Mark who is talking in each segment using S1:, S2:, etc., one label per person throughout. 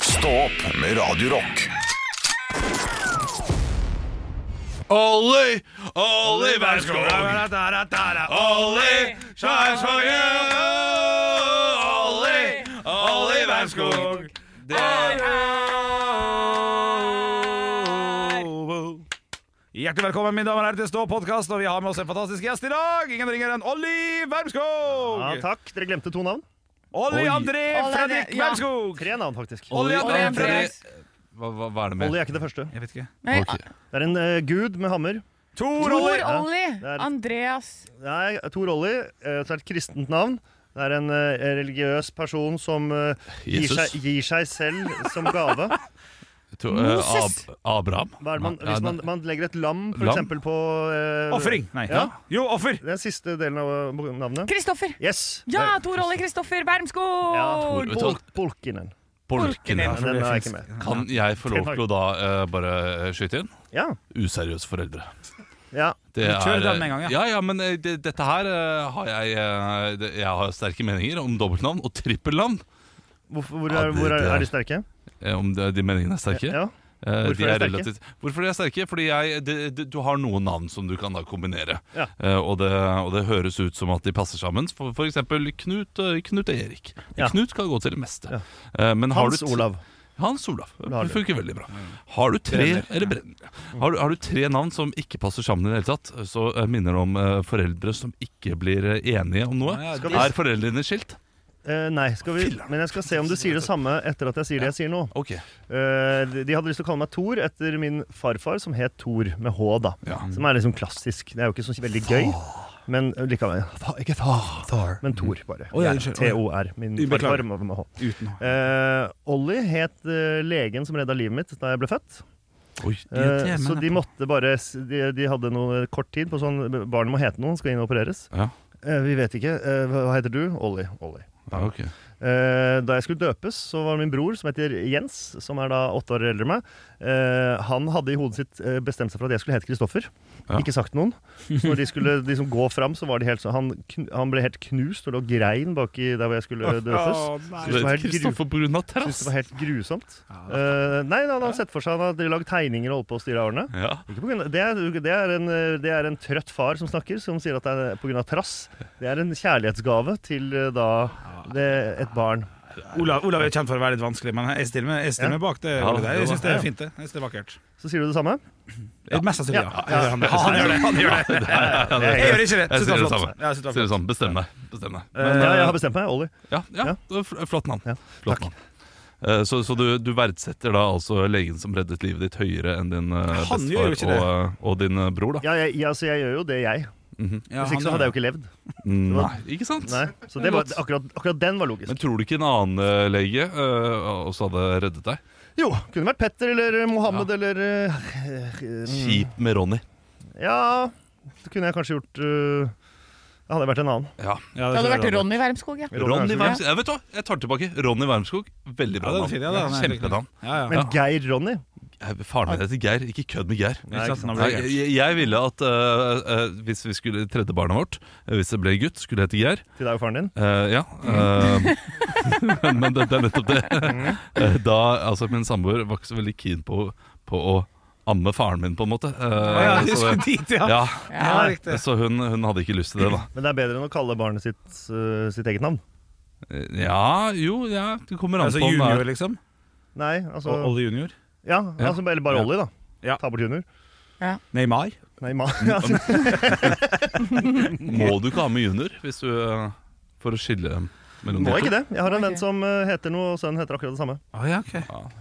S1: Stå opp med Radio Rock.
S2: Olli, Olli, vær så god. Olli, Skjærskogen. Olli, Olli, vær så god. Det Hjertelig velkommen mine damer og herrer til Stå podkast, og vi har med oss en fantastisk gjest i dag. Ingen ringer enn Olli Wermskog.
S3: Ja, takk. Dere glemte to navn.
S2: Olli
S4: Oi.
S2: André
S5: Olli,
S2: Fredrik
S5: ja.
S2: Wermskog.
S3: Tre navn, faktisk.
S2: Olli André
S5: Olli,
S2: Fredrik
S4: Hva, hva, hva er det med?
S3: Olli er ikke det første.
S2: Jeg vet ikke.
S5: Nei,
S4: Ok.
S3: Det er en eh, gud med hammer.
S2: Tor
S5: Tor
S2: Olli.
S3: Ja,
S5: Olli.
S3: det er-
S5: Andreas.
S3: Nei, Tor Olli. eh, Så er det et kristent navn. Det er en eh, religiøs person som eh, gir,
S4: Jesus.
S3: seg, gir seg selv som gave.
S4: To- eh,
S5: Moses.
S4: Ab Abraham?
S3: Hva er det man,
S4: Nei,
S3: hvis man,
S4: nei.
S3: man legger et lam, for
S4: Lam?
S3: eksempel, på eh,
S2: Offering. Nei.
S3: Ja.
S2: Jo, offer.
S3: Det er siste delen av eh, navnet.
S5: Kristoffer.
S3: Yes.
S5: Ja,
S3: Det-
S5: Tor Olli Kristoffer
S3: Ja, Tor-
S5: Bermskog!
S4: Vet du hva?
S3: Bol Bolkinen.
S4: Bolken.
S3: Ja,
S2: for
S3: den
S2: det
S3: er
S2: finnes-
S3: ikke med.
S4: Kan jeg få lov til å da eh, bare skyte inn?
S3: Ja.
S4: Useriøse foreldre.
S3: ja.
S4: Det
S2: Men kjør den med en gang, ja.
S4: ja, ja, men eh, det, dette her eh, har jeg eh, det, Jeg har sterke meninger om dobbeltnavn og trippelnavn.
S3: Hvorfor, hvor
S4: Ja,
S3: er,
S4: det-
S3: hvor er,
S4: det-
S3: er de sterke?
S4: eh, Om det, de meningene er sterke.
S3: Ja.
S4: Eh,
S3: Hvorfor
S4: de
S3: er
S4: er
S3: de sterke?
S4: relativt, hvorfor de er sterke? Fordi jeg, de, de, du har noen navn som du kan da kombinere.
S3: Ja.
S4: Eh, og, det, og det høres ut som at de passer sammen. For, for eksempel Knut, eh, Knut og Erik.
S3: Ja.
S4: Knut kan gå til det meste.
S3: Ja.
S4: Eh, men har
S3: Hans
S4: du t-
S3: Olav.
S4: Hans Olav.
S3: Olav.
S4: Det funker veldig bra. Har du tre,
S2: Brenner.
S4: eller brenner. Har, du, har du tre navn som ikke passer sammen i det hele tatt, så eh, minner det om eh, foreldre som ikke blir eh, enige om noe.
S2: Ja, ja,
S3: Skal vi-
S4: Er foreldrene skilt?
S3: Eh, nei, skal vi, men jeg skal se om du sier det samme etter at jeg sier det jeg sier nå.
S4: Ok.
S3: Eh, de de hadde lyst til å kalle meg Thor etter min farfar, som het Thor med H, da.
S4: Ja.
S3: Som er liksom klassisk. Det er jo ikke så veldig gøy, men eh, likevel. Ikke Thor, men Thor, bare.
S2: Å, ja,
S3: Gjerne.
S2: unnskyld.
S3: T-O-R. Min
S2: Beklager.
S3: farfar med, med H.
S2: Uten å
S3: Eh, Ollie het eh, legen som redda livet mitt da jeg ble født.
S4: Oi, de er
S3: Eh,
S4: tre,
S3: så
S4: men-
S3: de måtte bare s- De, de hadde noe kort tid på sånn Barnet må hete noe, skal inn og opereres.
S4: Ja,
S3: Eh, vi vet ikke. Eh, hva hva heter du? Ollie. Ollie.
S4: ja ok.
S3: Eh, Da jeg skulle døpes, så var det min bror, som heter Jens, som er da åtte år eldre enn meg. Eh, Han hadde i hodet sitt eh, bestemt seg for at jeg skulle hete Kristoffer.
S4: Ja.
S3: Ikke sagt noen. Så når de skulle liksom gå fram, så var de helt sånn han, kn- han ble helt knust og lå og grein baki der hvor jeg skulle døpes.
S4: Så det
S3: var
S4: er
S3: helt
S4: Kristoffer på grunn av
S3: Synes
S4: terrass.
S3: det var helt grusomt. Eh, nei, han hadde sett for seg han hadde lagd tegninger og holdt på å styre årene.
S4: Ja.
S3: Ikke på grunn av, det, er, det, er en, eh, det er en trøtt far som snakker, som sier at det er pga. trass. Det er en kjærlighetsgave til eh, da det, et barn.
S2: Olav, Olav er kjent for å være litt vanskelig, men jeg stiller meg, jeg stiller
S3: Ja.
S2: meg bak det.
S4: Ja,
S2: Olav der.
S4: det
S2: jeg
S4: var-
S2: syns det
S3: ja.
S2: er fint, det. Jeg synes det er vakkert.
S3: Så sier du det samme?
S2: Mest sannsynlig, ja.
S3: Ja.
S2: Han, han gjør det. Han gjør det. Jeg gjør ikke det. Synes det
S4: Jeg sier
S2: var
S4: det
S2: flott.
S4: samme.
S2: Jeg synes det var
S4: Sier det
S2: flott.
S4: sånn, bestem deg. Bestem deg.
S2: Eh,
S3: Men ja, jeg har bestemt meg. Ollie.
S4: Ja, ja,
S3: Ja.
S4: det er fl- flott navn.
S3: Ja,
S4: Flott navn. Eh, Så, så du, du verdsetter da altså legen som reddet livet ditt, høyere enn din eh,
S2: Han gjør jo
S4: bestefar
S2: ikke
S4: og, eh, og din eh, bror, da? Mhm.
S3: Ja, jeg, ja, så jeg gjør jo det, jeg.
S2: Ja,
S3: Hvis ikke så
S2: han-
S3: hadde jeg jo ikke levd.
S4: Nei, ikke sant?
S3: Nei. Så det var, akkurat, akkurat den var
S4: Men
S3: logisk.
S4: tror du ikke en annen eh, lege eh, også hadde reddet deg?
S3: Jo, kunne vært Petter eller Mohammed
S4: Ja.
S3: eller eh,
S2: Mm.
S3: eh,
S4: Kjip med Ronny.
S3: Ja, det kunne jeg kanskje gjort eh, Det hadde vært en annen.
S4: Ja.
S5: Det
S2: Ja,
S5: hadde
S2: tror jeg
S5: vært Ronny Wermskog, ja.
S4: Ronny
S3: Wermskog.
S4: Wermskog. Ja, vet du hva, jeg tar tilbake. Ronny Wermskog. Veldig bra
S2: Ja, det er
S4: navn.
S2: fint, ja, det er han helt
S4: Kjempenavn.
S2: Ja, ja.
S3: Men Geir Ronny?
S4: Eh, Faren min heter Geir, ikke kødd med Geir.
S3: Nei,
S2: Ikke
S3: ikke
S2: sant, han
S3: sant.
S2: ble
S4: Nei,
S2: gæren.
S4: jeg, jeg ville at eh, eh, hvis vi skulle tredje barnet vårt, eh, hvis det ble gutt, skulle det hete Geir.
S3: Til deg og faren din?
S4: Eh, ja. eh, men det, det er nettopp det.
S2: Mm.
S4: Eh, da, altså, min samboer var ikke så veldig keen på, på å amme faren min, på en måte. Eh,
S2: Å, ja, du
S4: så,
S2: skulle dit, ja.
S4: ja.
S2: Ja, riktig.
S4: så hun, hun hadde ikke lyst til det, da.
S3: Men det er bedre enn å kalle barnet sitt eh, sitt eget navn.
S4: Eh, Ja, jo, ja, det kommer an
S2: Altså
S4: på om det
S2: junior,
S4: er
S2: liksom?
S3: Nei, altså
S2: Og Ollie junior?
S3: Ja, altså Eller bare
S2: Ja.
S3: Ollie, da.
S2: Ja.
S3: Ta bort junior.
S2: Neymar?
S3: Nei, ma altså,
S4: Mm. Må du ikke ha med junior hvis du, eh, for å skille mellom
S3: Må
S4: de to?
S3: ikke det. Jeg har en venn
S5: Ok.
S3: som eh, heter noe, og sønnen heter akkurat det samme.
S2: Å, ja, ok.
S4: Ah, Ja.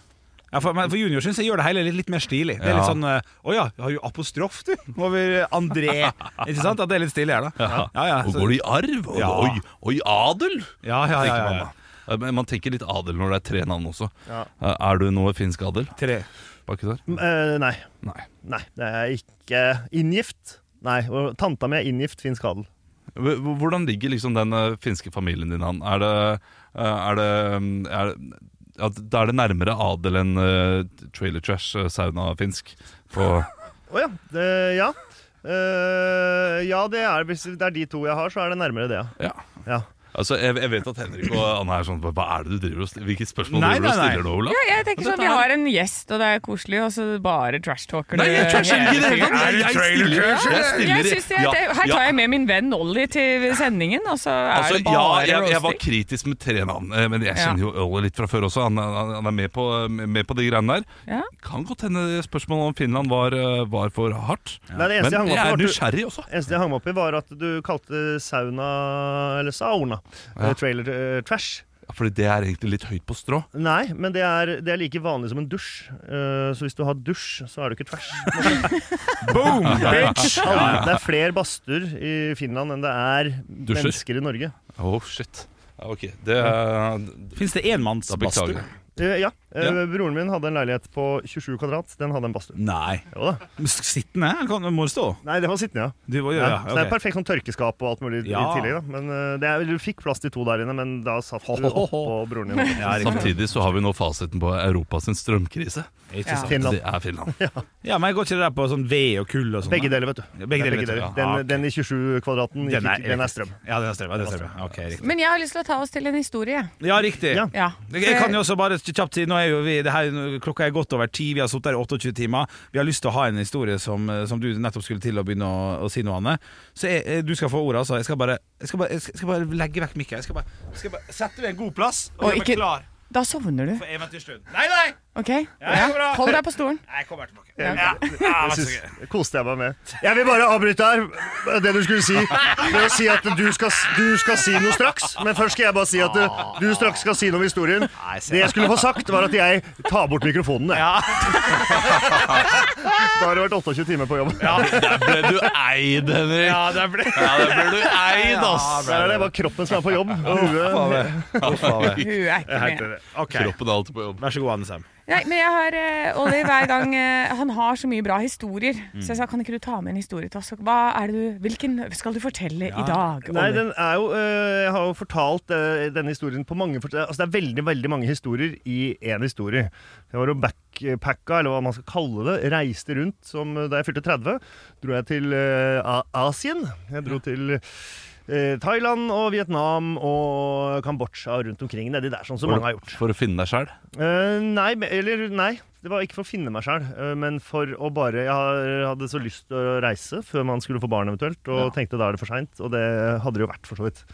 S2: Ja, for, men for junior syns jeg gjør det hele litt, litt mer stilig. Det er litt
S4: Ja.
S2: sånn eh, Å ja, har jo apostrof, du, over André. Ikke sant? At det er litt stilig her, da.
S4: Ja.
S2: Ja, ja,
S4: Og
S2: så-
S4: går det i arv? Og,
S2: Ja.
S4: oi, oi, adel!
S2: Ja, ja, ja,
S4: tenker
S2: ja,
S4: man
S2: ja.
S4: da. Eh, Men man tenker litt adel når det er tre navn også.
S3: Ja.
S4: Eh, Er du noe finsk adel
S2: Tre.
S4: baki der?
S3: M- eh, nei.
S4: Nei.
S3: Nei, det er ikke inngift. Nei, og tanta mi er inngift finsk adel.
S4: H- h- Hvordan ligger liksom den eh, finske familien din an? Er det, eh, er det, mm, er det ja, da er det nærmere adel enn eh, trailer trash eh, sauna-finsk. På-
S3: Å ja. Det, ja. Eh, ja, det er, hvis det er de to jeg har, så er det nærmere det, ja.
S4: Ja.
S3: ja.
S4: Altså, jeg, jeg vet at Henrik og Anne er sånn Hva er det du driver og stiller? Hvilke spørsmål
S2: Nei,
S4: driver du og
S2: nei, nei.
S4: stiller nå, Olav?
S5: Ja, jeg tenker sånn, Vi har en gjest, og det er koselig, og så bare trash-talker
S4: Nei, jeg trasher ikke i det hele tatt!
S2: Er det
S4: Jeg
S2: trailer
S4: stiller-
S2: trash, eller?
S5: Jeg
S4: stiller-
S5: synes jeg, det, her tar jeg med min venn Ollie til sendingen, og så er
S4: Altså,
S5: det
S4: ja,
S5: bare
S4: jeg, jeg var
S5: roasting.
S4: kritisk med tre navn, eh, men jeg
S5: Ja.
S4: kjenner jo Ole litt fra før også. Han, han, han er med på, med på de greiene der.
S5: Ja.
S4: Kan godt hende spørsmålet om Finland var, eh, var for hardt.
S3: Nei, det
S4: Men
S3: eneste jeg hang meg
S4: jeg
S3: opp i,
S4: er
S3: var at du-
S4: nysgjerrig altså. også.
S3: eneste jeg hang meg opp i, var at du kalte sauna Eller sauna.
S4: Ja.
S3: eh, Trailer eh, trash.
S4: Ja, Fordi det er egentlig litt høyt på strå.
S3: Nei, men det er, det er like vanlig som en dusj. Eh, så hvis du har dusj, så er du ikke trash.
S2: Boom! Bitch!
S3: Alle- Det er flere badstuer i Finland enn det er
S4: Dusjer?
S3: mennesker i Norge.
S4: Oh, shit. Ja, ok, det er
S2: Fins det
S4: Da beklager
S2: enmannsbadstue?
S4: jeg.
S3: Eh, ja. eh,
S4: Ja.
S3: Broren min hadde en leilighet på 27 kvadrat. Den hadde en badstue.
S2: Nei.
S3: Jo da.
S2: Men Sittende? eller kan- Må det stå?
S3: Nei, det var sittende, ja.
S2: Du, ja,
S3: Ja,
S2: ja,
S3: Så det er
S2: ok.
S3: perfekt sånn tørkeskap og alt mulig i
S2: Ja.
S3: tillegg. Da. Men eh, det er, du fikk plass til to der inne, men da satt du
S2: Ho, ho,
S3: oppå
S2: ho.
S3: broren din.
S2: Ja, riktig.
S4: Samtidig så har vi nå fasiten på Europas strømkrise.
S2: Ikke sant.
S3: Finland.
S4: Det er Finland.
S2: Ja, men går ikke det der på sånn ved og kull og sånn?
S3: Begge deler, vet du.
S2: Ja, begge
S3: Det er
S2: deler, vet du.
S3: Den,
S2: Ja, ok.
S3: den i 27 kvadraten gikk
S2: Den er,
S3: ikke- den er strøm.
S2: Ja, den er strøm. Ja, den er strøm. ja. Ok, riktig.
S5: Men jeg har lyst til å ta oss til en historie.
S2: Ja, riktig.
S3: Ja.
S5: Ja.
S2: Jeg kan jo også bare kjapt si Nå er jo vi, det her, Klokka er godt over ti, vi har sittet her i 28 timer. Vi har lyst til å ha en historie som, eh, som du nettopp skulle til å begynne å, å si noe, Anne. Så jeg, jeg, du skal få ordet, altså. Jeg skal bare, jeg skal bare, jeg skal bare legge vekk mikken. Jeg skal bare, jeg skal bare sette deg en god plass
S5: Og
S2: og, gjøre meg
S5: ikke-
S2: klar
S5: Da sovner du.
S2: for eventyrstund. Nei, nei!
S5: OK?
S2: det går bra.
S5: Hold deg på stolen.
S2: Nei, jeg kommer tilbake.
S3: Ja.
S2: Ja. Ja,
S3: Jeg
S5: Ah,
S2: vær så
S3: synes,
S2: god.
S3: det koste jeg meg med. Jeg vil bare avbryte her det du skulle si. Med å si at du skal, du skal si noe straks. Men først skal jeg bare si at uh, du straks skal si noe om historien. Det jeg skulle få sagt, var at jeg tar bort mikrofonen. jeg. Da har det vært 28 timer på jobb.
S4: Der ble du eid, Henrik! Ja, der ble, du eid, ass!
S3: Der er det bare kroppen som er på jobb. og Huet.
S5: Hun er ikke med.
S2: Ok,
S4: Kroppen er alltid på jobb.
S2: Vær så god, Anne Sem.
S5: Nei, men jeg har eh, Olli hver gang eh, Han har så mye bra historier.
S4: Mm.
S5: Så jeg sa kan ikke du ta med en historie til oss? Hva er det du, hvilken skal du fortelle i dag? Olli?
S3: Nei, den er jo, øh, jeg har jo fortalt øh, denne historien på mange fort- Altså Det er veldig veldig mange historier i én historie. Jeg var jo backpacka, eller hva man skal kalle det. Reiste rundt som øh, da jeg fylte 30. Dro jeg til øh, A- Asien. Jeg dro til øh, Thailand og Vietnam og Kambodsja og rundt omkring nedi der, sånn som mange har gjort.
S4: For å finne deg sjæl.
S3: Eh, nei, men- eller nei. Det var ikke for å finne meg sjøl, men for å bare Jeg har- hadde så lyst til å reise før man skulle få barn eventuelt, og tenkte da er det for seint. Og det hadde det jo vært, for så vidt.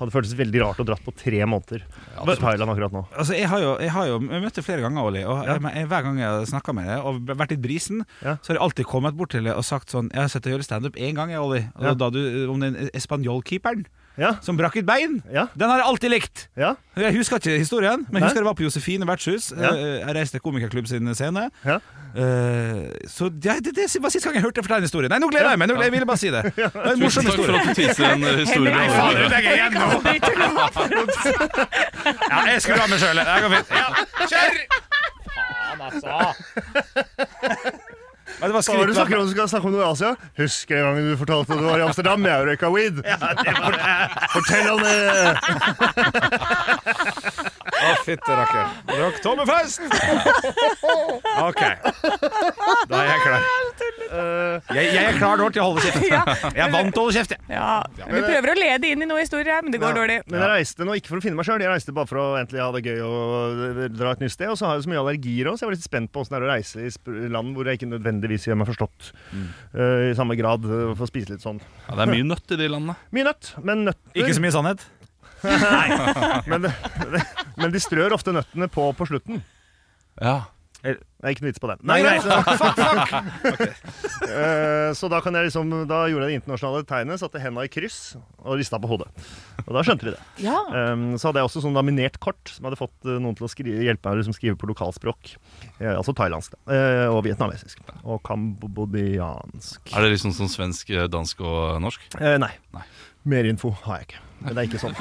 S3: Hadde føltes veldig rart å dratt på tre måneder til Thailand akkurat nå.
S2: Altså, jeg har jo, jeg har jo jeg møtt deg flere ganger, Olli, og jeg, jeg, hver gang jeg har snakka med deg og vært litt brisen,
S3: Ja.
S2: så har jeg alltid kommet bort til deg og sagt sånn Jeg har sett deg gjøre standup én gang, jeg, Olli, og
S3: Ja.
S2: da du om den espanjolkeeperen
S3: Ja,
S2: som brakk et bein.
S3: ja,
S2: Den har jeg alltid likt!
S3: ja.
S2: Jeg husker ikke historien, men jeg
S3: Nei.
S2: husker det var på Josefine vertshus.
S3: Ja.
S2: Eh, Jeg reiste til Komikerklubb sin scene.
S3: Ja.
S2: Eh, Så det, det, det var sist gang jeg hørte fortelle en historie. Nei, nå gleder
S3: Ja.
S2: jeg meg! Nå, jeg ville bare si det. Det var en
S4: Tusen
S2: morsom
S4: takk for
S2: historie.
S4: at du teaser en eh, historie.
S5: Henrik,
S4: med
S5: faen,
S4: alle.
S2: legger jeg igjen nå.
S5: Aldri til å-
S2: Ja, jeg skrur av meg sjøl. Det går fint. Ja, kjør! Faen, altså.
S3: Hva
S2: Det var
S3: er det du
S2: skryt,
S3: snakker om? Du skal snakke om noe i Asia? Husker en gang du fortalte at du var i Amsterdam? Jeg røyka weed. Fortell om det!
S2: Å, fytte rakker. Drakk tommelfest! OK. Da er jeg klar.
S3: Eh,
S2: Jeg, jeg er klar nå til å holde kjeft.
S5: Ja.
S2: Jeg er vant til å holde kjeft, jeg.
S5: ja. Vi prøver å lede inn i noen historier her, men det går
S3: Ja.
S5: dårlig.
S3: Men jeg reiste nå ikke for å finne meg sjøl, jeg reiste bare for å egentlig ha det gøy og eh, dra et nytt sted. Og så har jeg så mye allergier òg, så jeg var litt spent på åssen det er å reise i sp- land hvor jeg ikke nødvendigvis gjør meg forstått eh, i samme grad. Uh, for å spise litt sånn.
S4: Mm. Ja, det er mye nøtt i de landene.
S3: Mye nøtt, men nøtter
S2: Ikke så mye sannhet.
S3: men, men de strør ofte nøttene på på slutten.
S4: Ja.
S3: Det er ikke noe vits på den.
S2: Nei, nei,
S3: så,
S2: fuck, fuck, fuck.
S3: eh, så da, kan jeg liksom, da gjorde jeg det internasjonale tegnet, satte henda i kryss og rista på hodet. Og da skjønte de det.
S5: Ja.
S3: Um, så hadde jeg også sånn laminert kort som hadde fått eh, noen til å skri hjelpe meg å liksom skrive på lokalspråk. Eh, altså thailandsk, da. Eh, og vietnamesisk. Og kambodiansk.
S4: Er det liksom sånn svensk, eh, dansk og norsk?
S3: Eh, nei.
S4: Nei.
S3: Mer info har jeg ikke. Men det er ikke sånn.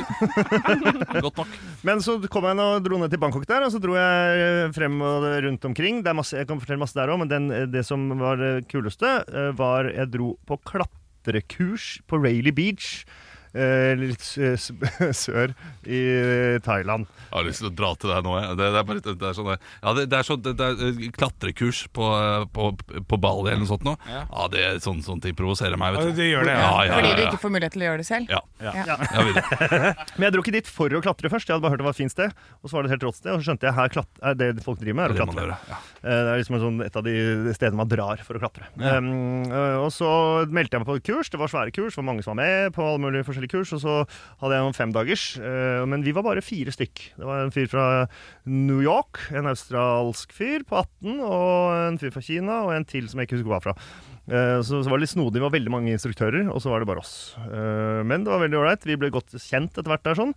S4: Godt nok.
S3: Men så kom jeg og dro ned til Bangkok der, og så dro jeg eh, frem og rundt omkring. Det er masse, jeg kan fortelle masse der òg, men den, eh, det som var det kuleste, eh, var jeg dro på klatrekurs på Rayleigh Beach. eh, litt sø- s- sør i eh, Thailand.
S4: Jeg har lyst til å dra til deg nå. Jeg. Det, det er bare det er sånn, ja, det, det er sånn det, det er eh, klatrekurs på, eh, på, på Bali eller noe sånt nå. Ja, det er sånn, sånn ting provoserer meg.
S2: Ja,
S4: Vet du.
S2: det gjør det, ja.
S4: Ja, ja,
S5: Fordi du
S4: ja,
S5: ikke får mulighet til å gjøre det selv?
S4: ja. ja.
S5: Ja.
S4: Jeg vil det.
S3: Men jeg dro ikke dit for å klatre først. Jeg hadde bare hørt det var et fint sted. Og så var det et helt rått sted, og så skjønte jeg her klat- er det folk driver med, er å
S4: Det er det man
S3: klatre.
S4: gjør, ja.
S3: Eh, Det er liksom en sånn, et av de stedene man drar for å klatre. Um, eh, og så meldte jeg meg på et kurs. Det var svære kurs, det var mange som var med på alle mulige forskjellige kurs. Og så hadde jeg noen femdagers. eh, men vi var bare fire stykk. Det var en fyr fra New York, en australsk fyr på 18, og en fyr fra Kina, og en til som jeg ikke husker hvor var fra. Eh, Så, så var det litt snodig, det var veldig mange instruktører, og så var det bare oss. Eh, Men det var veldig ålreit. Vi ble godt kjent etter hvert der sånn.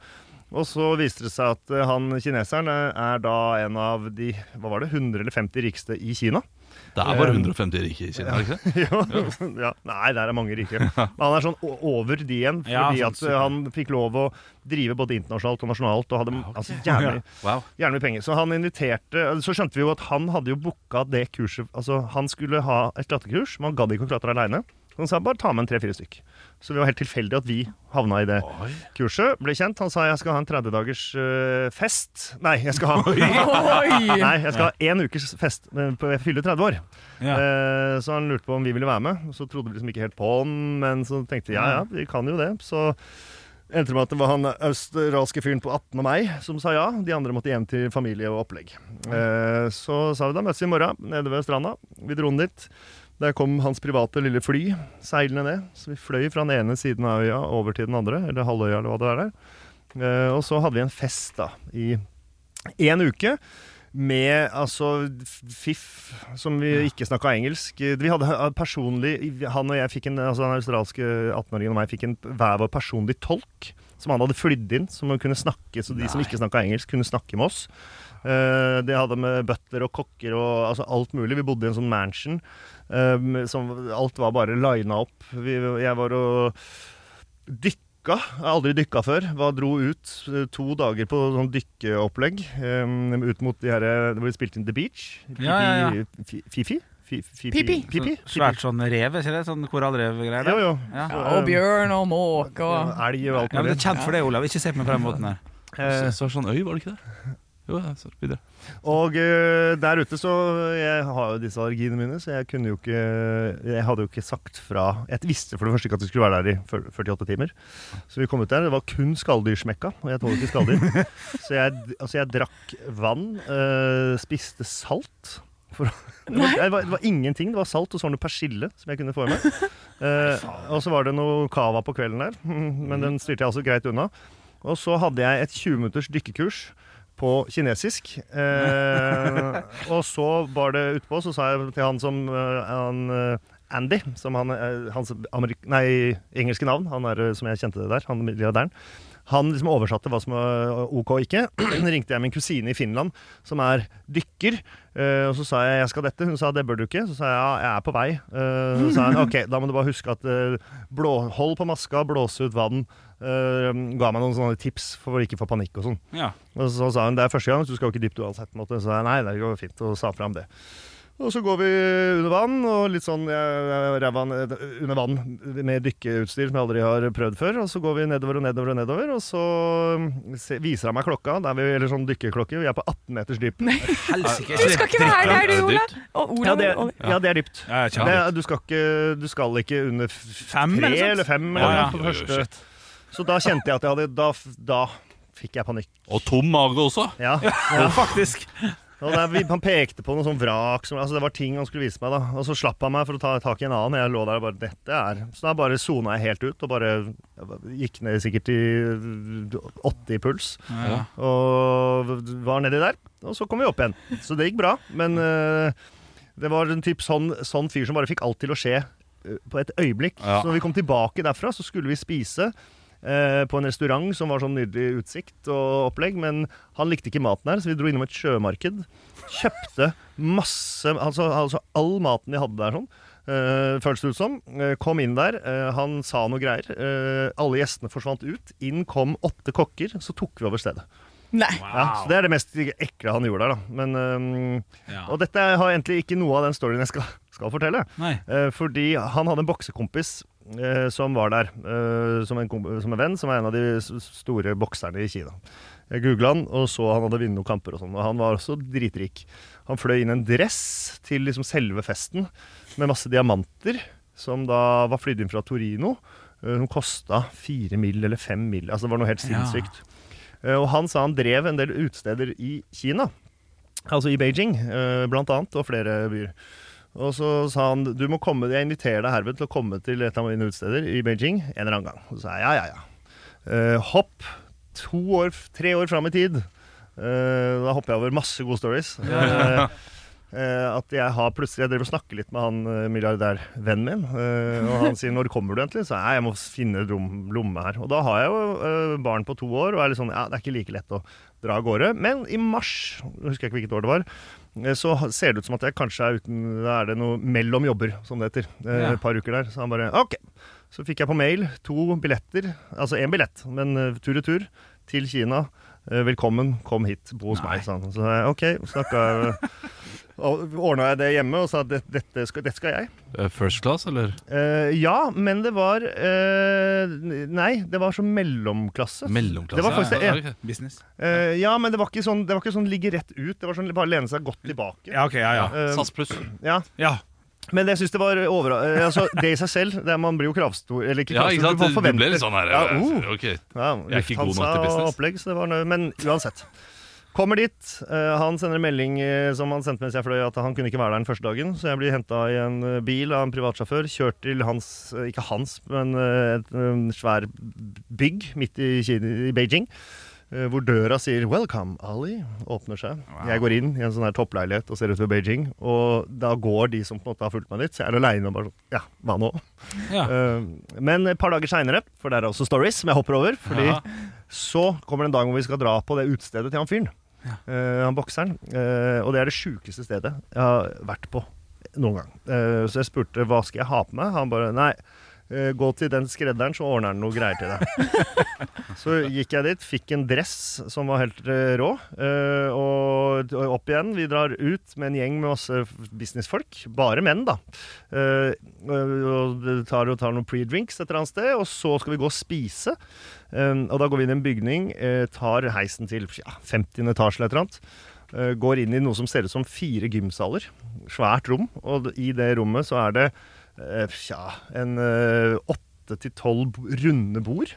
S3: Og så viste det seg at eh, han kineseren eh, er da en av de hva var det, 100 eller 50 rikeste i Kina. Eh,
S4: Det er bare 150 rike i Kina, er det ikke det?
S3: ja. Nei, der er mange rike. Men han er sånn o- over de igjen,
S2: Ja,
S3: fordi
S2: sånn
S3: at eh, han fikk lov å drive både internasjonalt og nasjonalt. Og hadde altså,
S2: Ja.
S3: jævlig,
S4: Wow.
S3: Gjerne med penger. Så han inviterte Så skjønte vi jo at han hadde jo booka det kurset Altså, han skulle ha et klatrekurs, men han gadd ikke å klatre aleine. Så han sa bare ta med en tre-fire stykk. Så vi var helt tilfeldig at vi havna i det kurset. Ble kjent. Han sa jeg skal ha en 30-dagers øh, fest. Nei, jeg skal ha
S5: Oi!
S3: Nei, jeg skal ha én ukes fest øh, på- Jeg fyller 30 år.
S2: Ja.
S3: Eh, Så han lurte på om vi ville være med. Så trodde vi liksom ikke helt på han, men så tenkte vi ja, ja, vi kan jo det. Så endte det med at det var han australske fyren på 18 og meg som sa ja. De andre måtte hjem til familie og opplegg. Eh, Så sa vi da møtes vi i morgen nede ved stranda. Vi dro den dit. Der kom hans private lille fly seilende ned. Så vi fløy fra den ene siden av øya over til den andre, eller halvøya, eller hva det er der. Eh, Og så hadde vi en fest da, i én uke. Med altså fiff, som vi ikke snakka engelsk. Vi hadde eh, personlig Han og jeg fikk en, altså den australske 18-åringen og meg fikk en hver vår personlig tolk. Som han hadde flydd inn, som han kunne snakke, så de som ikke snakka engelsk, kunne snakke med oss. Eh, det hadde med butler og kokker og altså alt mulig. Vi bodde i en sånn mansion. eh, som, alt var bare lina opp. Vi, jeg var og dykka. Jeg har aldri dykka før. Var, dro ut eh, to dager på sånn dykkeopplegg. eh, ut mot de her eh, hvor de spilte inn The Beach.
S2: Ja, ja, ja.
S3: Fi- Fifi? Fi- fi-
S5: Pipi.
S3: Pipi?
S2: Svært sånn rev, ikke det? Sånn korallrevgreier.
S3: Jo,
S2: der.
S3: jo.
S2: Ja.
S3: Så,
S5: Og bjørn og måke og
S3: eh, Elg og alt
S2: Ja, men Det er
S3: mulig.
S2: kjent for det, Olav. Ikke se på meg på den måten her.
S3: Eh,
S4: Så, sånn øy, var det ikke det? Jo, ja, så videre.
S3: Og eh, der ute så Jeg har jo disse allergiene mine, så jeg kunne jo ikke Jeg hadde jo ikke sagt fra Jeg visste for det første ikke at vi skulle være der i fyr- 48 timer. Så vi kom ut der, det var kun skalldyrsmekka, og jeg tåler ikke skalldyr. Så jeg, altså jeg drakk vann, eh, spiste salt. For, det, var, det, var, det var ingenting. Det var salt, og så var det noe persille som jeg kunne få i meg. Eh, og så var det noe cava på kvelden der, men den styrte jeg altså greit unna. Og så hadde jeg et 20 minutters dykkekurs på kinesisk. Eh, og så var det utpå, så sa jeg til han som eh, han, eh, Andy, som han, eh, hans amerik nei, engelske navn, han er, eh, som jeg kjente det der, han milliardæren. Han liksom oversatte hva som var eh, OK og ikke. ringte jeg min kusine i Finland, som er dykker. eh, og så sa jeg 'jeg skal dette'. Hun sa 'det bør du ikke'. Så sa jeg 'ja, jeg er på vei'. Eh, så sa hun 'ok, da må du bare huske at eh, blå, hold på maska, blåse ut vann'. Eh, ga meg noen sånne tips for å ikke få panikk og sånn.
S2: Ja.
S3: Og så sa hun det er første gang, så du skal jo ikke dypt uansett. på en måte. Så sa jeg nei, det går fint, og sa fram det. Og så går vi under vann, og litt sånn jeg, jeg, ræva ned- under vann med dykkeutstyr som jeg aldri har prøvd før. Og så går vi nedover og nedover og nedover, og så mm, se, viser han meg klokka. Der vi, eller sånn dykkeklokke. Vi er på 18 meters dyp.
S2: Helsike.
S5: Du skal ikke være her, du,
S4: Er det
S5: Olav.
S4: dyrt?
S5: Og
S3: Ja,
S5: Olav
S3: det,
S5: og-
S3: ja, det er dypt.
S2: Ja, jeg
S3: Det,
S2: kjenner det.
S3: du, skal ikke, du skal ikke under f-
S2: Fem,
S3: tre
S2: eller sant?
S3: eller fem.
S2: Ja,
S3: Eller,
S2: ja.
S3: noe på
S4: Jo, jo,
S3: første. Så da kjente jeg at jeg hadde Da, f- da fikk jeg panikk.
S4: Og tom mage også.
S3: Ja,
S2: Ja, faktisk.
S3: Og der, vi- han pekte på noe sånn vrak som, altså Det var ting han skulle vise meg, da. Og så slapp han meg for å ta tak i en annen. Jeg lå der og bare Dette er Så da bare sona jeg helt ut, og bare gikk ned sikkert i 80 i puls.
S2: Ja.
S3: Og var nedi der. Og så kom vi opp igjen. Så det gikk bra. Men eh, det var en typ sånn, sånn fyr som bare fikk alt til å skje eh, på et øyeblikk.
S4: Ja.
S3: Så når vi kom tilbake derfra, så skulle vi spise. eh, På en restaurant som var sånn nydelig utsikt og opplegg, men han likte ikke maten her, så vi dro innom et sjømarked. Kjøpte masse Altså, altså all maten de hadde der, sånn. eh, føles det ut som. Eh, kom inn der, eh, han sa noe greier. eh, alle gjestene forsvant ut. Inn kom åtte kokker, så tok vi over stedet.
S5: Nei.
S3: Ja, så det er det mest ekle han gjorde der, da. Men, ehm,
S2: Ja.
S3: Og dette har egentlig ikke noe av den storyen jeg skal, skal fortelle.
S2: Nei.
S3: Eh, fordi han hadde en boksekompis eh, som var der eh, som, en, kom- som en venn, som er en av de s- store bokserne i Kina. Jeg googla han og så han hadde vunnet noen kamper og sånn, og han var også dritrik. Han fløy inn en dress til liksom selve festen med masse diamanter, som da var flydd inn fra Torino. eh, Som kosta fire mill. eller fem mill. Altså det var noe helt
S2: Ja.
S3: sinnssykt. Eh, Og han sa han drev en del utesteder i Kina. Altså i Beijing, eh, blant annet, og flere byer. Og så sa han du må komme, jeg inviterer deg herved til å komme til et av mine utesteder i Beijing en eller annen gang. Og så sa jeg ja, ja, ja. Eh, hopp to år, tre år fram i tid. Eh, da hopper jeg over masse gode stories. Eh, eh, at jeg har plutselig Jeg driver og snakker litt med han eh, milliardærvennen min. eh, og han sier 'når kommer du egentlig?' Så jeg, jeg må finne rom, lomme her. Og da har jeg jo eh, barn på to år, og er litt sånn ja, det er ikke like lett å dra av gårde. Men i mars, husker jeg ikke hvilket år det var, eh, så ha- ser det ut som at jeg kanskje er uten Da er det noe mellom jobber, som det heter. eh,
S2: Ja.
S3: Et par uker der. Så han bare OK. Så fikk jeg på mail to billetter, altså én billett, men eh, tur-retur til Kina. Eh, Velkommen, kom hit, bo hos
S2: Nei.
S3: meg. sa han. Så sa jeg OK, snakka Ordna jeg det hjemme og sa at det- dette skal, dette skal jeg.
S4: Eh, First class, eller?
S3: Eh, ja, men det var eh, Nei, det var så mellomklasse.
S4: Mellomklasse?
S3: Det var faktisk det
S4: Ja,
S3: ene.
S4: ok.
S2: Business.
S3: Eh, ja, men det var ikke sånn, det var ikke sånn ligge rett ut. Det var sånn bare lene seg godt tilbake.
S2: Ja, ok, ja, ja.
S3: Eh,
S4: SAS pluss.
S3: ja.
S2: ja.
S3: Men jeg syns det var overra... eh, Altså, det i seg selv det er, Man blir jo kravstor. Eller ikke
S4: Ja, ikke
S3: kravstor, man
S4: sant? Du ble
S3: forventer.
S4: litt sånn her
S3: Ja,
S4: eh,
S3: oh.
S4: ok.
S3: Ja,
S4: Jeg er ikke god nok
S3: Lufthansa
S4: til
S3: og
S4: business.
S3: Opplegg, så det var noe, men uansett. Kommer dit. eh, han sender en melding eh, som han sendte mens jeg fløy, at han kunne ikke være der den første dagen. Så jeg blir henta i en eh, bil av en privatsjåfør, kjørt til hans eh, Ikke hans, men eh, et en svær bygg midt i, Kina, i Beijing. eh, Hvor døra sier 'Welcome, Ali', åpner seg. Jeg går inn i en sånn her toppleilighet og ser utover Beijing. Og da går de som på en måte har fulgt meg dit, så jeg er aleine og bare sånn Ja, hva nå?
S2: Ja.
S3: Eh, Men et par dager seinere, for der er også stories som jeg hopper over, fordi så kommer det en dag hvor vi skal dra på det utestedet til han fyren. Eh, han bokseren. Eh, og det er det sjukeste stedet jeg har vært på noen gang. Eh, så jeg spurte hva skal jeg ha på meg. Han bare nei, eh, gå til den skredderen, så ordner han noe greier til deg. så gikk jeg dit, fikk en dress som var helt eh, rå. eh, og, og opp igjen. Vi drar ut med en gjeng med masse businessfolk. Bare menn, da. Eh, og og tar, og tar noen pre-drinks et eller annet sted, og så skal vi gå og spise. Um, og da går vi inn i en bygning, eh, tar heisen til ja, 50. etasje eller et eller annet. eh, går inn i noe som ser ut som fire gymsaler. Svært rom. Og d- i det rommet så er det eh, tja, en eh, åtte til tolv b- runde bord.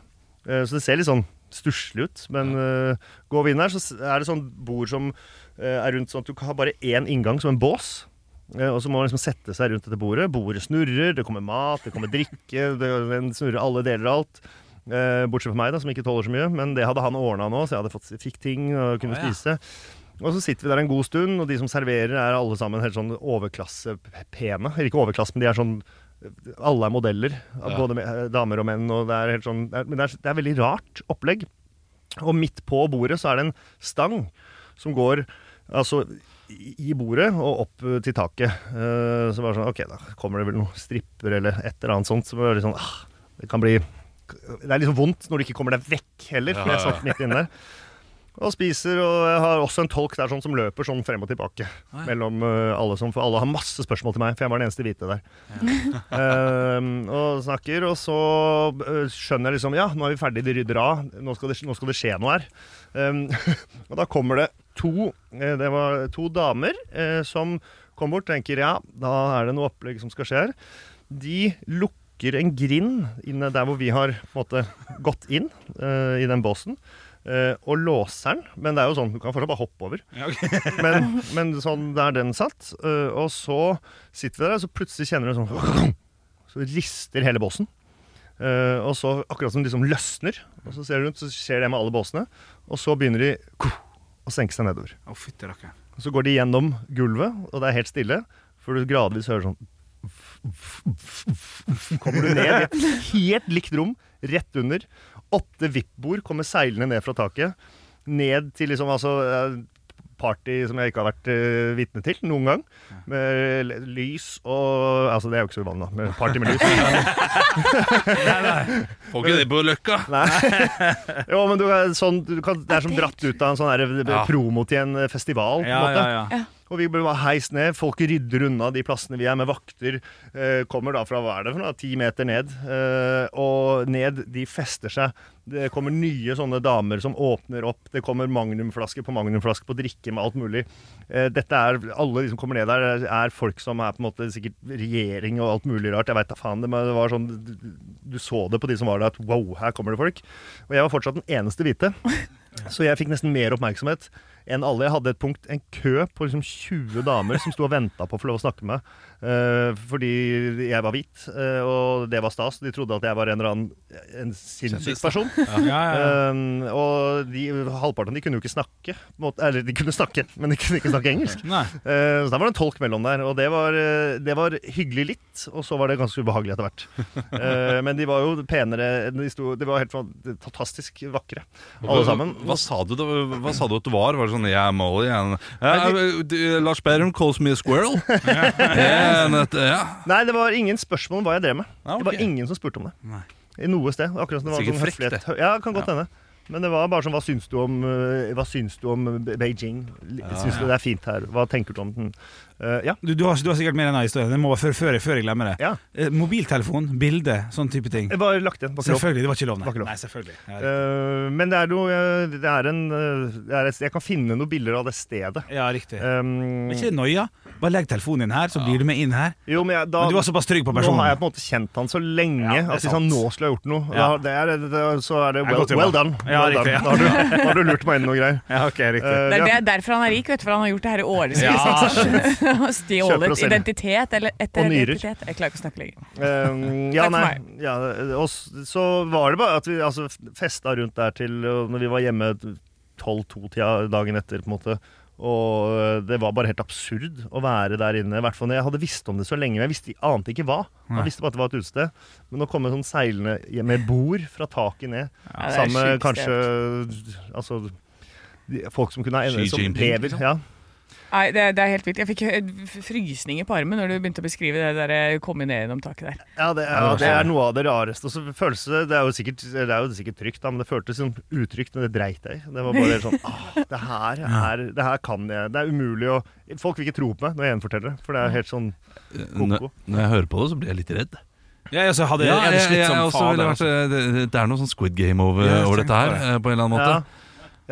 S3: Eh, så det ser litt sånn stusslig ut. Men eh, går vi inn her, så s- er det sånn bord som eh, er rundt sånn at du kan ha bare én inngang, som en bås. Eh, Og så må man liksom sette seg rundt dette bordet. Bordet snurrer, det kommer mat, det kommer drikke. Det, den snurrer alle deler av alt. Eh, bortsett fra meg, da, som ikke tåler så mye. Men det hadde han ordna nå, så jeg hadde fått, fikk ting og kunne
S2: Å, ja.
S3: spise. Og så sitter vi der en god stund, og de som serverer, er alle sammen helt sånn overklassepene. Eller ikke overklasse, men de er sånn Alle er modeller.
S4: Ja.
S3: Både med, eh, damer og menn. Og det er helt sånn, det er, men det er, det er veldig rart opplegg. Og midt på bordet så er det en stang som går altså, i i bordet og opp eh, til taket. Eh, Så bare sånn, ok, da kommer det vel noen stripper eller et eller annet sånt. Så bare litt sånn, ah, det kan bli Det er liksom vondt når du ikke kommer deg vekk heller. For sånn. jeg satt midt inne der. Og spiser, og jeg har også en tolk der sånn som løper sånn frem og tilbake. Mellom eh, alle som, For alle har masse spørsmål til meg, for jeg var den eneste hvite der. Ehm, og snakker, og så eh, skjønner jeg liksom Ja, nå er vi ferdig, de rydder av. Nå skal det, nå skal det skje noe her. Ehm, og da kommer det to eh, Det var to damer eh, som kom bort og tenker ja, da er det noe opplegg som skal skje her. De lukker en grind inne der hvor vi har på en måte, gått inn eh, i den båsen. eh, og låser den, men det er jo sånn, du kan fortsatt bare hoppe over. men, men sånn, der den satt. eh, og så sitter vi der, og så plutselig kjenner du sånn Så rister hele båsen. Eh, og så akkurat som den liksom løsner, og så ser du rundt, så skjer det med alle båsene. Og så begynner de å senke seg nedover.
S2: Å, fytti rakkeren.
S3: Og så går de gjennom gulvet, og det er helt stille, for du gradvis hører sånn Kommer du ned i et helt likt rom, rett under. Åtte VIP-bord kommer seilende ned fra taket. Ned til liksom altså eh, party som jeg ikke har vært eh, vitne til noen gang. Med l- lys og Altså, det er jo ikke så uvanlig, da. Med party med lys.
S4: Får ikke det på Løkka!
S3: Jo, men du, er sånn, du kan, det er som dratt ut av en sånn her, eh,
S4: Ja.
S3: promo til en eh, festival, på en
S2: Ja,
S3: måte.
S2: ja, ja.
S3: Og vi ble bare heist ned. Folk rydder unna de plassene vi er, med vakter. Eh, kommer da fra hva er det for noe, ti meter ned. Eh, og ned, de fester seg. Det kommer nye sånne damer som åpner opp. Det kommer magnumflaske på magnumflaske på drikke med alt mulig. Eh, dette er, Alle de som kommer ned der, er- er folk som er på en måte sikkert regjering og alt mulig rart. Jeg veit da faen. Det, men det var sånn, du, du så det på de som var der, at wow, her kommer det folk. Og jeg var fortsatt den eneste hvite. Så jeg fikk nesten mer oppmerksomhet enn alle. Jeg hadde et punkt, en kø på liksom 20 damer som sto og venta på å få lov å snakke med meg. eh, fordi jeg var hvit, eh, og det var stas. De trodde at jeg var en eller annen en sinnssyk
S4: Kjendis,
S3: person.
S2: Ja, ja, ja.
S3: Eh, og de, halvparten av de kunne jo ikke snakke. på en måte. Eller de kunne snakke, men de kunne ikke snakke engelsk.
S2: Nei.
S3: Eh, så da var det en tolk mellom der, og det var, eh, det var hyggelig litt, og så var det ganske ubehagelig etter hvert. Eh, men de var jo penere, enn de sto, de var helt fan- fantastisk vakre, alle sammen.
S4: Hva, hva, sa du, da? hva sa du at du var? Var det sånn, jeg er Molly jeg er en- ja, eh, Lars Berrum calls me a squirrel
S2: Eh,
S4: Ja, en- et- ja.
S3: Nei, det var ingen spørsmål om hva jeg drev med.
S4: Ja,
S3: Det var
S4: ok.
S3: ingen som spurte om det.
S2: Ah, Nei.
S3: I noe sted. Akkurat som det var
S4: Sikkert
S3: sånn
S4: frekt, det.
S3: høflighet. Ja, kan godt hende. Men det var bare sånn Hva syns du om, eh, hva syns du om Be- Beijing?
S2: Ah,
S3: Syns du det er fint her? Hva tenker du om den? Eh, ja.
S2: Du, du, har, du har sikkert mer enn denne historien. Jeg må før, før, jeg- før jeg glemmer det.
S3: ja.
S2: Eh, mobiltelefon, bilde, sånn type ting.
S3: Jeg bare lagt igjen. Bare lov.
S2: Selvfølgelig, det var ikke lov. Nei,
S3: Var ikke lov.
S2: nei selvfølgelig. Ja,
S3: Eh, men det er noe eh, Det er en eh, det er et, Jeg kan finne noen bilder av det stedet.
S2: ja riktig.
S3: Um,
S2: Men ikke noia. Bare legg telefonen din her, så blir du med inn her.
S3: jo, men jeg, da,
S2: Men du var såpass trygg på
S3: nå har jeg
S2: personen.
S3: på en måte kjent han så lenge
S2: Ja, det er
S3: at hvis han
S2: sant.
S3: nå skulle ha gjort noe,
S2: Ja.
S3: da, det er, det, det- så er det
S2: Jeg er
S3: well,
S2: godt jobba.
S3: well done.
S2: Ja,
S3: well
S2: riktig,
S3: done. Da,
S2: ja.
S3: har du, da har du lurt meg inn i noen greier.
S2: Ja, ok, riktig.
S3: Eh, vi
S5: Det er
S3: har-
S5: det- derfor han er rik, vet du, for han har gjort det her i årevis.
S2: Ja,
S3: Kjøper og
S5: Stjålet
S3: selger.
S5: identitet eller etter
S3: Og nyrer.
S5: identitet. Jeg klarer ikke å snakke lenger.
S3: Eh, ja,
S5: Takk for
S3: nei. Ja, eh, og s- så var det bare at vi altså, festa rundt der til og når vi var hjemme 12-2-tida dagen etter, på en måte. Og eh, det var bare helt absurd å være der inne. I hvert fall når jeg hadde visst om det så lenge. Men jeg visste, ante ikke hva.
S2: Nei.
S3: Jeg visste bare at det var et utested. Men å komme sånn seilende hjem med bord fra taket ned,
S5: Ja, det er
S3: sammen med
S5: sjukt
S3: kanskje
S5: sted.
S3: Altså de, folk som kunne
S4: Xi
S3: som
S4: Jinping,
S3: lever.
S4: liksom.
S3: Ja.
S5: Nei, det, det er helt vilt. Jeg fikk eh, f- frysninger på armen når du begynte å beskrive det der eh, komme ned gjennom taket der.
S3: Ja, det, ja, det er sånn. noe av det rareste. Og så føles det Det er jo sikkert, det er jo sikkert trygt, da, men det føltes som utrygt, men det dreit jeg i. Det var bare sånn ah, det, her er, det her kan jeg Det er umulig å Folk vil ikke tro på meg når jeg gjenforteller det, for det er helt sånn
S4: Når, når jeg hører på det, så blir jeg litt redd
S2: Ja, jeg også hadde, jeg hadde
S4: jeg-
S2: slitt
S4: jeg
S2: som
S4: også
S2: faen.
S4: ville
S2: der,
S4: vært, eh, det, det er noe sånn squid game over,
S2: Ja, jeg
S4: over
S2: tenkte
S4: dette her,
S2: på det.
S4: eh, på en eller annen måte
S3: ja.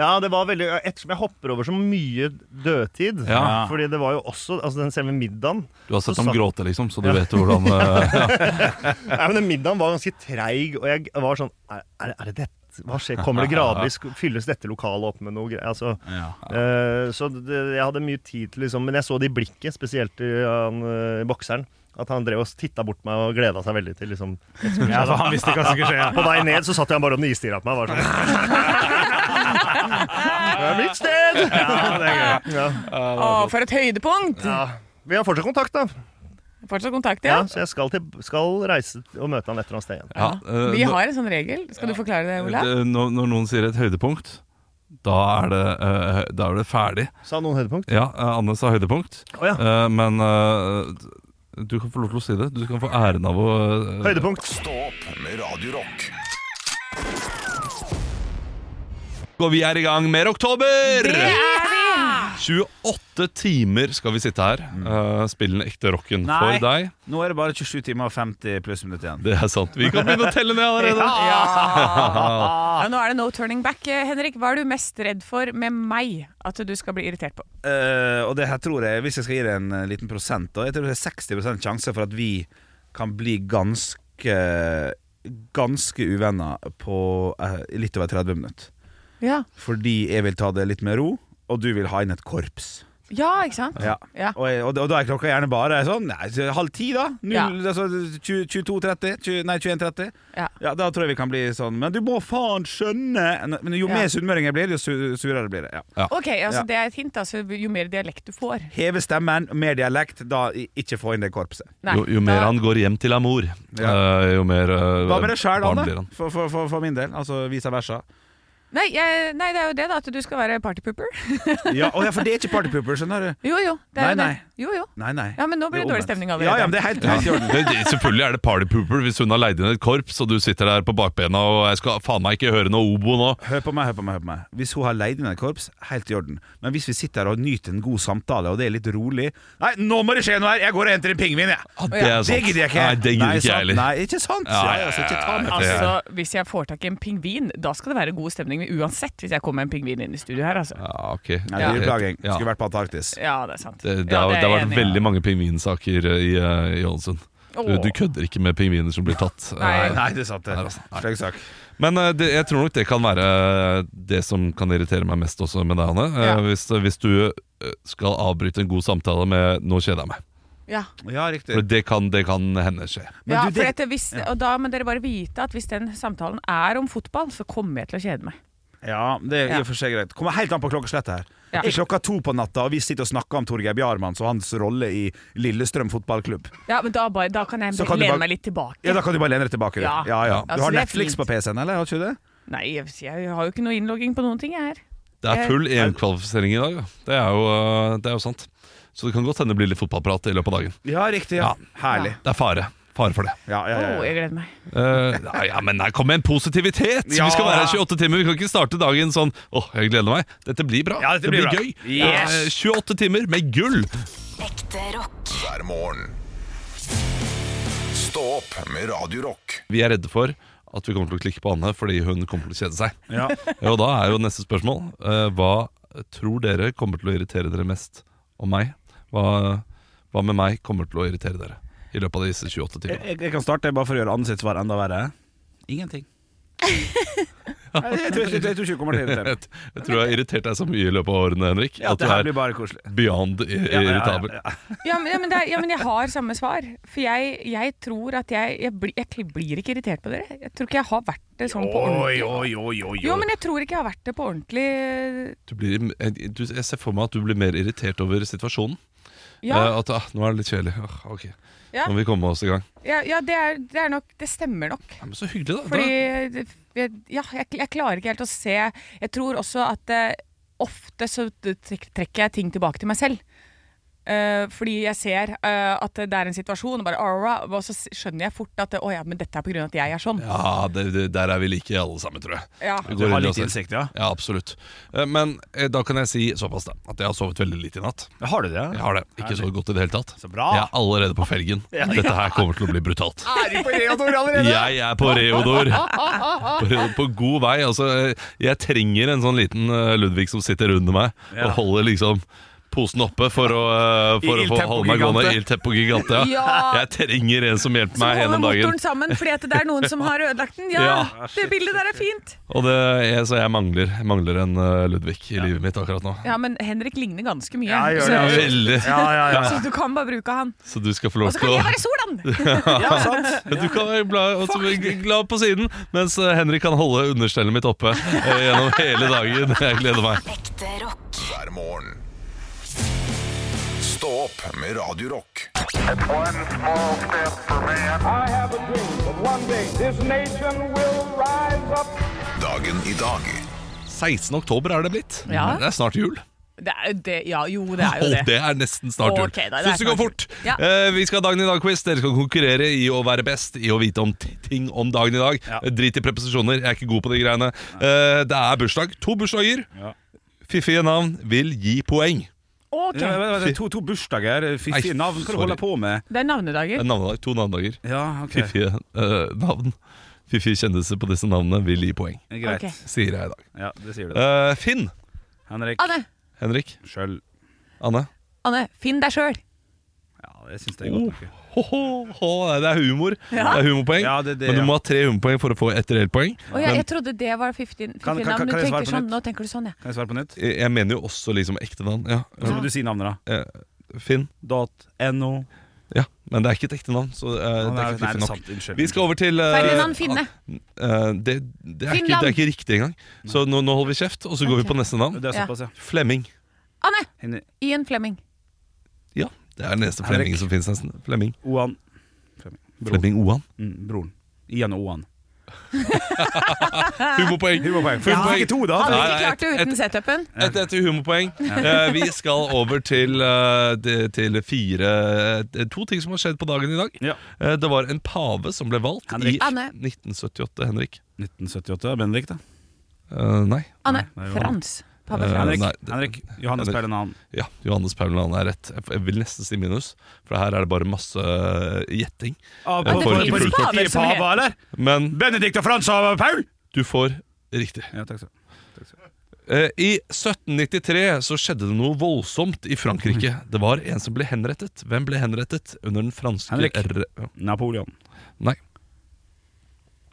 S3: ja, det var veldig Ettersom jeg hopper over så mye dødtid
S4: Ja.
S3: Fordi det var jo også Altså den selve middagen
S4: Du har sett
S3: Så
S4: dem
S3: satt-
S4: gråte, liksom, så du vet hvordan eh, ja.
S3: Nei, men den middagen var ganske treig, og jeg var sånn Er, er, er det dette? Hva skjer? Kommer det gradvis? Fylles dette lokalet opp med noe greier? Altså,
S2: Ja.
S3: Eh, så det, jeg hadde mye tid til liksom Men jeg så det i blikket, spesielt i han, eh, bokseren. At han drev og titta bort meg og gleda seg veldig til liksom
S2: Ja, for han visste ikke hva som skulle skje. ja.
S3: På vei ned så satt han bare og nistirra på meg. Bare sånn. det er mitt sted!
S2: Ja, det er gøy.
S3: Ja.
S5: Å, for et høydepunkt!
S3: Ja. Vi har fortsatt kontakt, da.
S5: Fortsatt kontakt,
S3: Ja,
S5: ja.
S3: så jeg skal, til, skal reise og møte han et eller annet sted igjen.
S4: Ja, eh,
S5: Vi
S4: nå-
S5: har en sånn regel. Skal du forklare det, Ola?
S4: det- Eh, Når, når noen sier et høydepunkt, da er det, eh, da er det ferdig.
S3: Sa han noen høydepunkt?
S4: Ja, eh, Anne sa høydepunkt,
S3: Å ja.
S4: eh, men eh, du kan få lov til å si det. Du kan få æren av å eh,
S3: Høydepunkt.
S1: Stå opp med Radio Rock.
S4: Og vi er i gang med oktober!
S5: Det er vi!
S4: 28 timer skal vi sitte her. Uh, spille den ekte rocken
S2: Nei.
S4: for deg.
S2: Nå er det bare 27 timer og 50 pluss minutter igjen.
S4: Det er sant. Vi kan begynne å telle ned allerede.
S5: Ja, nå er det no turning back. Eh, Henrik, hva er du mest redd for med meg at du skal bli irritert på?
S2: Eh, og det her tror jeg, hvis jeg skal gi det en eh, liten prosent, da, jeg tror det er 60 sjanse for at vi kan bli ganske Ganske uvenner på eh, litt over 30 minutter.
S5: Ja,
S2: Fordi jeg vil ta det litt med ro, og du vil ha inn et korps.
S5: ja ikke sant?
S2: Ja.
S5: Ja.
S2: Og, jeg, og, da- og da er klokka gjerne bare sånn nei, så halv ti, da. Null,
S5: Ja.
S2: altså, 20 22.30. 20 Nei, 21.30.
S5: Ja.
S2: Ja, Da tror jeg vi kan bli sånn Men du må faen skjønne Men Jo
S5: Ja.
S2: mer sunnmøring jeg blir, jo su- surere blir det. Ja.
S5: Ok, altså
S2: Ja.
S5: Det er et hint. altså Jo mer dialekt du får.
S2: Heve stemmen, mer dialekt, da i- ikke få inn det korpset.
S5: Nei,
S4: Jo, jo mer
S5: da-
S4: han går hjem til amor,
S2: Ja.
S4: eh, jo mer eh,
S2: Hva med det sjøl,
S4: barn
S2: Anne?
S4: blir han.
S2: For, for, for, for min del. Altså vice versa.
S5: Nei, jeg, nei, det er jo det, da. At du skal være partypooper.
S2: Ja, å, ja, for det er ikke partypooper, skjønner du.
S5: Jo, jo. Det er
S2: Nei,
S5: jo det. Jo, jo.
S2: Nei, nei.
S5: Ja, men nå blir det dårlig
S2: omvendt.
S5: stemning
S2: Ja,
S5: allerede.
S2: ja, men det er helt
S4: Ja.
S2: helt i orden.
S4: Det, det- selvfølgelig er det partypooper hvis hun har leid inn et korps, og du sitter der på bakbena og jeg skal faen meg ikke høre noe obo nå.
S2: Hør på meg, hør på meg, hør på meg. Hvis hun har leid inn et korps, helt i orden. Men hvis vi sitter her og nyter en god samtale, og det er litt rolig Nei, nå må det skje noe her! Jeg går og henter en pingvin, jeg!
S4: Ja, Ah, det,
S5: ja,
S4: er
S2: Det
S4: sant.
S2: gidder jeg ikke.
S4: Nei, det gidder
S2: Nei,
S4: ikke jeg
S2: sant?
S4: heller.
S2: Nei, ikke sant?
S4: Ja,
S2: Ja, altså, ikke ta meg.
S4: det er-
S5: Altså, Hvis jeg får tak i en pingvin, da skal det være god stemning uansett. Hvis jeg kommer med en pingvin inn i studio her, altså.
S4: Ja, ok.
S2: Nei, det er plaging.
S4: Ja.
S2: Skulle vært på Antarktis.
S5: Ja, det er sant.
S4: Det, det,
S5: ja,
S4: har, det,
S5: er
S4: har
S5: jeg
S4: vært
S5: enig i.
S4: veldig mange pingvinsaker eh, i, eh, i Ålesund. Du,
S5: Åh.
S4: du kødder ikke med pingviner som blir tatt.
S5: Nei.
S4: Eh,
S2: Nei, det er sant.
S4: Nei, det er
S2: det.
S4: sant. Nei.
S2: Sleng sak.
S4: Men eh, det, jeg tror nok det kan være eh, det som kan irritere meg mest også med deg, Hanne. Eh,
S5: Ja.
S4: Hvis, hvis du eh, skal avbryte en god samtale med 'nå kjeder jeg meg'.
S5: Ja.
S2: Ja, riktig.
S4: For det kan, det kan hende skje.
S2: Men
S5: ja,
S2: du,
S5: for
S2: det-
S5: dette, hvis, og da må dere bare vite at hvis den samtalen er om fotball, så kommer jeg til å kjede meg.
S2: Ja, det er i
S5: Ja.
S2: og for seg greit. Kommer helt an på klokkeslettet her.
S5: Ja.
S2: Er klokka to på natta, og vi sitter og snakker om Torgeir Bjarmanns og hans rolle i Lillestrøm fotballklubb.
S5: Ja, men da, bare, da kan jeg
S2: Så kan du
S5: lene
S2: bare-
S5: meg litt tilbake.
S2: Ja, Da kan du bare lene deg tilbake. Du,
S5: Ja.
S2: ja, ja.
S5: Altså,
S2: du har
S5: det er
S2: Netflix
S5: fint.
S2: på PC-en, eller? Har ikke du det?
S5: Nei, jeg, jeg har jo ikke noe innlogging på noen ting, jeg her.
S4: Det er full EM-kvalifisering i dag, ja. det, er jo, eh, det er jo sant. Så det kan godt hende det blir litt fotballprat i løpet av dagen.
S2: Ja, riktig. Ja. Herlig.
S4: Det er fare. Fare for det.
S2: Ja,
S5: Å,
S2: ja, ja, ja.
S5: jeg gleder meg.
S4: Eh, nei, ja, men nei, kom med en positivitet!
S2: Ja.
S4: Vi skal være her 28 timer. Vi kan ikke starte dagen sånn 'Å, jeg gleder meg'. Dette blir bra.
S2: Ja, dette blir bra.
S4: gøy.
S2: Yes.
S4: Eh, 28 timer med gull!
S6: Ekte rock.
S1: hver morgen. Stå opp med Radio Rock.
S4: Vi er redde for at vi kommer til å klikke på Anne fordi hun kommer til å kjede seg.
S2: Ja.
S4: Og da er jo neste spørsmål eh, Hva tror dere kommer til å irritere dere mest om meg? Hva, hva med meg kommer til å irritere dere i løpet av disse 28
S2: Jeg,
S4: timene?
S2: jeg- jeg kan starte bare for å gjøre ansiktets svar enda verre. Ingenting. Nei, jeg, tror, jeg, tror- jeg tror ikke du kommer til å irritere
S4: Jeg,
S2: meg.
S4: jeg tror jeg har irritert deg så mye i løpet av årene, Henrik,
S2: Ja,
S4: at du
S2: det her
S4: er
S2: blir bare koselig.
S4: beyond i-
S2: Ja, ja, ja,
S4: irritabel.
S2: ja.
S5: Ja, men, ja, men, det er, ja, men jeg har samme svar. For jeg, jeg tror at jeg, jeg, blir- jeg blir ikke irritert på dere. Jeg tror ikke jeg har vært det sånn på ordentlig.
S2: Oi, oi, oi, oi,
S5: Jo,
S2: oi.
S5: men jeg tror ikke jeg har vært det på ordentlig.
S4: Du blir, jeg, du, jeg ser for meg at du blir mer irritert over situasjonen.
S5: Ja,
S4: Eh, at ah, 'nå er det litt kjedelig'. Ah, ok,
S5: Ja.
S4: Nå må vi komme oss i gang.
S5: ja, ja det, er, det er nok Det stemmer nok.
S4: Ja, men så hyggelig, da.
S5: Fordi jeg, ja, jeg, jeg klarer ikke helt å se Jeg tror også at eh, ofte så t- trekker jeg ting tilbake til meg selv. Eh, fordi jeg ser eh, at det er en situasjon, og, bare, "Ara," og så s- skjønner jeg fort at Å ja, men dette er på grunn av at jeg er sånn.
S4: da, ja, det, det, der er vi like alle sammen, tror jeg.
S5: Ja.
S4: Vi
S2: Du
S4: går
S2: har
S4: inn i
S2: litt
S4: oss selv.
S2: innsikt, ja?
S4: Ja, absolutt. Eh, Men eh, da kan jeg si såpass, da. At jeg har sovet veldig lite i natt.
S2: Har du det?
S4: Jeg har det. Ikke så godt i det hele tatt.
S2: Så bra.
S4: Jeg er allerede på felgen. Dette her kommer til å bli brutalt.
S2: Er du på Reodor allerede?
S4: Jeg er på Reodor. På, på god vei. Altså, jeg trenger en sånn liten eh, Ludvig som sitter under meg
S2: Ja.
S4: og holder liksom posen oppe for å, eh,
S2: I
S4: for å
S2: Il
S4: få
S2: Tempo
S4: holde meg gående.
S2: Gigante.
S4: Il Tempo Gigante. Ja.
S5: Ja.
S4: Jeg trenger en som hjelper
S5: Som
S4: meg
S5: holder
S4: gjennom
S5: motoren
S4: dagen.
S5: sammen fordi at det er noen som har ødelagt den. Ja,
S4: Ja.
S5: Det bildet der er fint.
S4: Og det, jeg, så jeg mangler, jeg mangler en eh, Ludvig i livet mitt akkurat nå.
S5: Ja, men Henrik ligner ganske mye.
S2: Ja, jeg gjør
S5: så,
S2: det,
S4: Veldig.
S2: Ja, ja, ja.
S5: så du kan bare bruke han.
S4: Så du skal få
S5: Og
S4: lov
S5: så kan
S4: til å
S5: jeg være Solan!
S2: ja sant?
S4: Du kan være glad, og så bli glad på siden, mens eh, Henrik kan holde understellet mitt oppe eh, gjennom hele dagen. Jeg gleder meg.
S6: Ekte rock.
S1: Hver morgen. Stå opp med Radio Rock.
S7: One small step for man. I have a dream that one day this nation will rise up.
S1: Dagen i dag.
S4: 16. oktober er det blitt.
S5: Ja.
S4: Det er snart jul.
S5: Det er, det, ja, jo, det er jo
S4: Og
S5: det.
S4: det er nesten snart jul.
S5: Ok, da, det er
S4: Syns det går
S5: snart
S4: fort.
S5: jul. Ja.
S4: Eh, vi skal ha Dagen i dag-quiz. Dere skal konkurrere i å være best, i å vite om t- ting om dagen i dag. Eh, Drit i preposisjoner, jeg er ikke god på de greiene. Eh, det er bursdag. To bursdager.
S2: Ja.
S4: Fiffige navn vil gi poeng.
S5: Ok,
S4: eh,
S2: Ja, men- men- to, to bursdager, fiffige
S4: Nei,
S2: navn, hva du
S4: sorry.
S2: holder på med?
S5: Det er navnedager.
S4: En navnedag, to navnedager.
S2: Ja, ok,
S4: Fiffige eh, navn. Fiffige kjendiser på disse navnene vil gi poeng.
S2: greit.
S5: Ok.
S4: Sier jeg i dag.
S2: Ja, det sier du.
S4: Eh, Finn,
S2: Henrik
S5: Anne,
S4: Henrik,
S2: Skjøll.
S4: Anne.
S5: Anne, finn deg sjøl.
S2: Ja, det syns jeg er godt nok.
S4: Ho, Oh, ho, ho, det er humor. Det er humorpoeng.
S2: Ja, det er det,
S4: Men
S2: ja.
S4: du må ha tre humorpoeng for å få ett reelt poeng.
S5: Å ja,
S4: Men
S5: jeg trodde det var 15
S2: Kan-
S5: 15 navn.
S2: kan- kan
S5: Du
S2: jeg
S5: tenker
S2: svare på
S5: sånn,
S2: nytt?
S5: nå tenker du sånn, ja.
S2: Kan jeg svare på nytt?
S4: jeg jeg mener jo også liksom ekte navn. Ja.
S2: Så må du si navnet, da.
S4: Eh, Finn.
S2: Dot .no.
S4: Ja, men det er ikke et ekte navn,
S2: Å,
S4: så eh, det
S2: nei,
S4: er ikke
S2: nei, det er
S4: fiffig nok.
S2: sant, unnskyld.
S4: Vi skal over til eh,
S5: Ferdinand Finne.
S4: eh, det, det, er ikke, det
S5: Finland.
S4: er ikke riktig engang. Så nå, nå holder vi kjeft, og så går vi på neste navn.
S2: Det er
S5: Ja.
S2: såpass, ja.
S4: Flemming.
S5: Anne!
S2: Henri-
S5: Ian Flemming.
S4: Ja, det er den eneste
S2: Henrik.
S4: Flemming som fins. nesten. Flemming.
S2: Oan. Flemming. Broren.
S4: Flemming Oan.
S2: Mm, broren. Ian og Oan.
S4: Humorpoeng.
S2: Humorpoeng.
S4: Full
S2: Ja.
S4: poeng.
S2: Ikke to, da.
S4: Nei,
S5: Hadde
S4: nei,
S5: ikke klart det
S4: et-
S5: uten setupen.
S4: Et etter humorpoeng. Eh, vi skal over til, eh, de- til fire eh, To ting som har skjedd på dagen i dag.
S2: Ja.
S4: Eh, det var en pave som ble valgt
S2: Henrik.
S4: i
S5: Anne.
S4: 1978. Henrik.
S2: 1978, Bendik, da.
S4: Eh, nei.
S5: Anne.
S2: Nei, det var-
S5: Frans. Pave
S4: Eh,
S5: Frans.
S2: Henrik.
S4: nei, det-
S2: Henrik. Johannes
S4: Henrik.
S2: Perlenan.
S4: Ja, Johannes Pauland er rett. Jeg- Jeg vil nesten si minus, for her er det bare masse eh, gjetting.
S2: Ah,
S4: på- på- på-
S5: på-
S2: riktige
S5: som
S2: pava,
S5: het-
S2: eller?
S4: Men
S2: Benedikt og Frans av Paul!
S4: du får riktig.
S2: Ja, takk skal du ha.
S4: Eh, I 1793 så skjedde det noe voldsomt i Frankrike.
S2: Mhm.
S4: Det var en som ble henrettet. Hvem ble henrettet under den franske
S2: Henrik.
S4: re-
S2: Napoleon.
S4: Nei.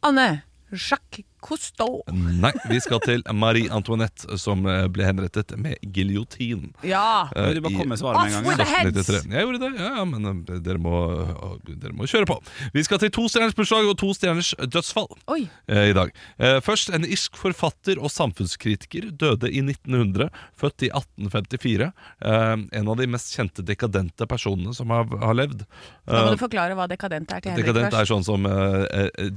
S5: Anne. Jacques Cousteau.
S4: Nei, vi skal til Marie Antoinette, som eh, ble henrettet med giljotin.
S5: Ja.
S4: eh,
S2: Du bare
S4: i
S2: kom med svaret med en
S5: Off
S2: gang.
S5: with
S2: ja.
S5: the heads.
S4: 1993. Jeg gjorde det, ja, ja, men eh, dere må, eh, dere må kjøre på. Vi skal til to stjerners bursdag og to stjerners dødsfall
S5: Oi.
S4: eh, i dag. Eh, Først en irsk forfatter og samfunnskritiker døde i 1900, født i 1854. Eh, En av de mest kjente dekadente personene som har, har levd.
S5: Da må
S4: Eh,
S5: du forklare hva dekadent er til Henrik
S4: Dekadent er
S5: først.
S4: sånn som eh, eh,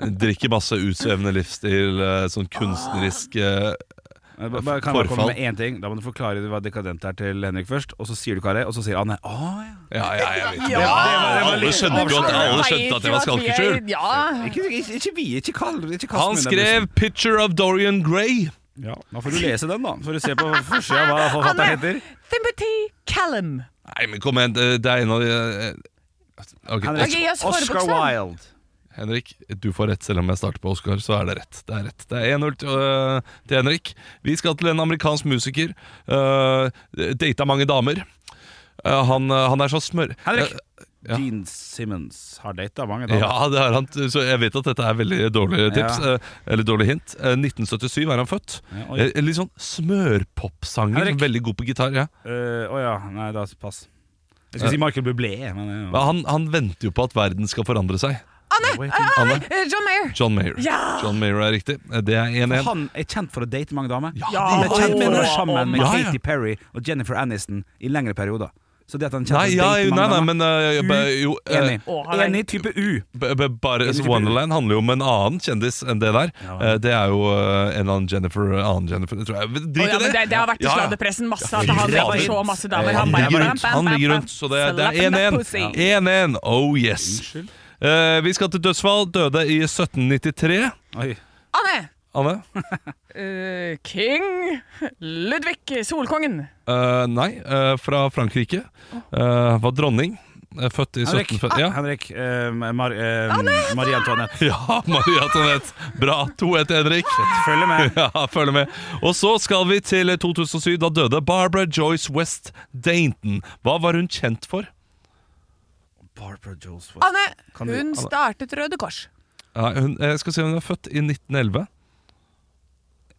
S4: eh, Drikker masse utsvevende livsstil, eh, sånn kunstnerisk eh,
S2: Jeg ba- bare- Kan jeg bare komme
S4: Forfall.
S2: med én ting? Da må du forklare hva dekadent er til Henrik først, og så sier du hva det er, og så sier han nei. Å, ja.
S4: Ja, ja, jeg vet
S5: Ja!
S4: det. Alle skjønte jo at, alle skjønte at det var skalkeskjul.
S5: Ja.
S2: Ikke, ikke, ikke vi, ikke kall ikke kast
S4: Han
S2: meg den
S4: skrev 'Picture of Dorian Gray'.
S2: bussen. ja, Da får du lese den, da. Så får du se på forsida hva forfatteren heter.
S5: Timothy Callum.
S4: Nei, men kom igjen, det det er en av de eh, ok,
S5: Henrik. gi oss
S2: Oscar
S5: forbokstaven.
S2: Wilde.
S4: Henrik, du får rett selv om jeg starter på Oscar, så er det rett. Det er rett. Det er 1-0 til, øh, til Henrik. Vi skal til en amerikansk musiker. Uh, Data mange damer. Øh, han, øh, han er så smør...
S2: Henrik.
S4: Eh, Ja.
S2: Gene Simmons har data mange damer.
S4: Ja, det er han. Så jeg vet at dette er veldig dårlige tips.
S2: Ja.
S4: eh, Eller dårlige hint. Eh, 1977 er han født.
S2: Ja, oi.
S4: Eh, Litt sånn smørpopsanger.
S2: Henrik.
S4: Veldig god på gitar. ja
S2: Eh, Å ja, nei, da pass. Jeg skulle si Michael Bublé. Men, eh, ja.
S4: Men han, han venter jo på at verden skal forandre seg.
S2: Wait,
S4: Anne?
S5: Eh, John Mayer.
S4: John Mayer. John Mayer er riktig. Eh, Det er 1-1.
S2: Han er kjent for å date mange damer.
S4: de-
S2: Han er kjent for å være sammen med
S4: Ja, ja.
S2: Katy Perry og Jennifer Aniston i lengre perioder. Så det at han er kjent
S4: Nei,
S2: for å
S4: ja,
S2: date
S4: nei,
S2: mange
S4: nei,
S2: damer
S4: men eh, b- jo eh,
S2: Enig.
S5: Å, han er-
S2: Enig type U.
S4: b- b- Bare
S2: Enig.
S4: Wonderland handler jo om en annen kjendis enn det der.
S2: Ja.
S4: Eh, Det er jo eh, en annen Jennifer annen Jennifer tror jeg.
S5: Å,
S4: Drit
S5: ja, men
S4: i det!
S5: det, det har vært i
S4: Ja, ja.
S5: sladdepressen masse at han har så masse damer.
S4: Han
S5: bare
S4: ligger
S5: bam,
S4: rundt,
S5: bam,
S4: Eh, han
S5: bam,
S4: ligger
S5: bam.
S4: rundt så det, det
S5: Slap in the
S4: er
S5: pussy.
S4: 1-1. 1-1. Oh yes. Eh, vi skal til dødsfall. Døde i 1793.
S2: Oi.
S5: Anne.
S4: Anne?
S5: Eh, King Ludvig Solkongen.
S4: Eh, nei, eh, fra Frankrike. Eh, var dronning. Eh, født i
S2: Henrik,
S4: 1750. Ja.
S2: Henrik eh, Mar eh, Marie Antoinette.
S4: Ja, Marie Antoinette. Bra. 2-1 Henrik.
S2: Følg med.
S4: Ja, følger med. Og så skal vi til 2007. Da døde Barbara Joyce West Dainton. Hva var hun kjent for?
S2: Barbara Jones
S5: Anne,
S2: Kan du-
S5: hun
S2: Anne.
S5: startet Røde Kors.
S4: Nei, hun, jeg skal si hun er født i 1911.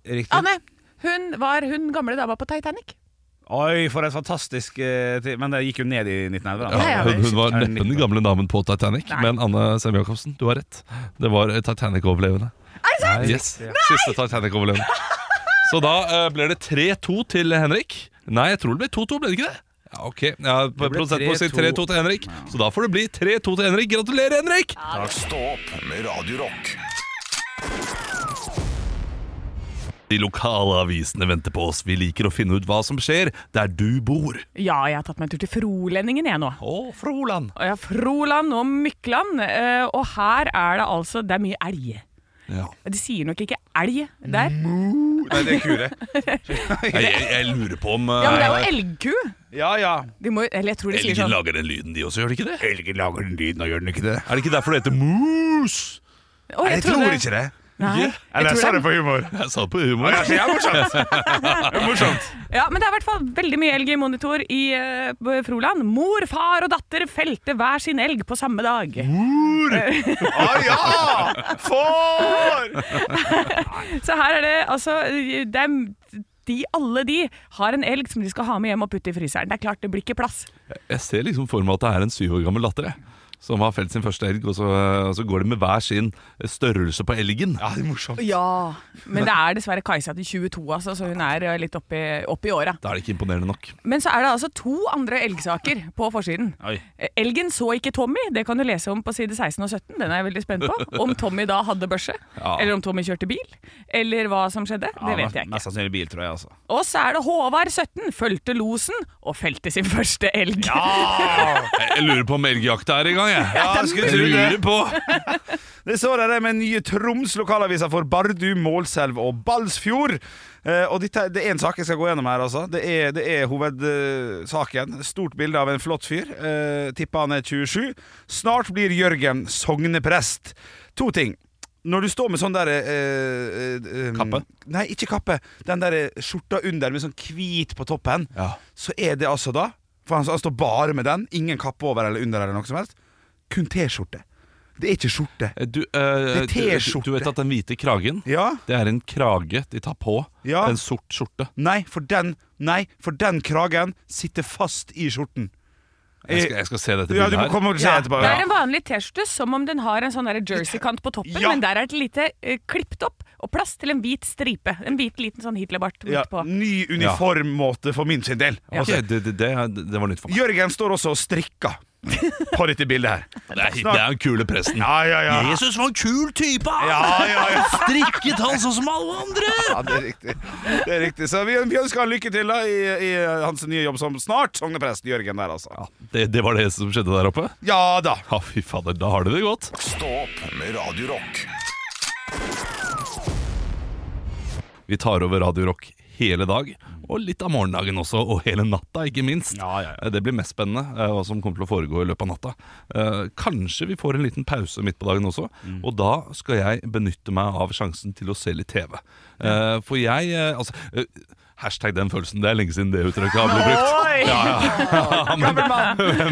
S2: Riktig.
S5: Anne, hun var hun gamle dama på Titanic.
S2: Oi, for et fantastisk eh, tid. Men det gikk jo ned i 1911. da.
S5: Ja,
S4: hun, hun var
S2: Shit, er
S4: neppe den
S2: 1911.
S4: gamle damen på Titanic. Men Anne Sem Jacobsen, du har rett. Det var eh, Titanic-overlevende. Yes. Siste Titanic-overlevende. Så da eh, ble det 3-2 til Henrik. Nei, jeg tror det ble 2-2, ble det ikke det? Ja, ok, ja,
S2: ble
S4: Prosent på å si 3-2
S2: 3-2
S4: til Henrik, så da får det bli 3-2 til Henrik. Gratulerer, Henrik!
S1: Stå opp med Radio Rock.
S4: De lokale avisene venter på oss. Vi liker å finne ut hva som skjer der du bor.
S5: Ja, jeg har tatt meg en tur til Frolendingen, jeg nå.
S4: Å, Froland!
S5: Og jeg har Froland og Mykland, eh, og her er det altså Det er mye elg.
S4: Ja.
S5: De sier nok ikke elg der.
S2: Nei, det er kure.
S4: Jeg, jeg, jeg lurer på om
S5: Ja, men det er
S4: eh,
S5: jo elgku.
S2: Ja, ja.
S5: De må, eller jeg tror de sier
S4: elgen
S5: sånn
S4: lager den lyden, de også, gjør de ikke det?
S2: Elgen lager den lyden, og gjør den ikke det?
S4: Er det ikke derfor det heter mus?
S5: Å, jeg, trodde-
S2: det.
S5: Nei,
S4: Ja,
S5: jeg tror det.
S2: på humor.
S4: Jeg sa på humor.
S2: Det er morsomt. Det er morsomt.
S5: Ja, men det er i hvert fall veldig mye elg i monitor i eh, b- Froland. Mor, far og datter felte hver sin elg på samme dag.
S2: Å ja! Får!
S5: Så her er det altså det er, de, Alle de har en elg som de skal ha med hjem og putte i fryseren. Det er klart det blir ikke plass.
S4: Jeg ser liksom for meg at det er en syv år gammel datter. jeg. som har felt sin første elg, og så, og så går de med hver sin størrelse på elgen. Ja, det er morsomt.
S5: Ja, men det er dessverre Kajsa til 22, altså, så hun er eh, litt oppi, oppi åra.
S4: Da er det ikke imponerende nok.
S5: Men så er det altså to andre elgsaker på forsiden.
S2: Oi.
S5: Eh, Elgen så ikke Tommy, det kan du lese om på side 16 og 17. Den er jeg veldig spent på. Om Tommy da hadde børse,
S4: Ja.
S5: eller om Tommy kjørte bil, eller hva som skjedde. Det
S2: Ja,
S5: vet jeg
S2: Mest
S5: ikke.
S2: sannsynlig bil, tror jeg. altså
S5: Og så er det Håvard 17, fulgte losen og felte sin første elg.
S4: Jeg jeg lurer på om elgjakta er i gang, jeg.
S2: Ja, jeg skulle
S4: Jeg
S2: tro det.
S4: lurer på.
S2: Det står her med nye Troms lokalaviser for Bardu, Målselv og Balsfjord. Eh, og dette, det er en sak jeg skal gå gjennom her. altså Det er, det er hovedsaken. Stort bilde av en flott fyr. Eh, Tipper han er 27. Snart blir Jørgen sogneprest. To ting. Når du står med sånn der eh, eh, eh,
S4: Kappe?
S2: Nei, ikke kappe. Den der eh, skjorta under med sånn hvit på toppen.
S4: Ja.
S2: Så er det altså da For han, han står bare med den. Ingen kappe over eller under eller noe som helst. Kun T-skjorte. Det er ikke skjorte.
S4: Du, eh,
S2: Det
S4: du,
S2: er
S4: du-
S2: T-skjorte.
S4: du vet at den hvite kragen
S2: Ja?
S4: det er en krage de tar på.
S2: Ja.
S4: En sort skjorte.
S2: Nei, for den Nei, for den kragen sitter fast i skjorten.
S4: Jeg skal, jeg skal se dette
S2: Ja, du
S4: bildet
S2: må
S4: her.
S2: komme og se etterpå.
S5: Det
S2: Ja.
S5: er en vanlig T-skjorte som om den har en sånn der jersey-kant på toppen,
S2: Ja.
S5: men der er et lite eh, klippet opp og plass til en hvit stripe. En hvit liten sånn Hitlerbart midt
S2: Ja,
S5: på.
S2: ny uniformmåte for min sin del.
S4: Ok, det, det, det, er- det var nytt for meg.
S2: Jørgen står også og strikker på dette bildet her.
S4: Det er, det er den kule presten.
S2: Ja, ja, ja.
S4: Jesus var en kul type! han.
S2: Ja, ja, ja.
S4: Strikket han sånn som alle andre!
S2: Ja, det er riktig. Det er riktig. Så vi, vi ønsker han lykke til da i, i hans nye jobb som snart sogneprest. Jørgen der, altså.
S4: Det, det var det som skjedde der oppe?
S2: Ja da.
S4: Ja, fy fader, da har du det godt.
S1: Stå opp med Radio Rock.
S4: Vi tar over Radio Rock hele dag, og litt av morgendagen også, og hele natta, ikke minst.
S2: Ja, ja,
S4: Det blir mest spennende, eh, hva som kommer til å foregå i løpet av natta. Eh, Kanskje vi får en liten pause midt på dagen også,
S2: Mm.
S4: og da skal jeg benytte meg av sjansen til å se litt TV. Eh, For jeg eh, Altså eh, Hashtag den følelsen. Det er lenge siden det uttrykket har blitt brukt. Ja, men,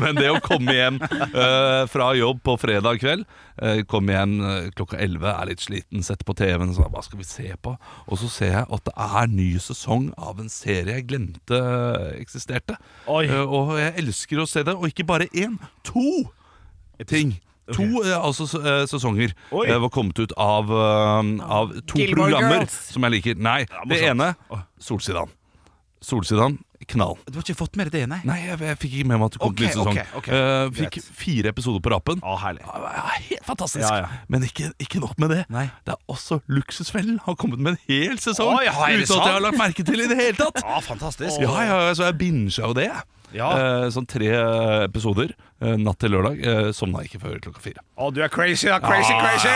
S4: men det å komme hjem eh, fra jobb på fredag kveld eh, Komme hjem eh, klokka 11, er litt sliten, sette på TV-en og sånn, Hva skal vi se på? Og så ser jeg at det er ny sesong av en serie jeg glemte eh, eksisterte.
S2: Oi.
S4: Eh, og jeg elsker å se det, og ikke bare én, to ting. To eh, altså, s- eh, sesonger
S2: Oi.
S4: eh, var kommet ut av, eh, av to
S5: Gilmore
S4: programmer
S5: Girls.
S4: som jeg liker. Nei, det ene Solsidan. Solsidan, knall.
S2: Du har ikke fått med deg det, nei?
S4: Nei, jeg, jeg fikk ikke med meg at det kom
S2: Ok,
S4: til ny sesong.
S2: ok, ok.
S4: Eh, fikk
S2: Greit.
S4: fire episoder på rappen.
S2: Ja, herlig.
S4: Ja, det er Helt fantastisk.
S2: Ja, ja.
S4: Men ikke, ikke nok med det.
S2: Nei.
S4: Det er også Luksusfellen har kommet med en hel sesong
S2: Oi, ja, er
S4: Sånn.
S2: det
S4: uten at jeg har
S2: sant?
S4: lagt merke til i det hele tatt.
S2: Ja, fantastisk.
S4: Ja, ja, ja, så jeg bincha jo det. jeg.
S2: Ja.
S4: Eh, sånn tre eh, episoder eh, natt til lørdag. Eh, sovna ikke før klokka fire.
S2: Å, du er crazy, da. Crazy, crazy!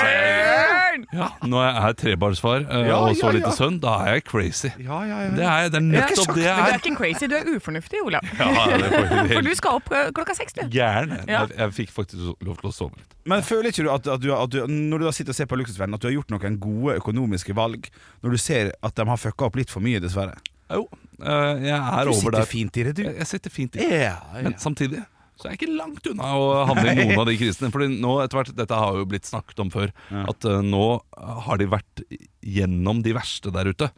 S4: Ja, Når jeg er trebarnsfar eh,
S2: Ah. Ja,
S4: og
S2: ja,
S4: så
S2: ja.
S4: lite sønn, da er jeg crazy.
S2: Ja, ja,
S4: Det er, det er nettopp
S5: Men
S4: det
S5: du
S4: jeg
S5: er
S4: er.
S5: ikke crazy, du er ufornuftig, Olav.
S4: Ja, det er faktisk
S5: For du
S4: helt
S5: skal opp eh, klokka seks, du.
S4: gæren. jeg.
S5: Ja.
S4: Jeg, jeg fikk faktisk lov til å sove litt.
S2: Men føler ikke du at, at, du, at du, når du da sitter og ser på Luksusvennen, at du har gjort noen gode økonomiske valg, når du ser at de har fucka opp litt for mye, dessverre?
S4: Jo, øh, jeg er
S2: Du
S4: over
S2: sitter
S4: der.
S2: fint i det, du.
S4: Jeg, jeg sitter fint i det.
S2: Ja, ja.
S4: Men samtidig så er jeg ikke langt unna å havne i noen av de krisene. Fordi nå etter hvert, Dette har jo blitt snakket om før. At øh, nå har de vært gjennom de verste der ute.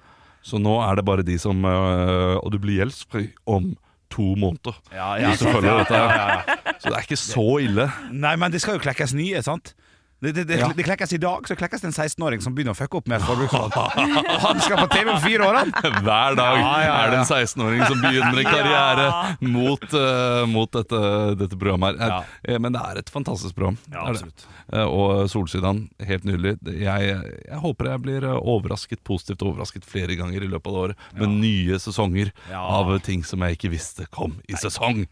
S4: Så nå er det bare de som øh, Og du blir gjeldsfri om to måneder.
S2: Ja, ja,
S4: Hvis du
S2: sant,
S4: følger
S2: ja,
S4: dette her. Så det er ikke så ille.
S2: Nei, men det skal jo klekkes nye, sant? Det, det, det,
S4: Ja.
S2: det klekkes i dag, så klekkes det en 16-åring som begynner å fucke opp med et forbruksvalg. Og han skal på TV om fire år, han!
S4: Hver dag
S2: Ja, ja, ja.
S4: er det en 16-åring som begynner en karriere mot, øh, mot dette, dette programmet her. Eh, Men det er et fantastisk program. Det er det. Eh, Og Solsidan, helt nydelig. Jeg, jeg håper jeg blir eh, overrasket positivt overrasket flere ganger i løpet av det året med nye sesonger
S2: Ja.
S4: av ting som jeg ikke visste kom i sesong.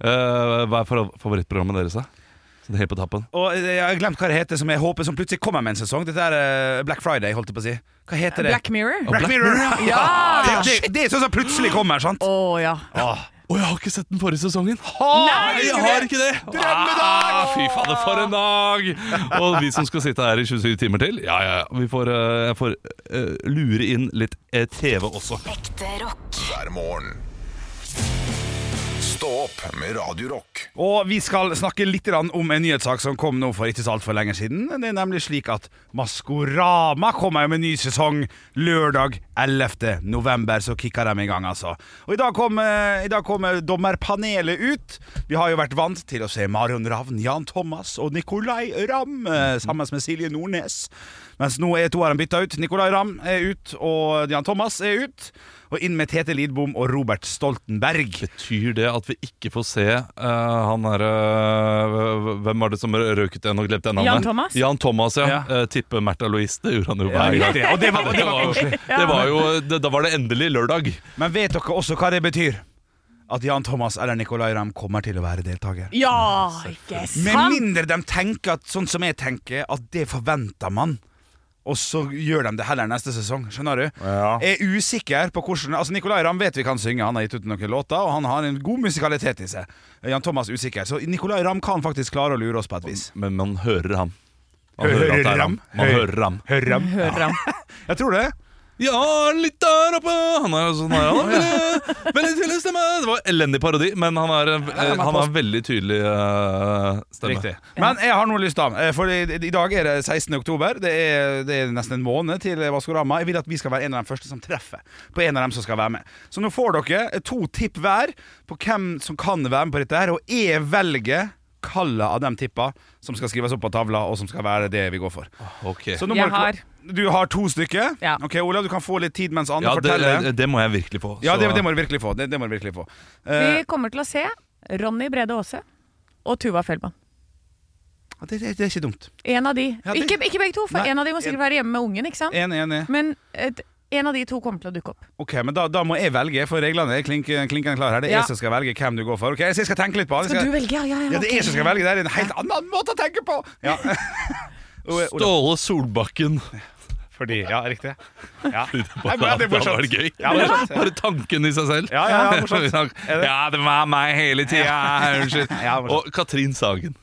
S4: Eh, hva er fa- favorittprogrammet deres, da? Sånn helt på tappen.
S2: Og eh, jeg har glemt hva det heter som jeg håper som plutselig kommer med en sesong. Dette er eh, Black Friday, holdt jeg på å si. Hva heter det?
S5: Black Mirror.
S2: Black Mirror! Det,
S5: Ja! Å
S2: det, det er sånn som plutselig kommer, sant? Ah.
S5: ja.
S4: Å, jeg har ikke sett den forrige sesongen!
S2: Nei,
S4: jeg har ikke det! Ah, fy fader, for en dag! Og vi som skal sitte her i 27 timer til, ja ja, vi får, eh, jeg får eh, lure inn litt eh, TV også.
S6: Ekte rock.
S1: hver morgen. Stå opp med Radio Rock.
S2: Og vi skal snakke litt grann om en nyhetssak som kom nå for ikke så altfor lenge siden. Det er nemlig slik at Maskorama kommer jo med en ny sesong lørdag 11. november. Så kicker de i gang, altså. Og i dag kom, eh, i dag kom eh, dommerpanelet ut. Vi har jo vært vant til å se Marion Ravn, Jan Thomas og Nicolay Ramm eh, sammen med Silje Nordnes. Mens nå er to av dem bytta ut. Nicolay Ramm er ut, og Jan Thomas er ut. Og inn med Tete Lidbom og Robert Stoltenberg.
S4: Betyr det at vi ikke får se eh, han derre Hvem var det som røket en og glemte en navnet?
S8: Jan Thomas?
S4: Jan Thomas, ja.
S2: Ja.
S4: Eh, Tippe Märtha Louise. Det gjorde han jo
S2: Ja,
S4: hver gang.
S2: riktig. Og det var, det var
S4: Det var, det var jo, det, da var det endelig lørdag.
S2: Men vet dere også hva det betyr? At Jan Thomas eller Nicolay Ramm kommer til å være deltaker.
S5: Ja, ikke
S2: Med
S5: sant?
S2: mindre de tenker at, sånn som jeg tenker, at det forventer man. Og så gjør de det heller neste sesong. Skjønner du? Jeg er usikker på hvordan Altså Nicolay Ramm vet vi kan synge, han har gitt ut noen låter, og han har en god musikalitet i seg. Jan Thomas er usikker. Så Nicolay Ramm kan faktisk klare å lure oss på et vis.
S4: Men man hører ham. Man
S2: Hører
S4: hører, at det er ham.
S2: ham?
S4: Man
S2: Hører-
S4: hører ham.
S2: Hører ham? Jeg tror det.
S4: Ja, litt der oppe Han er sånn her, han er veldig, veldig tydelig stemme Det var elendig parodi, men han, er, en- eh, han har en veldig tydelig eh, stemme
S2: Riktig. Men jeg har noe lyst til, eh, for i, i dag er det 16. oktober. Det er, det er nesten en måned til Vaskorama. Jeg vil at vi skal være en av de første som treffer på en av dem som skal være med. Så nå får dere eh, to tipp hver på hvem som kan være med på dette her, og jeg velger kallet av de tippa som skal skrives opp på tavla, og som skal være det vi går for.
S4: Ah, Ok
S2: Så nå må
S8: Jeg
S2: dere-
S8: har.
S2: Du har to stykker?
S8: Ja.
S2: Ok, Olav, du kan få litt tid mens Anne
S4: ja, det,
S2: forteller.
S4: eh, det må jeg virkelig få
S2: ja,
S4: så-
S2: det, det må du virkelig få. Det, det må du virkelig få. Eh,
S8: Vi kommer til å se Ronny Brede Aase og Tuva Fellmann.
S2: det, det, det er ikke dumt.
S8: En av de.
S2: Ja, det-
S8: Ikke, ikke begge to, for
S2: Nei,
S8: en av de må
S2: en-
S8: sikkert være hjemme med ungen. ikke sant?
S2: Enig, enig.
S8: Men et, en av de to kommer til å dukke opp.
S2: Ok, men da, da må jeg velge, for reglene er klink, klinkende klare her. Det er
S8: Ja.
S2: jeg som skal velge hvem du går for. Ok, Så jeg skal tenke litt på det.
S8: Skal du velge? Ja, ja, ja.
S2: Ja, det er jeg som skal velge. Det er en helt annen måte å tenke på! Ja. Ole- Ole-
S4: Ståle Solbakken
S2: Fordi Ja, riktig. Ja,
S4: Bare,
S2: men det
S4: det
S2: er
S4: var
S2: morsomt.
S4: gøy
S2: Ja, det er morsomt.
S4: Bare tanken i seg selv
S2: Ja, ja, ja, morsomt. Er det-
S4: Ja, det var meg hele tiden Unnskyld
S2: Ja, morsomt.
S4: Og Katrin Sagen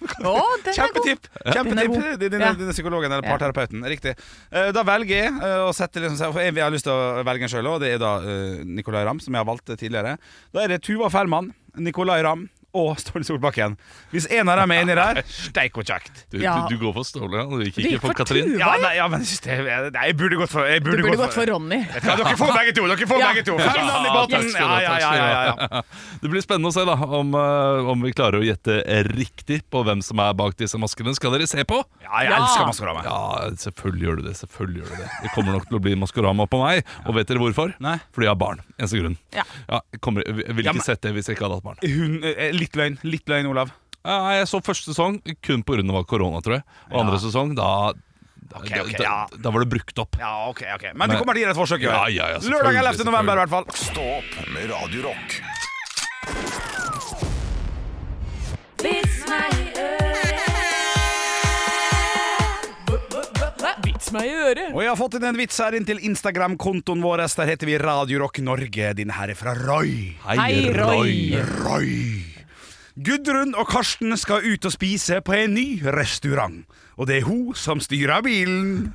S8: Å, den er god.
S2: Kjempetipp! Kjempetipp
S8: Den er god.
S2: Din- din-
S8: Ja.
S2: din psykologen eller
S8: Ja.
S2: parterapeuten. Riktig. Eh, Da velger jeg eh, å sette liksom seg For jeg har lyst til å velge en sjøl òg. Det er da eh, Nicolay Ramm, som jeg har valgt eh, tidligere. Da er det Tuva Fellmann, Nicolay Ramm og Ståle Solbakken. Hvis en av dem er inni der, steik og kjekt.
S4: du,
S8: Ja.
S4: du, du går for Ståle, ja. du gikk
S8: Du
S4: ikke
S8: gikk for
S4: for Katrin
S8: Tuva,
S2: Ja, nei, ja, men jeg synes det, nei, jeg burde gått for Jeg
S8: Du
S2: burde,
S8: burde gått for Ronny.
S2: Ja, dere får begge to. Dere får
S8: Ja.
S2: begge to. Fem navn i båten.
S4: takk
S2: Ja,
S4: skal du ha,
S2: ja,
S4: takk
S2: ja,
S4: skal du
S2: ja,
S4: ha.
S2: ja.
S4: Det blir spennende å se da om, eh, om vi klarer å gjette riktig på hvem som er bak disse maskene. Skal dere se på?
S2: ja jeg elsker Maskorama.
S4: Ja, selvfølgelig gjør du det. selvfølgelig gjør du Det Det kommer nok til å bli Maskorama på meg. Og vet dere hvorfor?
S2: Nei.
S4: Fordi jeg har barn. Eneste grunn.
S8: Ja.
S4: jeg, kommer, jeg ville
S2: Ja, men-
S4: ikke sett det hvis jeg ikke hadde hatt barn.
S2: Hun, eh, litt løgn. Litt løgn, Olav.
S4: Ja, jeg så første sesong kun pga. korona, tror jeg. Og andre sesong, da da,
S2: Ok, ok,
S4: da,
S2: ja.
S4: da var det brukt opp.
S2: Ja, ok, ok Men du
S4: Men-
S2: kommer til å gi det et forsøk.
S4: Ja, ja, ja, selvfølgelig,
S2: Lørdag 11. november, i hvert fall.
S1: Stå opp med Radio Rock.
S8: Vits meg i øret.
S2: Og jeg har fått inn en vits her inn til Instagram-kontoen vår. Der heter vi Radio Rock Norge. Din her er fra Roy.
S8: Hei, Roy.
S2: Roy. Gudrun og Karsten skal ut og spise på en ny restaurant. Og det er hun som styrer bilen.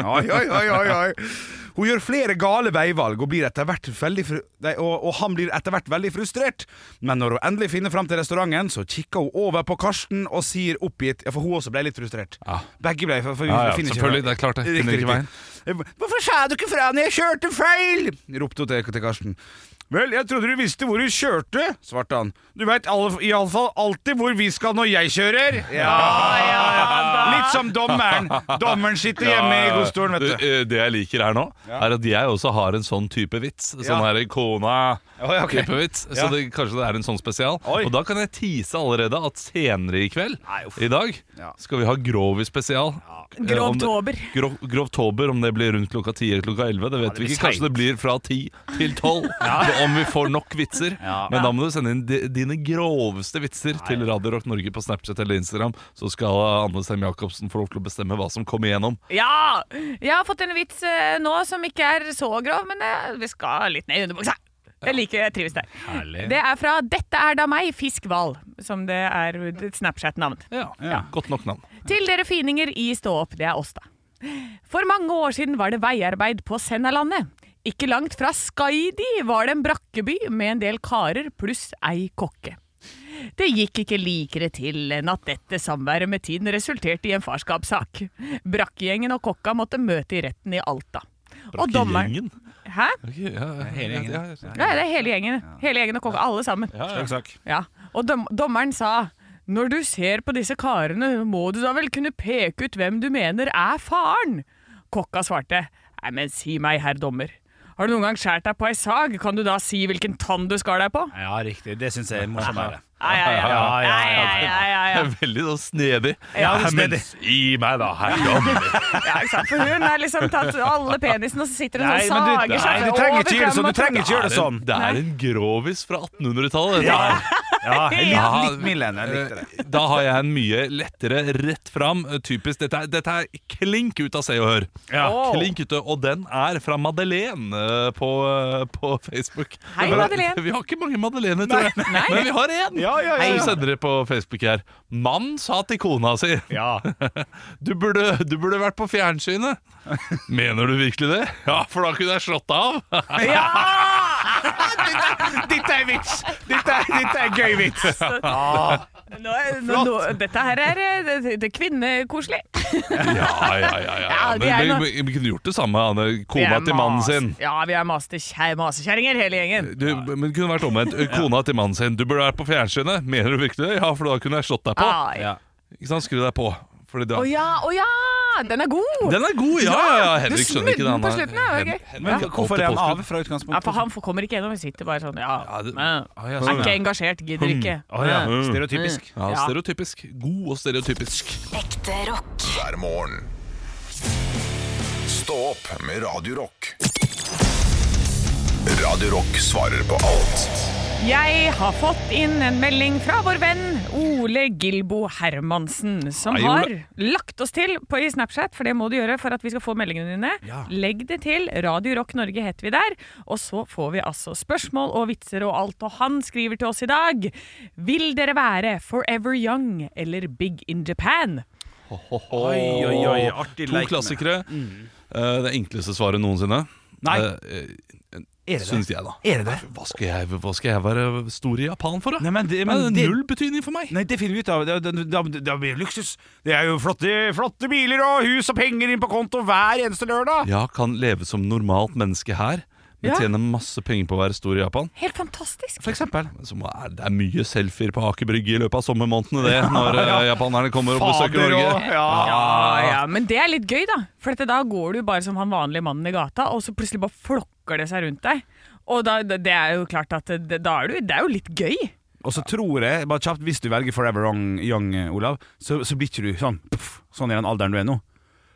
S2: Oi, oi, oi, oi, oi. Hun gjør flere gale veivalg og, blir etter hvert veldig fru nei, og, og han blir etter hvert veldig frustrert. Men når hun endelig finner fram til restauranten, så kikker hun over på Karsten og sier oppgitt Ja, for hun også ble litt frustrert.
S4: Ja.
S2: Begge ble for, for vi
S4: Ja, ja,
S2: finner ikke
S4: selvfølgelig,
S2: veien.
S4: det er klart det.
S2: Riktig,
S4: Finner ikke
S2: riktig. Hvorfor sa du ikke fra når jeg kjørte feil? ropte hun til, til Karsten. Vel, jeg trodde du visste hvor du kjørte, svarte han. Du veit iallfall alltid hvor vi skal når jeg kjører. Ja, ja, ja Litt som dommeren. Dommeren sitter hjemme i godstolen, vet du.
S4: Det, det jeg liker her nå, er at jeg også har en sånn type vits. Sånn
S2: Ja.
S4: her kona-type
S2: Oi, ok.
S4: vits. Så
S2: Ja.
S4: det, kanskje det er en sånn spesial.
S2: Oi.
S4: Og da kan jeg tease allerede at senere i kveld,
S2: Nei, uff.
S4: i dag,
S2: Ja.
S4: skal vi ha Grovi-spesial. Eh, om det-
S8: Grovtober.
S4: Grov, grovtober, om det blir rundt klokka 10 eller klokka 11, det vet
S2: det
S4: vi
S2: blir
S4: ikke. Kanskje det blir fra 10 til 12, så om vi får nok vitser.
S2: Ja.
S4: Men da må du sende inn di- dine groveste vitser til Radio Rock Norge på Snapchat eller Instagram, så skal Anne Sem Jacobsen få lov til å bestemme hva som kommer igjennom.
S8: Ja! Jeg har fått en vits eh, nå som ikke er så grov, men eh, vi skal litt ned i underbuksa. Jeg liker jeg trives der. Det er fra 'Dette er da meg, fisk hval', som det er et Snapchat-navn.
S4: Ja, Godt nok navn.
S8: Til dere fininger i Stå opp, det er oss, da. For mange år siden var det veiarbeid på Sennalandet. Ikke langt fra Skaidi var det en brakkeby med en del karer pluss ei kokke.
S5: Det gikk ikke likere til enn at dette samværet med tiden resulterte i en farskapssak. Brakkegjengen og kokka måtte møte i retten i Alta. Og dommeren-
S4: Gjengen?
S5: Hæ?
S4: Ok, ja, ja,
S2: Hele gjengen.
S4: ja, ja,
S5: Ja, det er hele gjengen. Hele gjengen og kokka, alle sammen.
S4: ja, ja.
S2: Slags sak.
S5: Ja, og dom dommeren sa Når du ser på disse karene, må du da vel kunne peke ut hvem du mener er faren? Kokka svarte Nei, men si meg, herr dommer. Har du noen gang skåret deg på ei sag, kan du da si hvilken tann du skar deg på?
S2: Ja, riktig. Det syns jeg må være.
S5: Ai, ai, ai,
S2: Ja,
S5: ai,
S2: ja,
S5: ai,
S2: ja.
S5: ai, ai, ai.
S4: Det er veldig sånn snedig.
S2: Ja, det er
S4: men
S2: snedig.
S4: gi meg, da. Her kommer det.
S5: Ja, ikke sant? For hun har liksom tatt alle penisene, og så sitter hun
S2: Nei,
S5: sånn
S2: men
S5: og
S2: du,
S5: sager
S2: nei,
S5: seg
S2: du trenger
S5: over
S2: ikke gjøre
S5: frem
S2: det sånn.
S5: og
S2: Du trenger ikke gjøre det
S4: Det er en-
S2: sånn.
S4: Det er en grovis fra 1800-tallet. dette her.
S2: Ja, jeg likte
S4: Ja. eh,
S2: litt Millen. Jeg likte det.
S4: Da har jeg en mye lettere rett fram. eh, Typisk, Dette er, dette er klink ut av Se og Hør.
S5: Åh.
S4: Klink ute, Og den er fra Madeleine eh, på, eh, på Facebook.
S5: Hei,
S4: Men-
S5: Madeleine.
S4: Vi har ikke mange Madeleine, tror jeg. Men vi har én som sender det på Facebook her. Mannen sa til kona si
S9: Ja.
S4: du burde, du burde vært på fjernsynet. Mener du virkelig det? Ja, for da kunne jeg slått deg av.
S2: Dette er vits! Dette er, dette er gøy vits!
S5: Nå, er- nå, nå, dette her er eh, det, det er kvinnekoselig.
S4: Ja, ja, ja. ja.
S5: Ja, det er
S4: men,
S5: noe-
S4: vi, vi, vi kunne gjort det samme. Anne.
S5: Vi
S4: Kona
S5: er
S4: til mannen
S5: mas-
S4: sin.
S5: Ja, vi er masekjæ- masekjerringer, hele gjengen.
S4: Du, men det kunne vært omvendt. Kona til mannen sin. Du burde vært på fjernsynet. Mener du virkelig det? Ja, for da kunne jeg slått deg på.
S5: Ai.
S2: Ja.
S4: Ikke sant? Skru deg på. Fordi
S5: Ah,
S4: da...
S5: Å ja, å ja! Den er god!
S4: Den er god, ja! ja, ja.
S5: du
S4: Henrik skjønner ikke
S5: smudde den
S4: den.
S5: på slutten, det var
S4: Hen-
S5: gøy.
S4: Henrik
S2: Men
S4: alltid
S2: hvorfor er han av
S4: påskrudd.
S2: fra
S5: ja, for
S2: utgangspunktet?
S5: han får- kommer ikke gjennom. Vi sitter bare sånn Ja,
S4: Ja, det-
S5: men,
S4: Ah, ja,
S5: er
S4: sånn,
S5: ikke
S4: ja. Ah,
S5: engasjert, gidder ikke.
S2: Å ja,
S5: Mm.
S2: Stereotypisk.
S4: Ja,
S5: Ja.
S4: stereotypisk. God og stereotypisk.
S10: Ekte rock.
S1: hver morgen. Stå opp med Radio Rock. Radio Rock svarer på alt
S5: Jeg har fått inn en melding fra vår venn Ole Gilbo Hermansen, som
S4: Hei, Ole.
S5: har lagt oss til på i Snapchat, for det må du gjøre for at vi skal få meldingene dine. Legg det til. Radio Rock Norge heter vi der. Og så får vi altså spørsmål og vitser og alt, og han skriver til oss i dag. Vil dere være Forever Young eller Big in Japan?
S2: Oi, oi, oi, artig
S4: To
S2: leik med. Mm.
S4: klassikere. Eh, Det enkleste svaret noensinne.
S2: Nei.
S4: Eh, eh,
S2: det det?
S4: Syns jeg, da.
S2: Er det det?
S4: Hva skal, jeg, hva skal jeg være stor i Japan for, da?
S2: Nei, men det-
S4: det,
S2: men det-
S4: null betydning for meg.
S2: Nei, det finner vi ut av. Da, da, da, da blir det luksus. Det er jo flotte, flotte biler og hus og penger inn på konto hver eneste lørdag.
S4: Ja, kan leve som normalt menneske her, men
S5: Ja.
S4: tjene masse penger på å være stor i Japan.
S5: Helt fantastisk.
S4: For eksempel. Så må- er det er mye selfier på Aker Brygge i løpet av sommermånedene, det, når eh, japanerne kommer og besøker
S2: Fader
S4: Norge.
S2: og- ja.
S5: Ja, ja, men det er litt gøy, da. For at da går du bare som han vanlige mannen i gata, og så plutselig bare flokker det seg rundt deg. Og da, det er jo klart at det, da er du, det er jo litt gøy.
S2: Og så tror jeg, bare kjapt, hvis du velger Forever Young, young eh, Olav, så, så blir ikke du sånn puff, sånn i den alderen du er nå.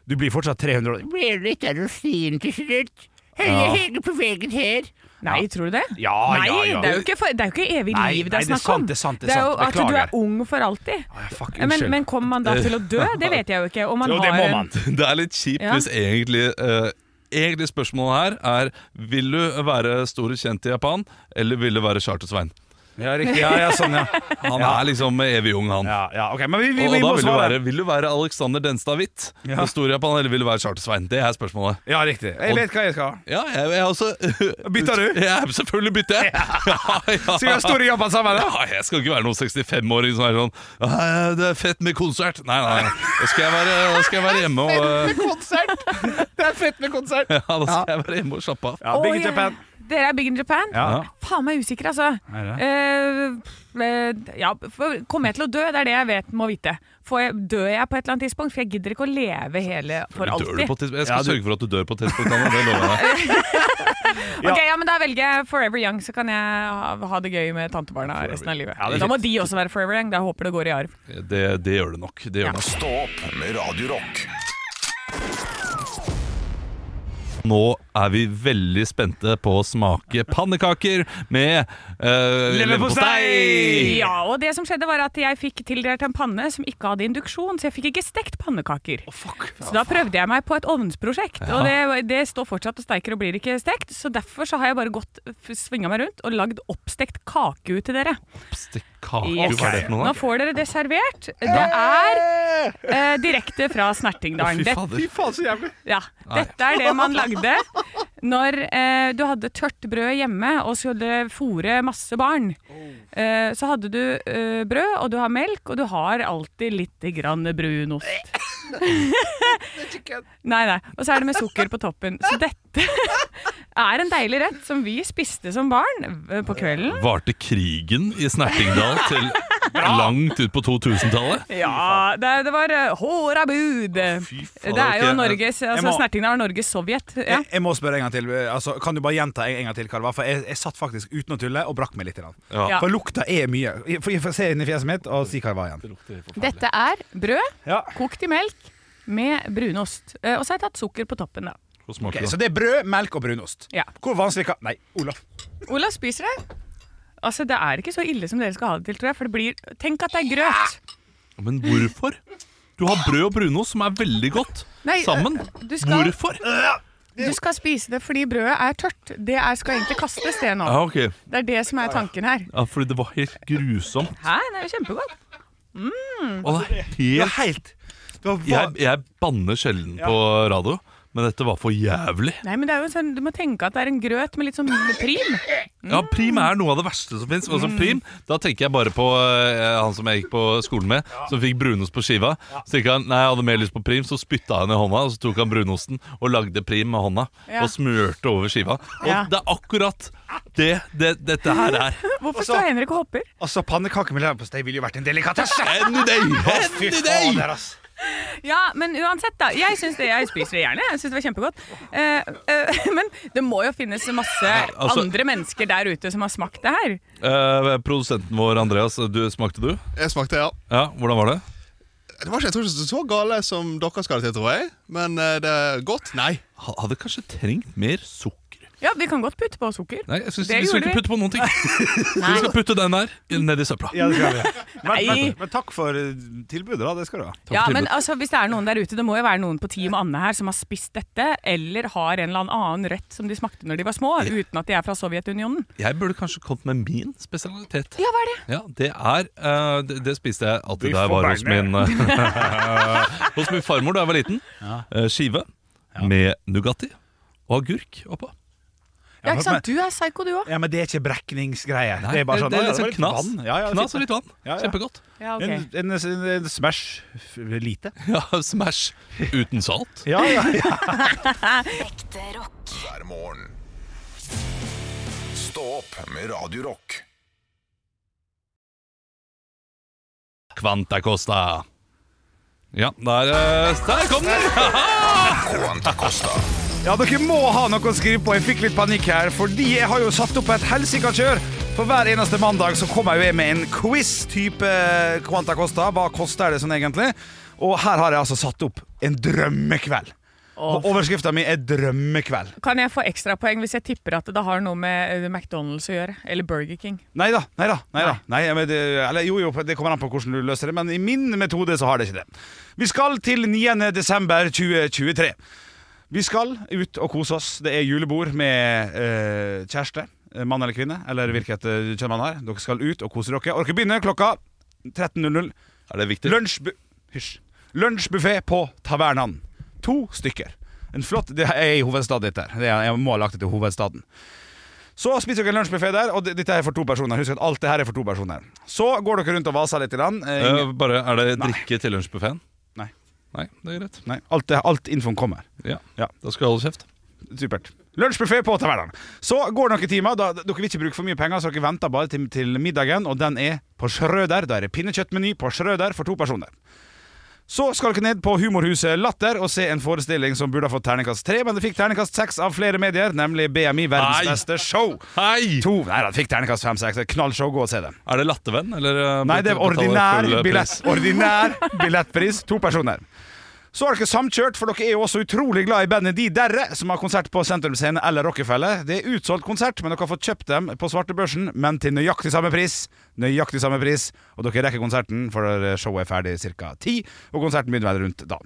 S2: Du blir fortsatt 300 år.
S11: Blir det ikke noe fin til slutt?
S2: Ja.
S11: Henger henger på veggen her.
S5: Nei, tror du det?
S2: Ja,
S5: nei,
S2: ja, ja.
S5: Det, er jo ikke, for, det er jo ikke evig
S2: Nei,
S5: liv det
S2: nei,
S5: er
S2: det er
S5: snakk
S2: sant,
S5: om.
S2: det er sant, det er
S5: jo
S2: sant.
S5: at du
S2: Beklager.
S5: er ung for alltid.
S2: Å, ja, fuck,
S5: Men,
S2: unnskyld.
S5: men kommer man da til å dø? Det vet jeg jo ikke. Om man
S2: jo, det
S5: har
S2: må
S5: en-
S2: man.
S4: Det er litt kjipt
S5: Ja.
S4: hvis egentlig eh, Egentlig spørsmålet her er Vil du være stor og kjent i Japan, eller vil du være Charter-Svein?
S2: Ja, riktig. Ja, ja, sånn, ja.
S4: Han
S2: Ja.
S4: er liksom evig ung, han.
S2: ja, ja ok, men vi, vi,
S4: og,
S2: vi
S4: og da
S2: må
S4: vil du, være,
S2: svare.
S4: vil du være Alexander Denstad Hvitt,
S2: Ja.
S4: den store Japan, eller vil du være Charter-Svein? Det er spørsmålet.
S2: Ja, riktig. Jeg vet hva jeg skal.
S4: Ja, jeg, jeg også
S2: Bytter du?
S4: Ja, selvfølgelig bytter jeg. Ja, ja.
S2: Skal vi ha store Japan sammen? da?
S4: Ja, jeg skal ikke være noen 65-åring som er sånn «Nei, Det er fett med konsert. Nei, nei. nei. Da skal jeg være, da skal jeg være hjemme og eh,
S2: Konsert! Det er fett med konsert.
S4: ja, Da skal jeg være hjemme og slappe av.
S2: Ja,
S5: Å,
S2: Big in Japan.
S5: Dere er Big in Japan?
S2: Ja.
S5: Faen meg usikker, altså.
S2: Er det?
S5: Eh, eh, ja, for kommer jeg til å dø? Det er det jeg vet må vite. Får jeg, dør jeg på et eller annet tidspunkt? For jeg gidder ikke å leve hele for
S4: Dør du
S5: alltid.
S4: på et tidspunkt?
S2: Ja,
S4: Jeg skal
S2: du-
S4: sørge for at du dør på et tidspunkt. Anne, Det lover jeg deg.
S5: Ok, ja, men Da velger jeg Forever Young, så kan jeg ha, ha det gøy med tantebarna resten av livet.
S2: Ja, det er
S5: da må de også være Forever Young. Da håper det går i arv.
S4: Det, det gjør det nok. Det gjør det nok.
S1: Stå opp med Radio Rock
S4: Nå er vi veldig spente på å smake pannekaker med uh,
S2: Leverpostei!
S5: Ja, og det som skjedde var at Jeg fikk tildelt en panne som ikke hadde induksjon, så jeg fikk ikke stekt pannekaker. så da prøvde jeg meg på et ovnsprosjekt, og det, det står fortsatt og steiker og blir ikke stekt. Så derfor så har jeg bare gått svinga meg rundt og lagd oppstekt kake ut til dere.
S4: kaker,
S5: Yes.
S4: hva er det for noe?
S5: Nå
S4: da?
S5: får dere det servert. Det er eh, direkte fra
S4: Å,
S5: Snertingdalen.
S4: Fy
S5: Det,
S4: fader.
S5: ja, dette er det man lagde når eh, du hadde tørt brød hjemme og skulle fôre masse barn. Eh, så hadde du eh, brød, og du har melk, og du har alltid litt grann brunost. nei, nei. Og så er det med sukker på toppen. Så dette er en deilig rett som vi spiste som barn eh, på kvelden.
S4: Varte krigen i Snertingdal til langt ut på 2000-tallet?
S5: Ja, det, det var eh, håra bud.
S4: Fy faen,
S5: Det er jo
S4: ok. eh,
S5: Norges altså,
S2: må-
S5: Snertingdalen er Norges Sovjet. Ja.
S2: Jeg, jeg må spørre en gang til. Altså, kan du bare gjenta en, en gang til, Karl? For jeg, jeg satt faktisk uten å tulle og brakk meg litt. grann.
S4: Ja.
S5: Ja.
S2: For lukta er mye. For jeg får se inn i fjeset mitt og si hva det var igjen.
S5: Dette er brød
S2: Ja.
S5: kokt i melk med brunost. Eh, Og så har jeg tatt sukker på toppen, da.
S4: Hvor smaker
S2: Ok,
S4: det?
S2: så det er brød, melk og brunost.
S5: Ja.
S2: Hvor vanskelig kan Nei, Olaf.
S5: Olav spiser det. Altså, Det er ikke så ille som dere skal ha det til, tror jeg. For det blir Tenk at det er grøt.
S4: Men hvorfor? Du har brød og brunost som er veldig godt
S5: Nei,
S4: sammen.
S5: øh, du skal- Eh.
S4: Hvorfor?
S5: Du skal spise det fordi brødet er tørt. Det er, skal egentlig kastes, det nå.
S4: Ja, Ah, ok.
S5: Det er det som er tanken her.
S4: Ja, fordi det var helt grusomt.
S5: Hæ, det er jo kjempegodt. Mm.
S4: Og
S5: Altså,
S4: det er helt
S2: helt
S4: jeg, jeg banner sjelden på radio, men dette var for jævlig.
S5: Nei, men det er jo sånn, Du må tenke at det er en grøt med litt sånn prim.
S4: Ja, Prim er noe av det verste som fins. Prim, da tenker jeg bare på eh, han som jeg gikk på skolen med, som fikk brunost på skiva. Så gikk han, nei, jeg hadde mer lyst på Prim, så spytta han i hånda, og så tok han brunosten og lagde Prim med hånda.
S5: Ja.
S4: Og smurte over skiva. Og
S5: Ja.
S4: det er akkurat det, det dette her er.
S5: Hvorfor
S2: Altså-
S5: står Henrik og hopper?
S2: Altså, pannekaker med leverpostei ville jo vært en delikatesse!
S4: Any day!
S2: Fy
S4: Any day!
S2: fader, ass.
S5: Ja, men uansett, da. Jeg, syns det, jeg spiser det gjerne. Jeg syns det var kjempegodt. Eh, eh, men det må jo finnes masse
S4: altså-
S5: andre mennesker der ute som har smakt det her.
S4: Eh, produsenten vår Andreas, du, smakte du?
S12: Jeg smakte, ja.
S4: Ja, Hvordan var det?
S12: Det var ikke jeg tror ikke så gale som dere skal det til, tror jeg. Men eh, det er godt. Nei.
S4: Ha- Hadde kanskje trengt mer sukker.
S5: Ja, vi kan godt putte på sukker.
S4: Nei, jeg synes,
S5: Det
S4: Vi skal
S5: gjorde
S4: ikke
S5: vi.
S4: putte på noen ting. Vi skal putte den der ned i søpla.
S2: Ja, det skal vi.
S5: Nei.
S2: Men takk for eh, tilbudet, da. Det skal du ha.
S4: Takk
S5: Ja,
S4: for
S5: men
S4: tilbudet.
S5: altså, Hvis det er noen der ute, det må jo være noen på Team Anne her som har spist dette, eller har en eller annen rett som de smakte når de var små, uten at de er fra Sovjetunionen.
S4: Jeg burde kanskje kommet med min spesialitet.
S5: Ja, hva er det?
S4: Ja, det er eh, det, det spiste jeg alltid
S2: Biff
S4: da jeg var
S2: og
S4: hos
S2: bearnés.
S4: min eh, Hos min farmor da jeg var liten. Eh, skive med Nugatti og agurk oppå.
S5: Ja, ikke sant? Du er psyko, du òg.
S2: Ja, men det er ikke brekningsgreier.
S4: Nei,
S2: Det er bare sånn
S4: det,
S2: «Å,
S4: er
S2: ja,
S4: liksom
S2: det var
S4: knas.
S2: litt vann. Ja, ja,
S4: knas og
S2: fint,
S4: litt vann.
S2: Ja, ja.
S4: Kjempegodt.
S5: Ja,
S2: det.
S5: ok.
S2: En, en, en Smash f- lite.
S4: Ja, Smash uten salt.
S2: Ja, ja, ja.
S6: Ekte rock.
S1: hver morgen. Stå opp med Radio Rock.
S4: Quanta Costa. Ja, der, eh, der kom den!
S1: Quanta Costa.
S2: Ja, dere må ha noe å skrive på. Jeg fikk litt panikk her, fordi jeg har jo satt opp et helsika kjør. For hver eneste mandag så kommer jeg jo med en quiz-type Quanta Costa. Hva koster det sånn egentlig? Og her har jeg altså satt opp en drømmekveld. Og overskrifta mi er 'drømmekveld'.
S5: Kan jeg få ekstrapoeng hvis jeg tipper at det har noe med eh, McDonald's å gjøre? Eller Burger King?
S2: Nei da, nei da. Nei da. Nei, men det, eller, jo, jo, det kommer an på hvordan du løser det, men i min metode så har det ikke det. Vi skal til 9. desember 2023. Vi skal ut og kose oss. Det er julebord med eh, kjæreste, eh, mann eller kvinne, eller hvilket eh, kjønn man har. Dere skal ut og kose dere. Og dere begynner klokka 13.00.
S4: Er det viktig?
S2: Lunsjbu- Hysj. Lunsjbuffé på Tavernaen. To stykker. En flott, Det er i hovedstaden dette her. Det er- Jeg må ha lagt det til hovedstaden. Så spiser dere en lunsjbuffé der, og det- dette er for to personer. Husk at alt det her er for to personer. Så går dere rundt og vaser litt. i land. Eh,
S4: Eh,
S2: ingen-
S4: bare, er det
S2: Nei.
S4: drikke til lunsjbuffeen?
S2: Nei.
S4: Nei, det er greit.
S2: Nei, alt, det- alt infoen kommer.
S4: Ja,
S2: Ja.
S4: Da skal jeg holde kjeft.
S2: Supert. Lunsjbuffé på Tavernaen. Så går det noen timer. Da, dere vil ikke bruke for mye penger, så dere venter bare til, til middagen, og den er på Schrøder. Da er det pinnekjøttmeny på Schrøder for to personer. Så skal dere ned på humorhuset Latter og se en forestilling som burde ha fått terningkast tre, men det fikk terningkast seks av flere medier, nemlig BMI Verdens
S4: Nei.
S2: beste show.
S4: Hei!
S2: To. Nei da, det fikk terningkast fem-seks. Knallshow, gå og se det.
S4: Er det lattervenn? Eller, eh,
S2: Nei, det er
S4: betaler
S2: ordinær,
S4: full, eh,
S2: billett,
S4: pris?
S2: ordinær billettpris. To personer. Så har dere samkjørt, for dere er jo også utrolig glad i bandet De Derre, som har konsert på Sentrum Scene eller Rockefeller. Det er utsolgt konsert, men dere har fått kjøpt dem på svartebørsen, men til nøyaktig samme pris. Nøyaktig samme pris. Og dere rekker konserten, for showet er ferdig ca. ti, og konserten begynner vel rundt da.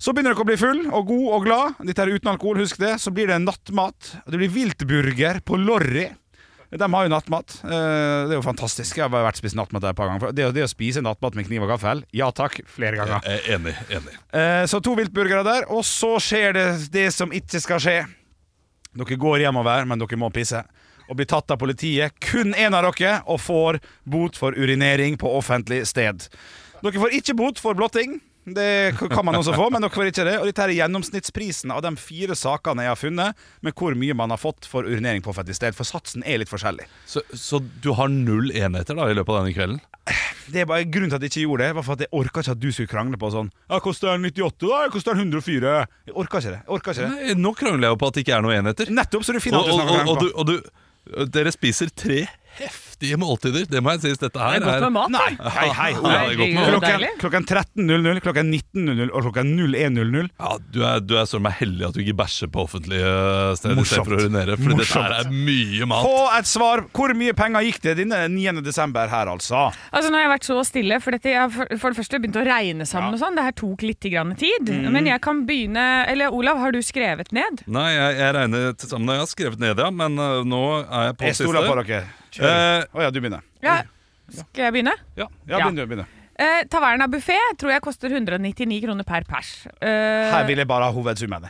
S2: Så begynner dere å bli full og god og glad. Dette er uten alkohol, husk det. Så blir det nattmat. og Det blir viltburger på Lorry. De har jo nattmat. Eh, Det er jo fantastisk. Jeg har bare vært og spist nattmat der et par ganger. Det, å- det å spise nattmat med kniv og gaffel, ja takk, flere ganger.
S4: Eh, Enig. enig
S2: Eh, Så to viltburgere der, og så skjer det det som ikke skal skje. Dere går hjemover, men dere må pisse. Og blir tatt av politiet, kun én av dere, og får bot for urinering på offentlig sted. Dere får ikke bot for blotting. Det k- kan man også få, men dere får ikke det. Og dette her er gjennomsnittsprisen av de fire sakene jeg har funnet, med hvor mye man har fått for urinering på offentlig sted. For satsen er litt forskjellig.
S4: så, så du har null enheter da i løpet av denne kvelden?
S2: Det er bare Grunnen til at jeg ikke gjorde det, var for at jeg orka ikke at du skulle krangle på sånn. Ja, koster den 98, da? Ja, Koster den 104? Jeg orka ikke det. Jeg orka ikke det.
S4: Nei, nå krangler jeg jo på at det ikke er noen enheter.
S2: Nettopp, så du finner
S4: Og,
S2: alltid
S4: og,
S2: snakk å
S4: og, og,
S2: krangle
S4: du,
S2: på.
S4: og du Dere spiser tre heftige måltider. Det må jeg sies, dette her
S8: Det er godt med mat.
S2: Nei, hei, hei.
S4: Ja, det er godt med mat.
S2: Klokken,
S8: Deilig.
S2: klokken 13.00, klokken 19.00 og klokken 01.00.
S4: Ja, du er, du er søren meg heldig at du ikke bæsjer på offentlige steder
S2: Morsomt.
S4: istedenfor å urinere. For dette her
S2: Morsomt.
S4: er mye mat.
S2: Få et svar! Hvor mye penger gikk det denne 9. desember her, altså?
S8: Altså, nå har jeg vært så stille, for dette, jeg har for, for det første begynt å regne sammen og sånn. Det her tok litt grann tid.
S2: Mm.
S8: Men jeg kan begynne Eller Olav, har du skrevet ned?
S4: Nei, jeg, jeg regner til sammen. Jeg har skrevet ned, ja, men eh, nå er jeg på
S2: Jeg stoler på dere. Å
S4: Eh,
S2: ja, du begynner.
S8: Ja. Skal jeg begynne?
S2: Ja,
S8: Ja.
S2: begynn du. begynner
S8: Eh, Taverna buffé tror jeg koster 199 kroner per pers. Eh,
S2: Her vil jeg bare ha hovedsummene.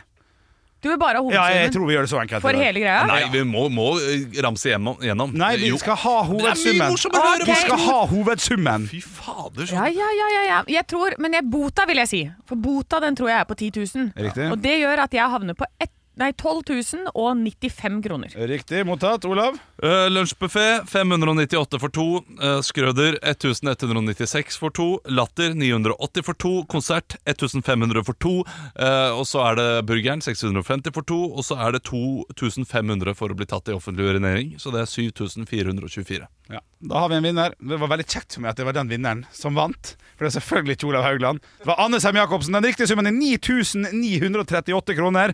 S8: Du vil bare ha
S2: Ja, jeg
S8: hovedsummen
S2: tror vi gjør det så enkelt. i
S8: for
S2: dag.
S8: hele greia?
S4: Nei, vi må, må eh, ramse gjennom. gjennom.
S2: Nei, vi
S4: Jo.
S2: skal ha
S4: Det er mye
S2: hovedsummen.
S4: morsommere å høre
S2: Vi
S4: på.
S2: skal ha hovedsummen.
S4: Fy fader, så
S8: Ja, ja, ja, ja, ja. Jeg tror, men jeg, bota vil jeg si. For bota den tror jeg er på 10 000.
S2: Riktig.
S8: Og det gjør at jeg havner på ett- nei, 12 095 kroner.
S2: Riktig mottatt, Olav.
S4: Uh, Lunsjbuffé 598 for to. Eh, Skrøder 1196 for to. Latter 980 for to. Konsert 1500 for to. Eh, og så er det burgeren 650 for to. Og så er det 2500 for å bli tatt i offentlig urinering. Så det er 7424.
S2: Ja, Da har vi en vinner. Det var veldig kjekt for meg at det var den vinneren som vant. For det er selvfølgelig ikke Olav Haugland. Det var Anne Sem Jacobsen. Den riktige summen er 9938 kroner.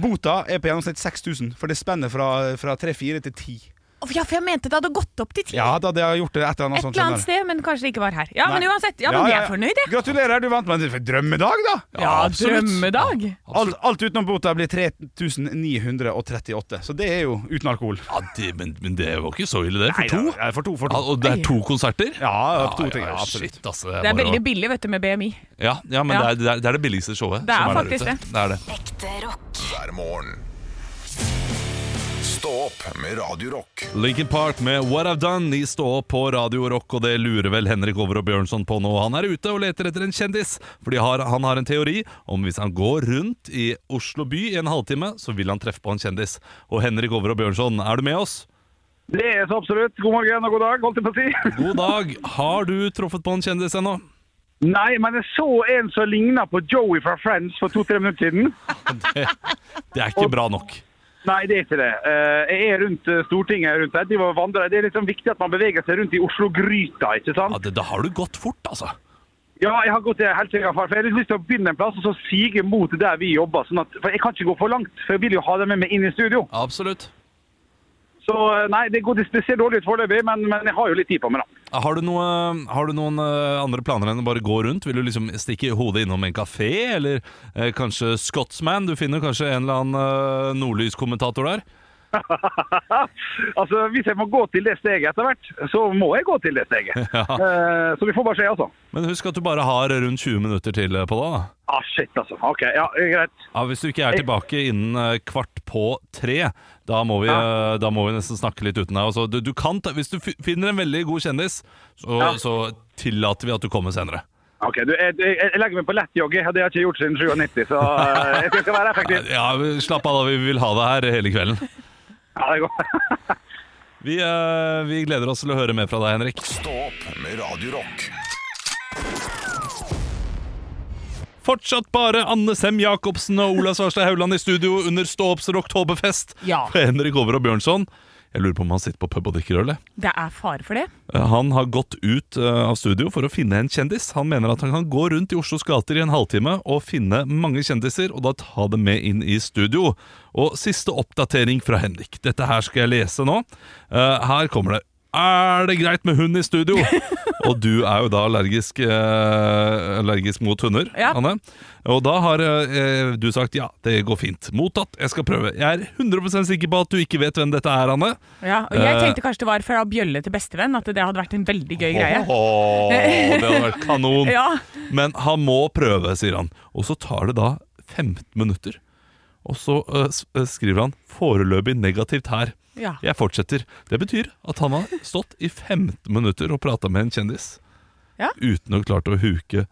S2: Bota er på gjennomsnitt 6000, for det spenner fra, fra 3-4 til 10.
S8: Å, ja, for jeg mente det hadde gått opp til 10
S2: Ja, da hadde jeg gjort det et eller annet
S8: Et
S2: sånt.
S8: eller annet sted, men kanskje det ikke var her. Ja,
S2: Nei.
S8: men uansett. Ja, men vi er fornøyd, jeg.
S2: Gratulerer, du vant. Men det er for drømmedag, da!
S8: Ja,
S4: absolutt.
S8: drømmedag.
S2: Alt, alt utenom bota blir 3938, så det er jo uten alkohol.
S4: Ja, det, men, men det var ikke så ille, det. For
S2: Nei,
S4: to?
S2: det er- ja, For to, for to.
S4: Ja, Ah, og det er to konserter? Ah,
S2: Ja, to ting.
S4: ja,
S2: Ja, absolutt.
S4: shit, altså,
S8: Det er
S4: bare å-
S8: veldig billig, vet du, med BMI.
S4: ja, ja, men
S8: Ja.
S4: Det, er, det, er, det er det billigste showet.
S8: Det er
S4: som der
S8: faktisk
S4: ute.
S8: det.
S4: det, er det.
S6: Ekte rock.
S1: hver morgen. Stå opp med Radio Rock.
S4: Linkin Park med What I've Done. De står på Radio Rock, og det lurer vel Henrik Over og Bjørnson på nå. Han er ute og leter etter en kjendis, fordi har, han har en teori om hvis han går rundt i Oslo by i en halvtime, så vil han treffe på en kjendis. Og Henrik Over og Bjørnson, er du med oss?
S7: Det er så absolutt. God morgen og god dag, holdt jeg på å si.
S4: God dag. Har du truffet på en kjendis ennå?
S7: Nei, men jeg så en som ligna på Joey fra Friends for to-tre minutter siden.
S4: Det er ikke bra nok.
S7: Nei, det er ikke det. Eh, Jeg er rundt eh, Stortinget rundt her. De var vandrer. Det er liksom viktig at man beveger seg rundt i Oslo-gryta, ikke sant?
S4: Ja, det, da har du gått fort, altså.
S7: Ja, jeg har gått helt sikkert, for jeg har lyst til å begynne en plass og så sige mot der vi jobber. Sånn at, for jeg kan ikke gå for langt, for jeg vil jo ha dem med meg inn i studio.
S4: Absolutt.
S7: Så eh, nei, det går det ser dårlig ut foreløpig, men, men jeg har jo litt tid på meg, da.
S4: Har du, noe, har du noen eh, andre planer enn å bare gå rundt? Vil du liksom stikke hodet innom en kafé, eller eh, kanskje Scotsman? Du finner kanskje en eller annen eh, nordlyskommentator der.
S7: Altså, Hvis jeg må gå til det steget etter hvert, så må jeg gå til det steget. Eh, Så vi får bare se, altså.
S4: Men husk at du bare har rundt 20 minutter til eh, på deg. da.
S7: Ah, shit, altså. OK, ja, greit.
S4: Ja, hvis du ikke er tilbake innen eh, kvart på tre, da må vi, eh, da må vi nesten snakke litt uten deg. Altså, du, du kan ta, hvis du fi- finner en veldig god kjendis, så,
S7: Ja.
S4: så tillater vi at du kommer senere.
S7: Ok, du, jeg, jeg, jeg legger meg på lett jogge. Det har jeg ikke gjort siden 97, så eh, jeg skal- skal være effektiv.
S4: Ja, vi- Slapp av, da. Vi vil ha deg her hele kvelden.
S7: Ja, det går.
S4: Vi, eh, vi gleder oss til å høre mer fra deg, Henrik.
S1: Stå opp med Radio Rock.
S4: Fortsatt bare Anne Sem Jacobsen og Ola Svarstad Haugland i studio under Ståopps Oktoberfest.
S8: Ja.
S4: For Henrik Over og Bjørnson. Jeg lurer på om han sitter på pub og drikker øl. jeg.
S8: Det er fare for det.
S4: Eh, Han har gått ut eh, av studio for å finne en kjendis. Han mener at han kan gå rundt i Oslos gater i en halvtime og finne mange kjendiser, og da ta dem med inn i studio. Og siste oppdatering fra Henrik. Dette her skal jeg lese nå. Eh, Her kommer det. er det greit med hund i studio? og du er jo da allergisk, eh, allergisk mot hunder,
S8: Ja.
S4: Anne. Og da har eh, du sagt ja, det går fint. Mottatt, jeg skal prøve. Jeg er 100 sikker på at du ikke vet hvem dette er, Anne.
S8: Ja, og jeg
S4: Eh.
S8: tenkte kanskje det var fra bjølle til bestevenn, at det hadde vært en veldig gøy greie.
S4: Åh, det hadde vært kanon.
S8: Ja,
S4: Men han må prøve, sier han. Og så tar det da 15 minutter. Og så eh, s- eh, skriver han 'foreløpig negativt her'.
S8: ja.
S4: Jeg fortsetter. Det betyr at han har stått i 15 minutter og prata med en kjendis
S8: Ja.
S4: uten å klart å huke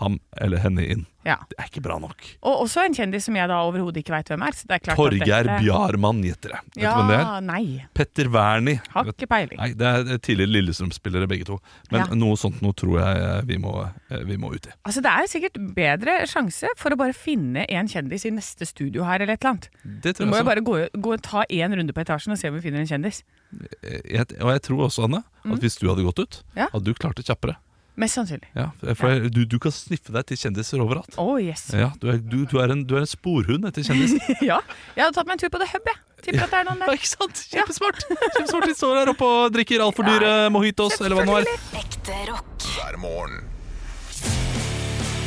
S4: ham eller henne inn.
S8: ja.
S4: Det er ikke bra nok.
S8: Og også en kjendis som jeg da overhodet ikke veit hvem er. Så det er klart at
S4: Torgeir
S8: dette-
S4: Bjarmann gjetter jeg. Vet du
S8: Ja,
S4: hvem det er?
S8: nei.
S4: Petter Wernie.
S8: Har ikke peiling.
S4: Nei, det er tidligere Lillestrøm-spillere begge to. Men
S8: Ja.
S4: noe sånt noe tror jeg eh, vi må, eh, vi må ut i.
S8: Altså, det er sikkert bedre sjanse for å bare finne en kjendis i neste studio her, eller et eller annet. Du
S4: Det tror
S8: må jo
S4: jeg,
S8: bare gå, gå og ta én runde på etasjen og se om vi finner en kjendis.
S4: også. jeg Eh, Og jeg tror også, Anne, at hvis du hadde gått ut,
S8: Mm. Ja.
S4: hadde du klart det kjappere.
S8: Mest sannsynlig.
S4: Ja, for Du, du kan sniffe deg til kjendiser overalt.
S8: Å, yes.
S4: Ja, du, er, du, du, er en, du er en sporhund etter kjendiser.
S8: Ja. Jeg hadde tatt meg en tur på The Hub, jeg. Tipper at det er noen
S4: Ja,
S8: der.
S4: ikke sant? Kjempesmart. Kjempesmart De står der oppe og drikker altfor dyre mojitos, eller hva det nå er.
S6: Ekte rock.
S1: hver morgen.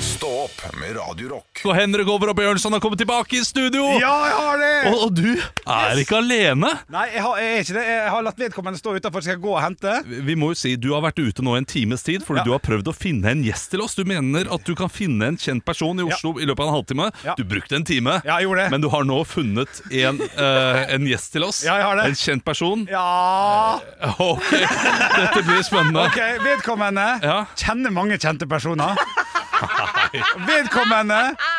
S1: Stå opp med Radio Rock.
S4: Og Henrik Over og Bjørnson har kommet tilbake i studio!
S2: Ja, jeg har det!
S4: Og, og du er ikke alene!
S2: Nei, jeg, har, jeg er ikke det. Jeg har latt vedkommende stå utafor, skal jeg gå og hente.
S4: Vi må jo si, Du har vært ute nå en times tid fordi
S2: Ja.
S4: du har prøvd å finne en gjest til oss. Du mener at du kan finne en kjent person i Oslo i løpet av en halvtime.
S2: Ja.
S4: Du brukte en time,
S2: Ja, jeg gjorde det.
S4: men du har nå funnet en, eh, en gjest til oss.
S2: Ja, jeg har det.
S4: En kjent person.
S2: Ja
S4: Eh, Ok, Dette blir spennende.
S2: Ok, vedkommende
S4: Ja.
S2: kjenner mange kjente personer. Vedkommende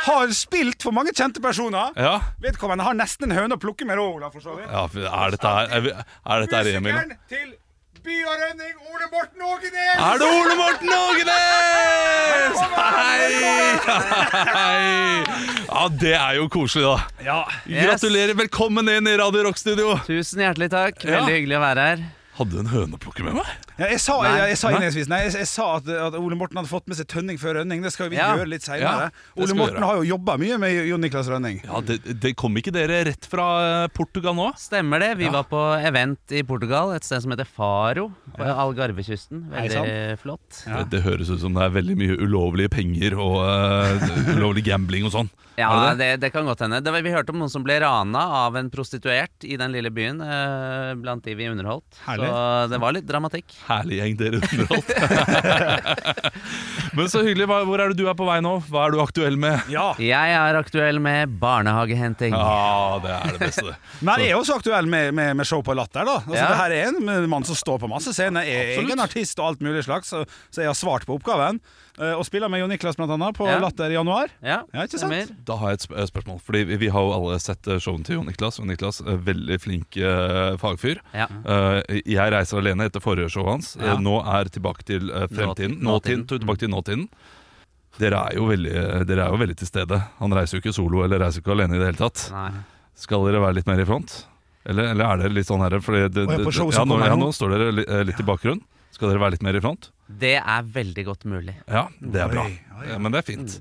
S2: har spilt for mange kjente personer.
S4: Ja.
S2: Vedkommende har nesten en høne å plukke med, da, Olav, for så vidt.
S4: ja, Er dette her, er vi- er dette her Emil?
S2: Musikeren til By og Rønning, Ole Morten Ågenes!
S4: Er det Ole Morten Ågenes? Hei! Hei! Ja, det er jo koselig, da.
S2: Ja.
S4: Gratulerer. Velkommen inn i Radio Rock Studio.
S13: Tusen hjertelig takk.
S4: Ja.
S13: Veldig hyggelig å være her.
S4: Hadde du en høne å plukke med meg?
S2: Ja, Jeg sa, jeg, jeg sa innledningsvis Nei, jeg, jeg sa at, at Ole Morten hadde fått med seg Tønning før Rønning. Det skal vi
S13: Ja.
S2: gjøre litt
S4: Ja,
S2: seinere.
S4: det skal
S2: Ole
S4: vi
S2: Morten
S4: gjøre.
S2: har jo jobba mye med Jon Niklas Rønning.
S4: Ja, det, det Kom ikke dere rett fra eh, Portugal nå?
S13: Stemmer det. Vi var på event i Portugal, et sted som heter Faro. På Algarvekysten.
S2: Hei,
S13: Veldig flott.
S4: Det, det høres ut som det er veldig mye ulovlige penger og eh, ulovlig gambling og sånn.
S13: Ja,
S4: Er det
S13: det, det kan godt hende. Det var, vi hørte om noen som ble rana av en prostituert i den lille byen. Eh, blant de vi underholdt.
S2: Herlig.
S13: Så det var litt dramatikk.
S4: Herlig gjeng dere underholdt. Men så hyggelig. Hva- Hvor er det du er på vei nå? Hva er du aktuell med?
S2: Ja.
S13: Jeg er aktuell med barnehagehenting.
S4: Ja, det er det beste.
S2: Men jeg er også aktuell med, med, med show på latter, da. Altså,
S13: Ja.
S2: Det her er en mann som står på masse scener, er
S4: Absolutt.
S2: egen artist og alt mulig slags, så, så jeg har svart på oppgaven. Eh, Og spiller med Jon Niklas blant annet på
S13: Ja.
S2: Latter i januar.
S13: Ja,
S2: Ja, ikke sant?
S13: stemmer.
S4: Da har jeg et sp- eh, spørsmål. Fordi vi- Vi har jo alle sett eh, showene til Jon Niklas. Jon Niklas er Veldig flink eh, fagfyr.
S13: Ja.
S4: Eh, jeg reiser alene etter forrige showet hans. Eh,
S13: Ja.
S4: nå er tilbake til eh, fremtiden.
S13: Nåtiden.
S4: Nåtiden. Tilbake til nåtiden. Dere er, jo veldig, eh, dere er jo veldig til stede. Han reiser jo ikke solo eller reiser ikke alene i det hele tatt.
S13: Nei.
S4: Skal dere være litt mer i front? Eller, eller er dere litt sånn her fordi det,
S2: Å, jeg er på
S4: det-
S2: show
S4: ja,
S2: som
S4: nå,
S2: kommer
S4: ja,
S2: nå.
S4: nå står dere li, eh, litt i bakgrunnen. Skal dere være litt mer i front?
S13: Det er veldig godt mulig.
S4: Ja, det er bra.
S2: Oi, oi, Mm,
S4: Ja, men det er fint.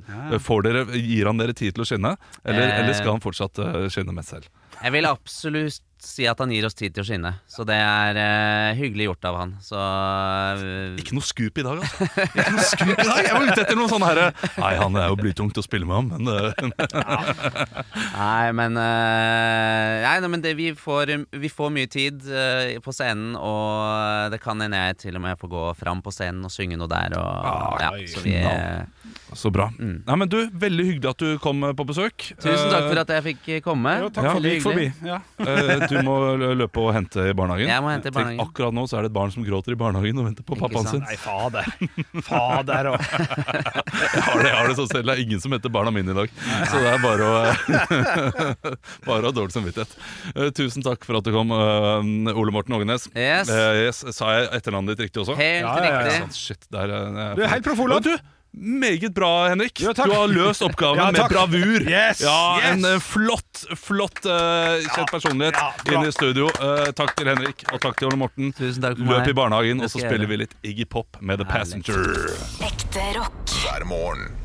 S4: Får dere, gir han dere tid til å skinne, eller,
S13: Eh.
S4: eller skal han fortsatt eh, skinne mest selv?
S13: Jeg vil absolutt si at han gir oss tid til å skinne. Så det er eh, hyggelig gjort av han. Så eh,
S4: Ikke noe scoop i dag, altså. Ikke noe scoop i dag. Jeg var ute etter noe sånn herre Nei, han er jo blytungt å spille med ham, men eh,
S13: Nei, men, eh, nei, nei, men det, vi, får, vi får mye tid eh, på scenen, og det kan hende jeg til og med får gå fram på scenen og synge noe der. Og,
S4: Ah,
S13: ja, så vi,
S4: knall. så bra.
S2: Mm.
S4: Nei, men du, veldig hyggelig at du kom eh, på besøk. Eh,
S13: tusen takk for at jeg fikk komme.
S2: Jo, takk
S4: Ja,
S2: for det
S13: hyggelig.
S2: gikk forbi. Ja.
S4: Eh, Du må lø- løpe og hente i barnehagen.
S13: Jeg må hente i barnehagen.
S4: Tenk, akkurat nå så er det et barn som gråter i barnehagen og venter på
S13: Ikke
S4: pappaen sin.
S13: sant?
S2: Nei, fader. Fader og
S4: Jeg har det, jeg har det sånn selv. Det er ingen som henter barna mine i dag. Så det er bare å Bare å ha dårlig samvittighet. Eh, Tusen takk for at du kom, eh, Ole Morten Ågenes.
S13: Yes.
S4: Eh, yes. Sa jeg etternavnet ditt riktig også?
S13: Helt
S2: Ja, ja, ja.
S13: riktig.
S4: Sant, shit, der, eh,
S2: Du er helt proff, Olav.
S4: Ja, Du, meget bra, Henrik.
S2: Jo, takk.
S4: du har løst oppgaven
S2: Ja,
S4: med
S2: takk.
S4: bravur.
S2: Yes,
S4: ja,
S2: yes.
S4: En eh, flott, flott eh, kjent personlighet
S2: ja, bra.
S4: inn i studio. Eh, takk til Henrik og takk til Ole Morten.
S13: Tusen takk for
S4: Løp
S13: meg.
S4: i barnehagen,
S13: Det
S4: og så
S13: skal jeg
S4: spiller
S13: gjøre.
S4: vi litt Iggy Pop med The
S13: Herlig.
S4: Passenger.
S6: Ekte rock.
S1: hver morgen.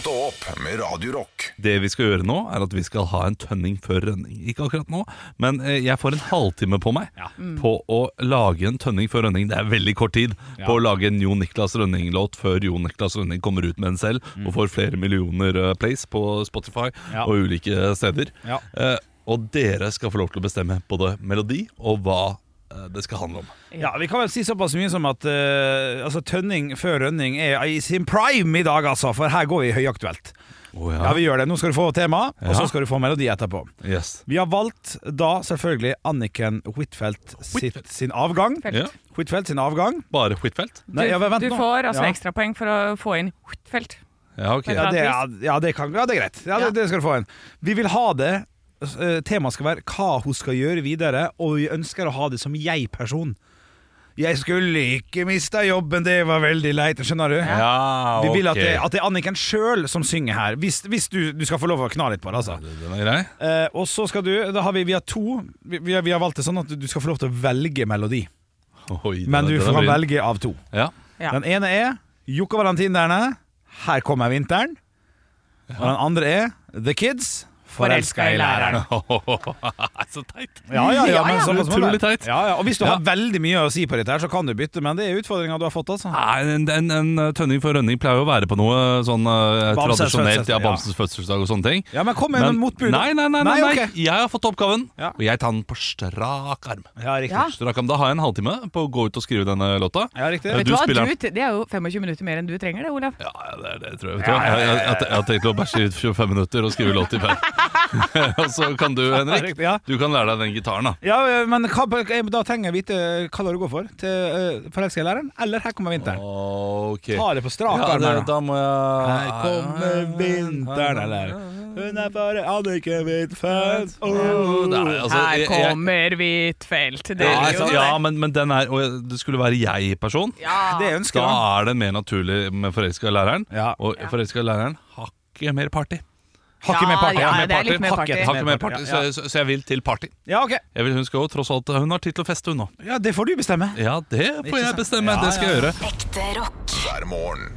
S1: Stå opp med Radio Rock.
S4: Det vi skal gjøre nå, er at vi skal ha en tønning før rønning. Ikke akkurat nå, men eh, jeg får en halvtime på meg på å lage en tønning før rønning. Det er veldig kort tid på å lage en Jon Niklas Rønning-låt før Jon Niklas Rønning kommer ut med den selv og får flere millioner eh, plays på Spotify
S2: Mm. Ja.
S4: og ulike steder.
S2: Ja.
S4: Eh, og dere skal få lov til å bestemme både melodi og hva eh, det skal handle om.
S2: Ja, Vi kan vel si såpass mye som at eh, altså, tønning før rønning er i sin prime i dag, altså. For her går vi høyaktuelt.
S4: ja.
S2: vi gjør det. Nå skal du få tema, og
S4: Ja.
S2: så skal du få melodi etterpå.
S4: Yes.
S2: Vi har valgt da selvfølgelig Anniken Huitfeldt sitt, sin avgang.
S5: Felt. Ja.
S2: Huitfeldt sin avgang.
S4: Bare Huitfeldt?
S5: Du, du får altså ekstrapoeng for å få inn Huitfeldt.
S4: Ja, ok.
S2: Ja, det, ja, ja, det kan, ja, det er greit. Ja, Det, det skal du få en. Vi vil ha det eh, Temaet skal være hva hun skal gjøre videre, og vi ønsker å ha det som jeg-person. Jeg skulle ikke mista jobben, det var veldig leit. Skjønner du?
S4: Ja,
S2: Vi vil at
S4: ok.
S2: det, at det er Anniken sjøl som synger her, hvis, hvis du, du skal få lov å kna litt på det. Altså.
S4: Den er grei.
S2: Eh, og så skal du Da har vi, vi har to. Vi, vi, har, vi har valgt det sånn at du skal få lov til å velge melodi.
S4: Oi, den
S2: Men
S4: er-
S2: du
S4: den er
S2: får
S4: vrien.
S2: velge av to.
S4: Ja.
S2: Den ene er Jokka Valentinerne, 'Her kommer vinteren'. Og den andre er The Kids, 'Forelska i læreren'.
S4: så teit.
S2: Ja, ja, ja, men sånn som det er.
S4: Utrolig teit.
S2: Ja, ja, og hvis du
S4: Ja.
S2: har veldig mye å si på dette, her så kan du bytte, men det er utfordringa du har fått. altså
S4: Nei, en, en, en tønning for rønning pleier jo å være på noe sånn eh,
S2: Bamses
S4: tradisjonelt.
S2: fødselsdag, ja.
S4: Ja, Bamses fødselsdag og sånne ting.
S2: Ja, Men kom med noen motbud. da.
S4: Nei, nei, nei, nei, nei.
S2: ok.
S4: Jeg har fått oppgaven,
S2: Ja.
S4: og jeg tar den på strak arm.
S2: Ja, riktig.
S5: Ja.
S4: Strak arm. Da har jeg en halvtime på å gå ut og skrive denne låta.
S2: Ja, riktig.
S4: Eh,
S5: Vet du hva?
S4: spiller den.
S5: Du, det er jo 25 minutter mer enn du trenger det, Olav.
S4: Ja, ja, det, det tror jeg. Vet du. hva? Jeg, jeg, jeg, jeg har tenkt å bæsje ut 25 minutter og skrive låt i pau. og så kan du, Henrik,
S2: riktig, ja.
S4: du kan lære deg den gitaren, da.
S2: Ja, men hva, Da trenger jeg vite hva du går for. Til eh, 'Forelska i læreren' eller 'Her kommer vinteren'.
S4: Ok.
S2: Ta det på strak
S4: Ja,
S2: arm. her
S4: det,
S2: nå.
S4: da må jeg
S2: Her kommer vinteren, eller Hun er bare Anniken Huitfeldt. Oh.
S4: Nei, altså,
S5: Her
S4: jeg- jeg-
S5: kommer Huitfeldt. Det
S4: Ja,
S5: er
S4: ikke
S5: jo
S4: sant? ja men, men den er Og det skulle være jeg-person.
S2: Det ønsker
S4: Da
S2: han.
S4: er det mer naturlig med forelska i læreren.
S2: Ja.
S4: Og forelska i læreren hakket mer party.
S2: Hakket mer party.
S5: Ja, ja,
S2: hakket mer
S5: det er litt mer
S2: Hakket
S5: party.
S4: Hakket mer party,
S2: Ja, ja.
S4: så, så, så jeg vil til party.
S2: ja, ok.
S4: Jeg vil Hun skal jo tross alt Hun har tid til å feste, hun nå.
S2: Ja, det får du bestemme.
S4: Ja, det får
S2: Ikke
S4: jeg
S2: sant?
S4: bestemme.
S2: Ja,
S4: det skal jeg gjøre.
S6: Ekte rock.
S1: hver morgen.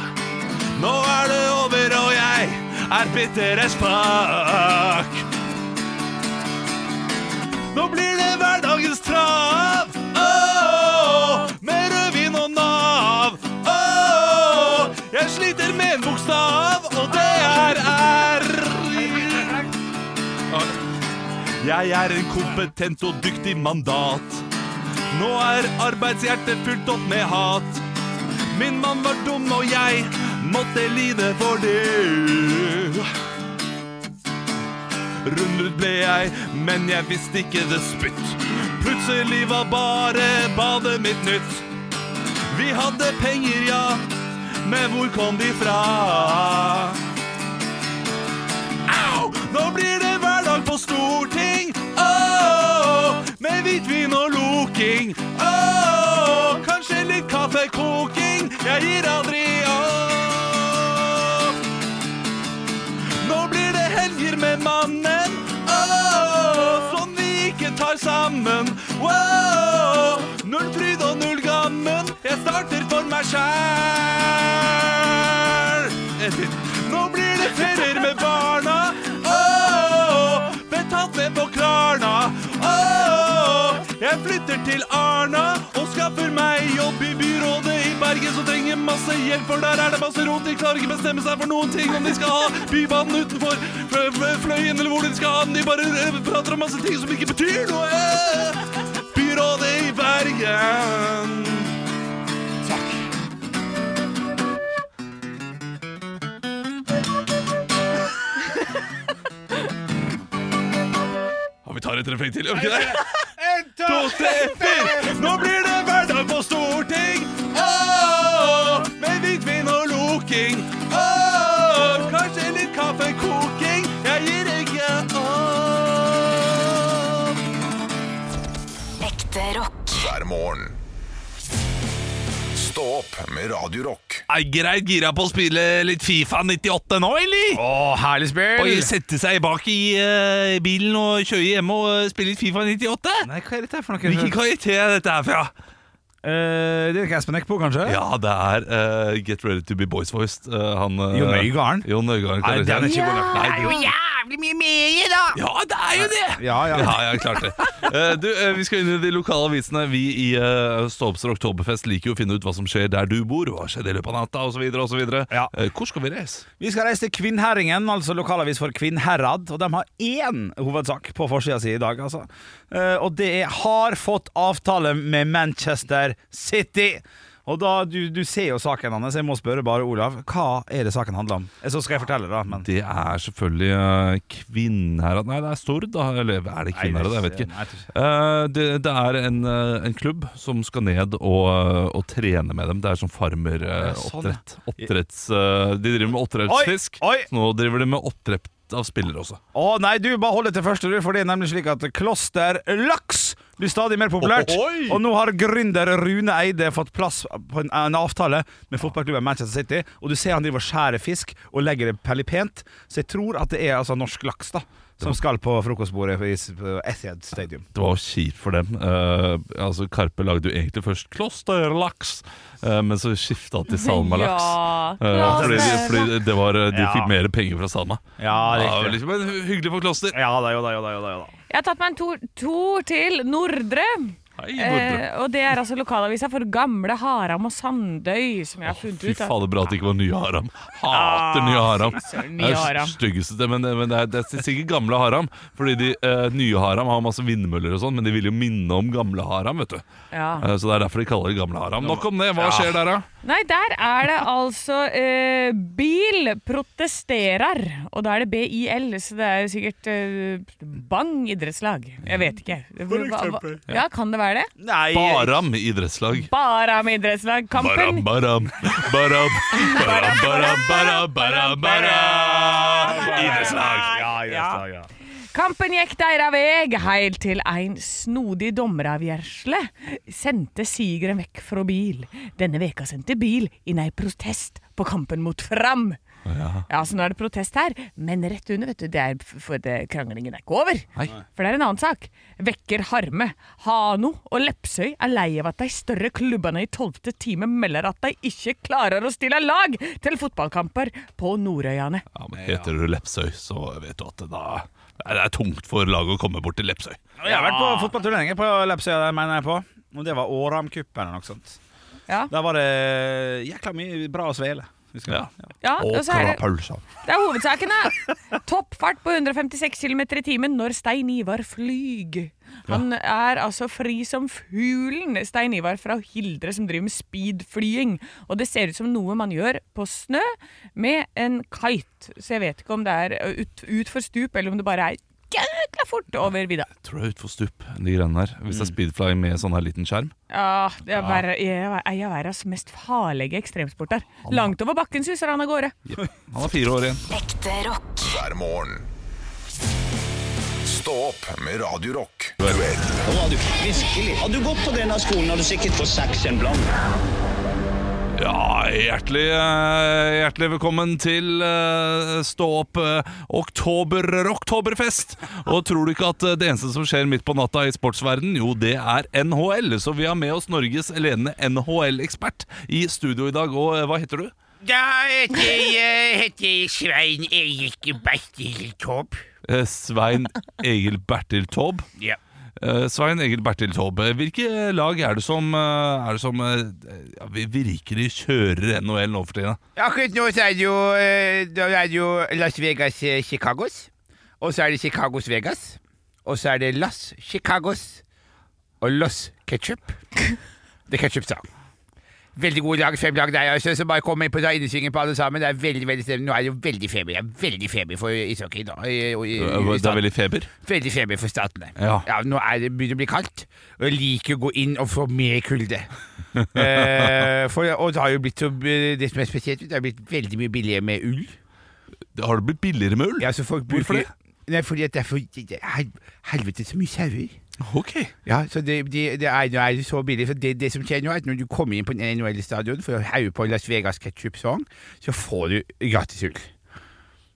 S4: Nå er det over, og jeg er bitter as fuck. Nå blir det hverdagens trav Åh, Med rødvin og nav Åh, Jeg sliter med en bokstav Og det er R Jeg er en kompetent og dyktig mandat Nå er arbeidshjertet fullt opp med hat Min mann var dum og jeg måtte lide for det Rundret ble jeg, men jeg visste ikke det spytt. Plutselig var bare badet mitt nytt. Vi hadde penger, ja, men hvor kom de fra? Au! Nå blir det hverdag på storting. Åh, med hvitvin og loking. Åh, kanskje litt kaffekoking. Jeg gir aldri opp. Nå blir det helger med mannen Åh, Sånn vi ikke tar sammen Wow, Null fryd og null gammen Jeg starter for meg selv Nå blir det ferier med barna Åh, Betalt med på Klarna Åh, Jeg flytter til Arna Og skaffer meg jobb i byrådet i Bergen Så trenger mye, masse hjelp, for der er det masse rot. De klarer ikke bestemme seg for noen ting, om de skal ha Bybanen utenfor Flø- Flø- Fløyen, eller hvor de skal ha den. De bare eh, prater om masse ting som ikke betyr noe. Byrådet i Bergen. Og vi tar et refleks til, gjør vi ikke det?
S2: to,
S4: tre, fire! Nå blir det hverdag på storting! Åh, med hvitvin og loking. Åh, kanskje litt kaffekoking. Jeg gir ikke opp.
S6: Ekte rock.
S1: hver morgen. Stå opp med Radio Rock.
S4: Er greit gira på å spille litt Fifa 98 nå, eller?
S2: Å, herlig spill!
S4: Og sette seg bak i eh, bilen og kjøre hjemme og eh, spille litt Fifa 98?
S2: Nei, hva er dette her for noe?
S4: Hvilken kvalitet er dette her fra?
S2: Eh, det er ikke Espen Eck på, kanskje?
S4: Ja, det er eh, Get Ready To Be Boys Voiced. eh, han, eh,
S2: Jon Øigarden?
S4: Jon Øigarden
S2: Nei,
S4: kaller
S2: den er
S4: seg.
S2: ikke god nok.
S11: Det
S4: Nei,
S11: er jo jævlig mye med i, da!
S4: Ja, det er jo det!
S2: Ja, ja.
S4: Ja, ja, klart det. Eh, du, eh, vi skal inn i de lokale avisene. Vi i uh, Ståpster Oktoberfest liker jo å finne ut hva som skjer der du bor. Hva skjedde i løpet av natta, osv. osv.
S2: Ja.
S4: Uh, hvor skal vi reise?
S2: Vi skal reise til Kvinnherringen, altså lokalavis for Kvinnherad. Og de har én hovedsak på forsida si i dag, altså. Eh, Og det er 'Har fått avtale med Manchester City'. Og da, du, du ser jo saken hans, jeg må spørre bare Olav. Hva er det saken handler om? Eh, Så skal jeg fortelle, da. Men
S4: Det er selvfølgelig uh, Kvinnherad Nei, det er Stord, da. Eller er det Kvinnherad? Jeg vet ikke.
S2: Nei, jeg tror ikke.
S4: Eh, det, det er en, eh, en klubb som skal ned og, eh, og trene med dem. Det er sånn
S2: Ja, sånn, ja.
S4: farmeroppdrett. Oppdretts... eh, de driver med oppdrettsfisk.
S2: Oi, oi.
S4: Så nå driver de med oppdrett av spillere også.
S2: Å nei, du, bare hold deg til første, du, for det er nemlig slik at kloster laks blir stadig mer populært.
S4: Oi!
S2: Og nå har gründer Rune Eide fått plass på en, en avtale med fotballklubben Manchester City. Og du ser han driver og skjærer fisk og legger det veldig pent, så jeg tror at det er altså norsk laks da som skal på frokostbordet i s- på Etihad Stadium.
S4: Det var jo kjipt for dem. Eh, altså Karpe lagde jo egentlig først klosterlaks, eh, men så skifta til salmalaks.
S5: Ja.
S4: Eh, fordi de, fordi det var, eh, de
S2: Ja.
S4: fikk mer penger fra Salma.
S2: Ja,
S4: Ja, det var liksom, men hy- hyggelig for Kloster.
S2: Ja da, jo da, jo da. Jo da, jo da.
S5: Jeg har tatt meg en tur, tur til Nordre.
S4: Hei,
S5: Eh, og det er altså lokalavisa for gamle Haram og Sandøy, som jeg har funnet
S4: Fy
S5: ut. at-
S4: fader, bra at det ikke var Nye Haram. Hater Nye Haram.
S5: Ah, søren,
S4: Det
S5: Nye
S4: er
S5: Haram.
S4: styggeste, men, men det, er, det er sikkert gamle Haram. Fordi de eh, nye Haram har masse vindmøller og sånn, men de vil jo minne om gamle Haram, vet du.
S5: Ja.
S4: Eh, så det er derfor de kaller det gamle Haram. Nok om det. Hva skjer der, da?
S5: Nei, der er det altså eh, Bil protesterer. Og da er det BIL, så det er jo sikkert eh, Bang idrettslag. Jeg vet ikke. Mm. For eksempel. Ja, kan det være det?
S2: Nei,
S4: Baram idrettslag.
S5: Bare med idrettslag.
S4: Baram,
S5: Kampen!
S4: baram, baram, baram, baram, baram, baram, baram. Idrettslag.
S2: Ja, i Vestlag, ja.
S5: Kampen gikk deira veg heilt til ein snodig dommeravgjersle sendte sigeren vekk frå bil. Denne veka sendte bil inn ei protest på kampen mot Fram. Ja. Så nå er det protest her, men rett under, vet du, det er f- for det, kranglingen er ikke over.
S4: Nei.
S5: For det er en annen sak. Vekker harme. Hano og Lepsøy er lei av at de større klubbene i tolvte time melder at de ikke klarer å stille lag til fotballkamper på Nordøyane.
S4: Ja, men heter du Lepsøy, så vet du at det da det er tungt for laget å komme bort til Lepsøy.
S2: Og Jeg har vært på fotballturneringer på Lepsøya, mener jeg på. Og det var Åram Cup eller noe sånt.
S5: Ja.
S2: Der var det jækla mye bra å svele. husker jeg.
S4: Ja.
S5: Ja,
S4: Og
S5: og så er det,
S4: krapølsa.
S5: det er hovedsakene. Toppfart på 156 km i timen når Stein Ivar flyg. Han er altså fri som fuglen, Stein Ivar fra Hildre, som driver med speedflying. Og det ser ut som noe man gjør på snø med en kite. Så jeg vet ikke om det er ut- utfor stup, eller om det bare er jækla fort over vidda.
S4: Jeg tror det er utfor stup, de greiene der. Hvis det er speedfly med sånn her liten skjerm.
S5: Ja, det er bare, jeg er en av verdens mest farlige ekstremsporter. Langt over bakken suser han av gårde.
S4: Han har fire år igjen.
S6: Ekte rock.
S1: hver morgen. Stå opp med Radio Rock.
S14: Hadde du gått på denne skolen, hadde du sikkert fått seks en blant.
S4: Ja, hjertelig, eh, hjertelig velkommen til eh, Stå opp eh, oktober, oktoberfest! Og tror du ikke at eh, det eneste som skjer midt på natta i sportsverden, jo det er NHL. Så vi har med oss Norges ledende NHL-ekspert i studio i dag. Og eh, hva heter du?
S11: Da heter jeg, heter jeg Svein Erik Bertil Taube.
S4: Eh, Svein Egil Bertil Taube.
S11: Ja.
S4: Eh, Eh, Svein Egil Bertil Taube, hvilke lag er det som, eh, er det som eh, ja, vi- virkelig kjører NHL nå for tida?
S11: Akkurat nå så er det jo, eh, da er det jo Las Vegas eh, Chicagos. Og så er det Chicagos Vegas. Og så er det Las Chicagos og Los Ketchup. The Ketchup Song. Veldig gode lag, fem lag der også, så bare kom inn på ta innersvingen på alle sammen. Det er veldig, veldig stemning. Nå er det jo veldig feber. Det er veldig feber for ishockey nå. i- i- i- i
S4: Det er
S11: staten.
S4: veldig feber?
S11: Veldig feber for statene.
S4: Ja.
S11: nå er det begynner det å bli kaldt, og jeg liker å gå inn og få mer kulde. Eh, for, og det har jo blitt så, eh, det som er spesielt, det har blitt veldig mye billigere med ull.
S4: Har det blitt billigere med ull?
S11: Ja, så folk
S4: Hvorfor
S11: bruker, Nei, fordi at det er for det er hel- helvete så mye sauer.
S4: Ok.
S11: Ja, så det, det, det er, nå er det så billig. For det, det som skjer nå, er at når du kommer inn på en NHL-stadion for å haue på Las Vegas Ketchup Song, så får du gratis ull.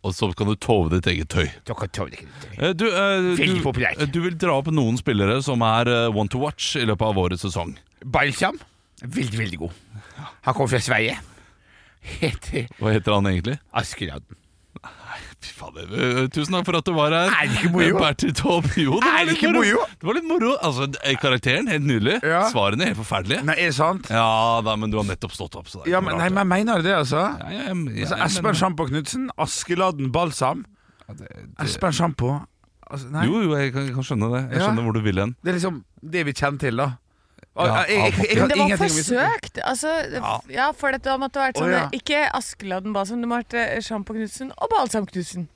S4: Og så kan du tove ditt eget tøy.
S11: Dere tåler ikke det.
S4: Eh, Du, eh,
S11: Veldig
S4: du,
S11: populært.
S4: eh, du vil dra opp noen spillere som er eh, one to watch i løpet av årets sesong.
S11: Balsam, veldig, veldig god. Han kommer fra Sverige. Heter
S4: Hva heter han egentlig?
S11: Askeladden.
S4: Fy fader. eh, Tusen takk for at du var her.
S11: Er det ikke moro?
S4: Eh, Bertil Taube. Jo,
S11: Er
S4: det var
S11: det
S4: litt
S11: ikke
S4: moro.
S11: moro?
S4: Det var litt moro. Altså, eh, karakteren helt nydelig.
S11: Ja.
S4: Svarene helt forferdelige.
S11: Nei, er det sant?
S4: Ja da, men du har nettopp stått opp. Så det er
S2: Ja,
S4: ikke
S2: men,
S4: rart
S2: nei,
S4: det.
S2: men jeg mener det, altså.
S4: ja, ja, ja,
S2: altså
S4: jeg mener
S2: Espen
S4: det.
S2: Sjampo Knutsen, Askeladden Balsam. Espen Sjampo altså, Nei.
S4: Jo, jo, jeg kan, jeg kan skjønne det. Jeg
S2: Ja.
S4: skjønner hvor du vil hen.
S2: Det er liksom det vi kjenner til, da. Og,
S4: Ja,
S2: jeg, jeg, jeg,
S5: Men
S2: jeg kan
S5: det var
S2: ingenting om-
S5: forsøkt. Altså,
S2: Ja.
S5: ja, for dette måtte vært sånn
S2: Å, ja.
S5: Ikke Askeladden Balsam, det måtte vært eh, Sjampo Knutsen og Balsam Knutsen.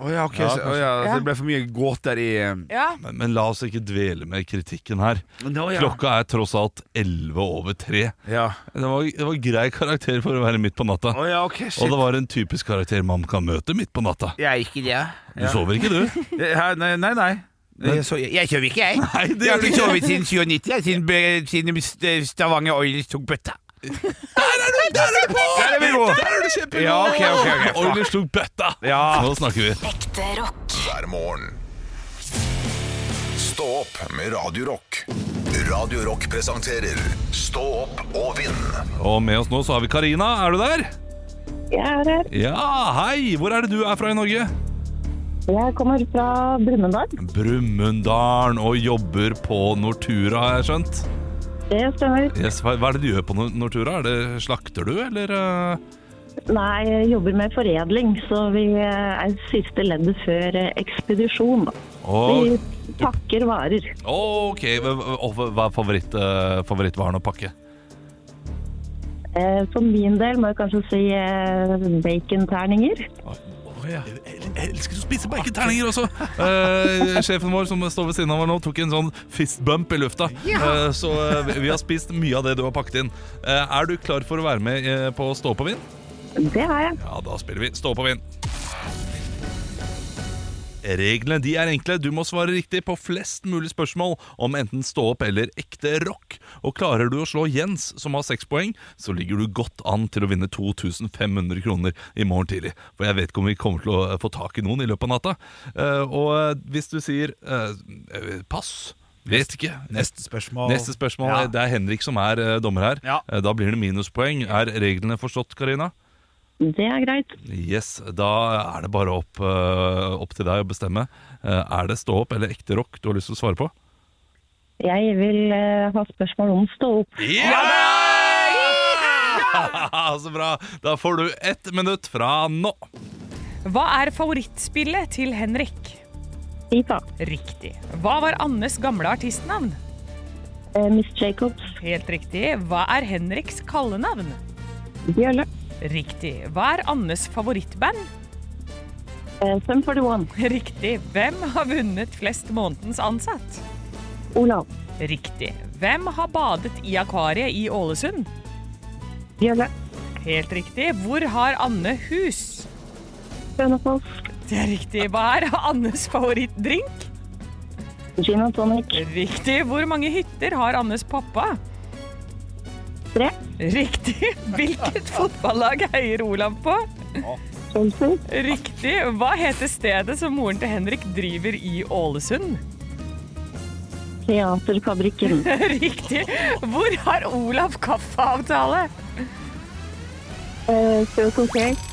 S2: Å ja, ok,
S4: Ja,
S2: så, å, ja, så det ble for mye gåter i eh,
S5: Ja.
S4: Men, men la oss ikke dvele med kritikken her.
S2: Nå, ja.
S4: Klokka er tross alt 11 over 3.
S2: Ja.
S4: Det var, det var grei karakter for å være midt på natta.
S2: Å ja, ok, shit.
S4: Og det var en typisk karakter man kan møte midt på natta.
S11: Jeg er ikke det.
S4: Du sover ikke, du?
S2: Ja, Nei, nei. nei. Jeg, så, jeg,
S11: Jeg sover ikke, jeg.
S4: Nei, det
S11: Jeg har
S4: gjør du
S11: ikke
S4: ikke.
S11: sovet siden 97, jeg, siden, be- siden St- Stavanger Oilers tok bøtta.
S4: Der er du på!
S2: Der er vi gode!
S4: Der er du kjempegod!
S2: Ja, ok, ok, ok, fuck.
S4: Oilers tok bøtta!
S2: Ja.
S4: Nå snakker vi.
S6: Ekte rock.
S1: hver morgen. Stå opp med Radio Rock. Radio Rock presenterer Stå opp og vinn
S4: Og med oss nå så har vi Karina. Er du der?
S15: Jeg er her.
S4: Ja, hei! Hvor er det du er fra i Norge?
S15: Jeg kommer fra Brumunddal.
S4: Brumunddalen og jobber på Nortura, har jeg skjønt.
S15: Det stemmer.
S4: Yes, hva, hva er det du gjør på Nor- Nortura? Er det, slakter du, eller? eh?
S15: Nei, jeg jobber med foredling, så vi eh, er siste leddet før eh, ekspedisjon. da.
S4: Å.
S15: Vi pakker varer.
S4: Ok, hva, hva- hva er favoritt, eh, favorittvaren å pakke?
S15: Eh, For min del må jeg kanskje si eh, baconterninger.
S4: Jeg elsker å spise baconterninger også! Eh, sjefen vår som står ved siden av her nå, tok en sånn fist bump i lufta.
S15: Ja.
S4: Eh, så eh, vi- vi har spist mye av det du har pakket inn. Eh, er du klar for å være med eh, på Stå på vind?
S15: Det er jeg.
S4: Ja, da spiller vi Stå på vind. Reglene de er enkle. Du må svare riktig på flest mulig spørsmål om enten stå opp eller ekte rock. Og klarer du å slå Jens, som har seks poeng, så ligger du godt an til å vinne 2500 kroner i morgen tidlig. For jeg vet ikke om vi kommer til å eh, få tak i noen i løpet av natta. Eh, og eh, hvis du sier eh, eh, pass Vet ikke.
S2: Neste spørsmål.
S4: Neste spørsmål.
S2: Ja.
S4: Det er Henrik som er eh, dommer her. Eh, Da blir det minuspoeng. Er reglene forstått, Karina?
S15: Det er greit.
S4: Yes, Da er det bare opp, eh, opp til deg å bestemme. Eh, er det stå opp eller ekte rock du har lyst til å svare på?
S15: Jeg vil eh, ha spørsmål om stå opp.
S4: Så bra! Da får du ett minutt fra nå.
S5: Hva er favorittspillet til Henrik?
S15: FIFA.
S5: Riktig. Hva var Annes gamle artistnavn?
S15: Eh, Miss Jacobs.
S5: Helt riktig. Hva er Henriks kallenavn?
S15: Bjølle.
S5: Riktig. Hva er Annes favorittband?
S15: Eh, Sum 41.
S5: Riktig. Hvem har vunnet flest månedens ansatt?
S15: Olav.
S5: Riktig. Hvem har badet i akvariet i Ålesund?
S15: Bjølle.
S5: Helt riktig. Hvor har Anne hus?
S15: Hønefoss.
S5: Det er riktig. Hva er Annes favorittdrink?
S15: Gin and tonic.
S5: Riktig. Hvor mange hytter har Annes pappa?
S15: Tre.
S5: Riktig. Hvilket fotballag heier Olav på?
S15: Chelsea.
S5: Riktig. Hva heter stedet som moren til Henrik driver i Ålesund?
S15: Teaterfabrikken.
S5: Riktig. Hvor har Olav kaffeavtale?
S15: Eh, Circle K.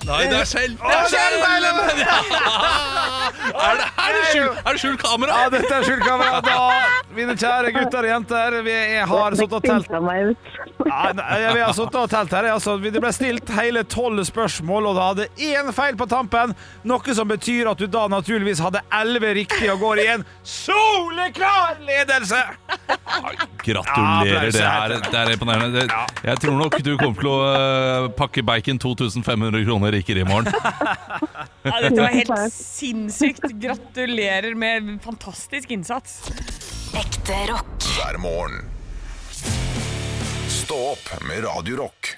S4: Nei, det er skjell! Det
S11: Å,
S4: er
S11: det er
S4: skjell!
S11: feil!
S4: Er det, er det skjult- er det skjult kamera?
S2: Ja, dette er skjult kamera. Da, mine kjære gutter og jenter, vi er- har sittet og telt. Ja, nei, vi har sittet og telt her. Altså, det ble stilt hele tolv spørsmål, og du hadde én feil på tampen. Noe som betyr at du da naturligvis hadde elleve riktige og går i en soleklar ledelse!
S4: Gratulerer.
S2: Applaus,
S4: Det
S2: ja.
S4: er, det er imponerende. Det, jeg tror nok du kommer til å eh, pakke bacon 2500 kroner rikere i morgen.
S5: Ja, dette var helt sinnssykt. Gratulerer med fantastisk innsats.
S6: Ekte rock.
S1: hver morgen. Stå opp med Radio Rock.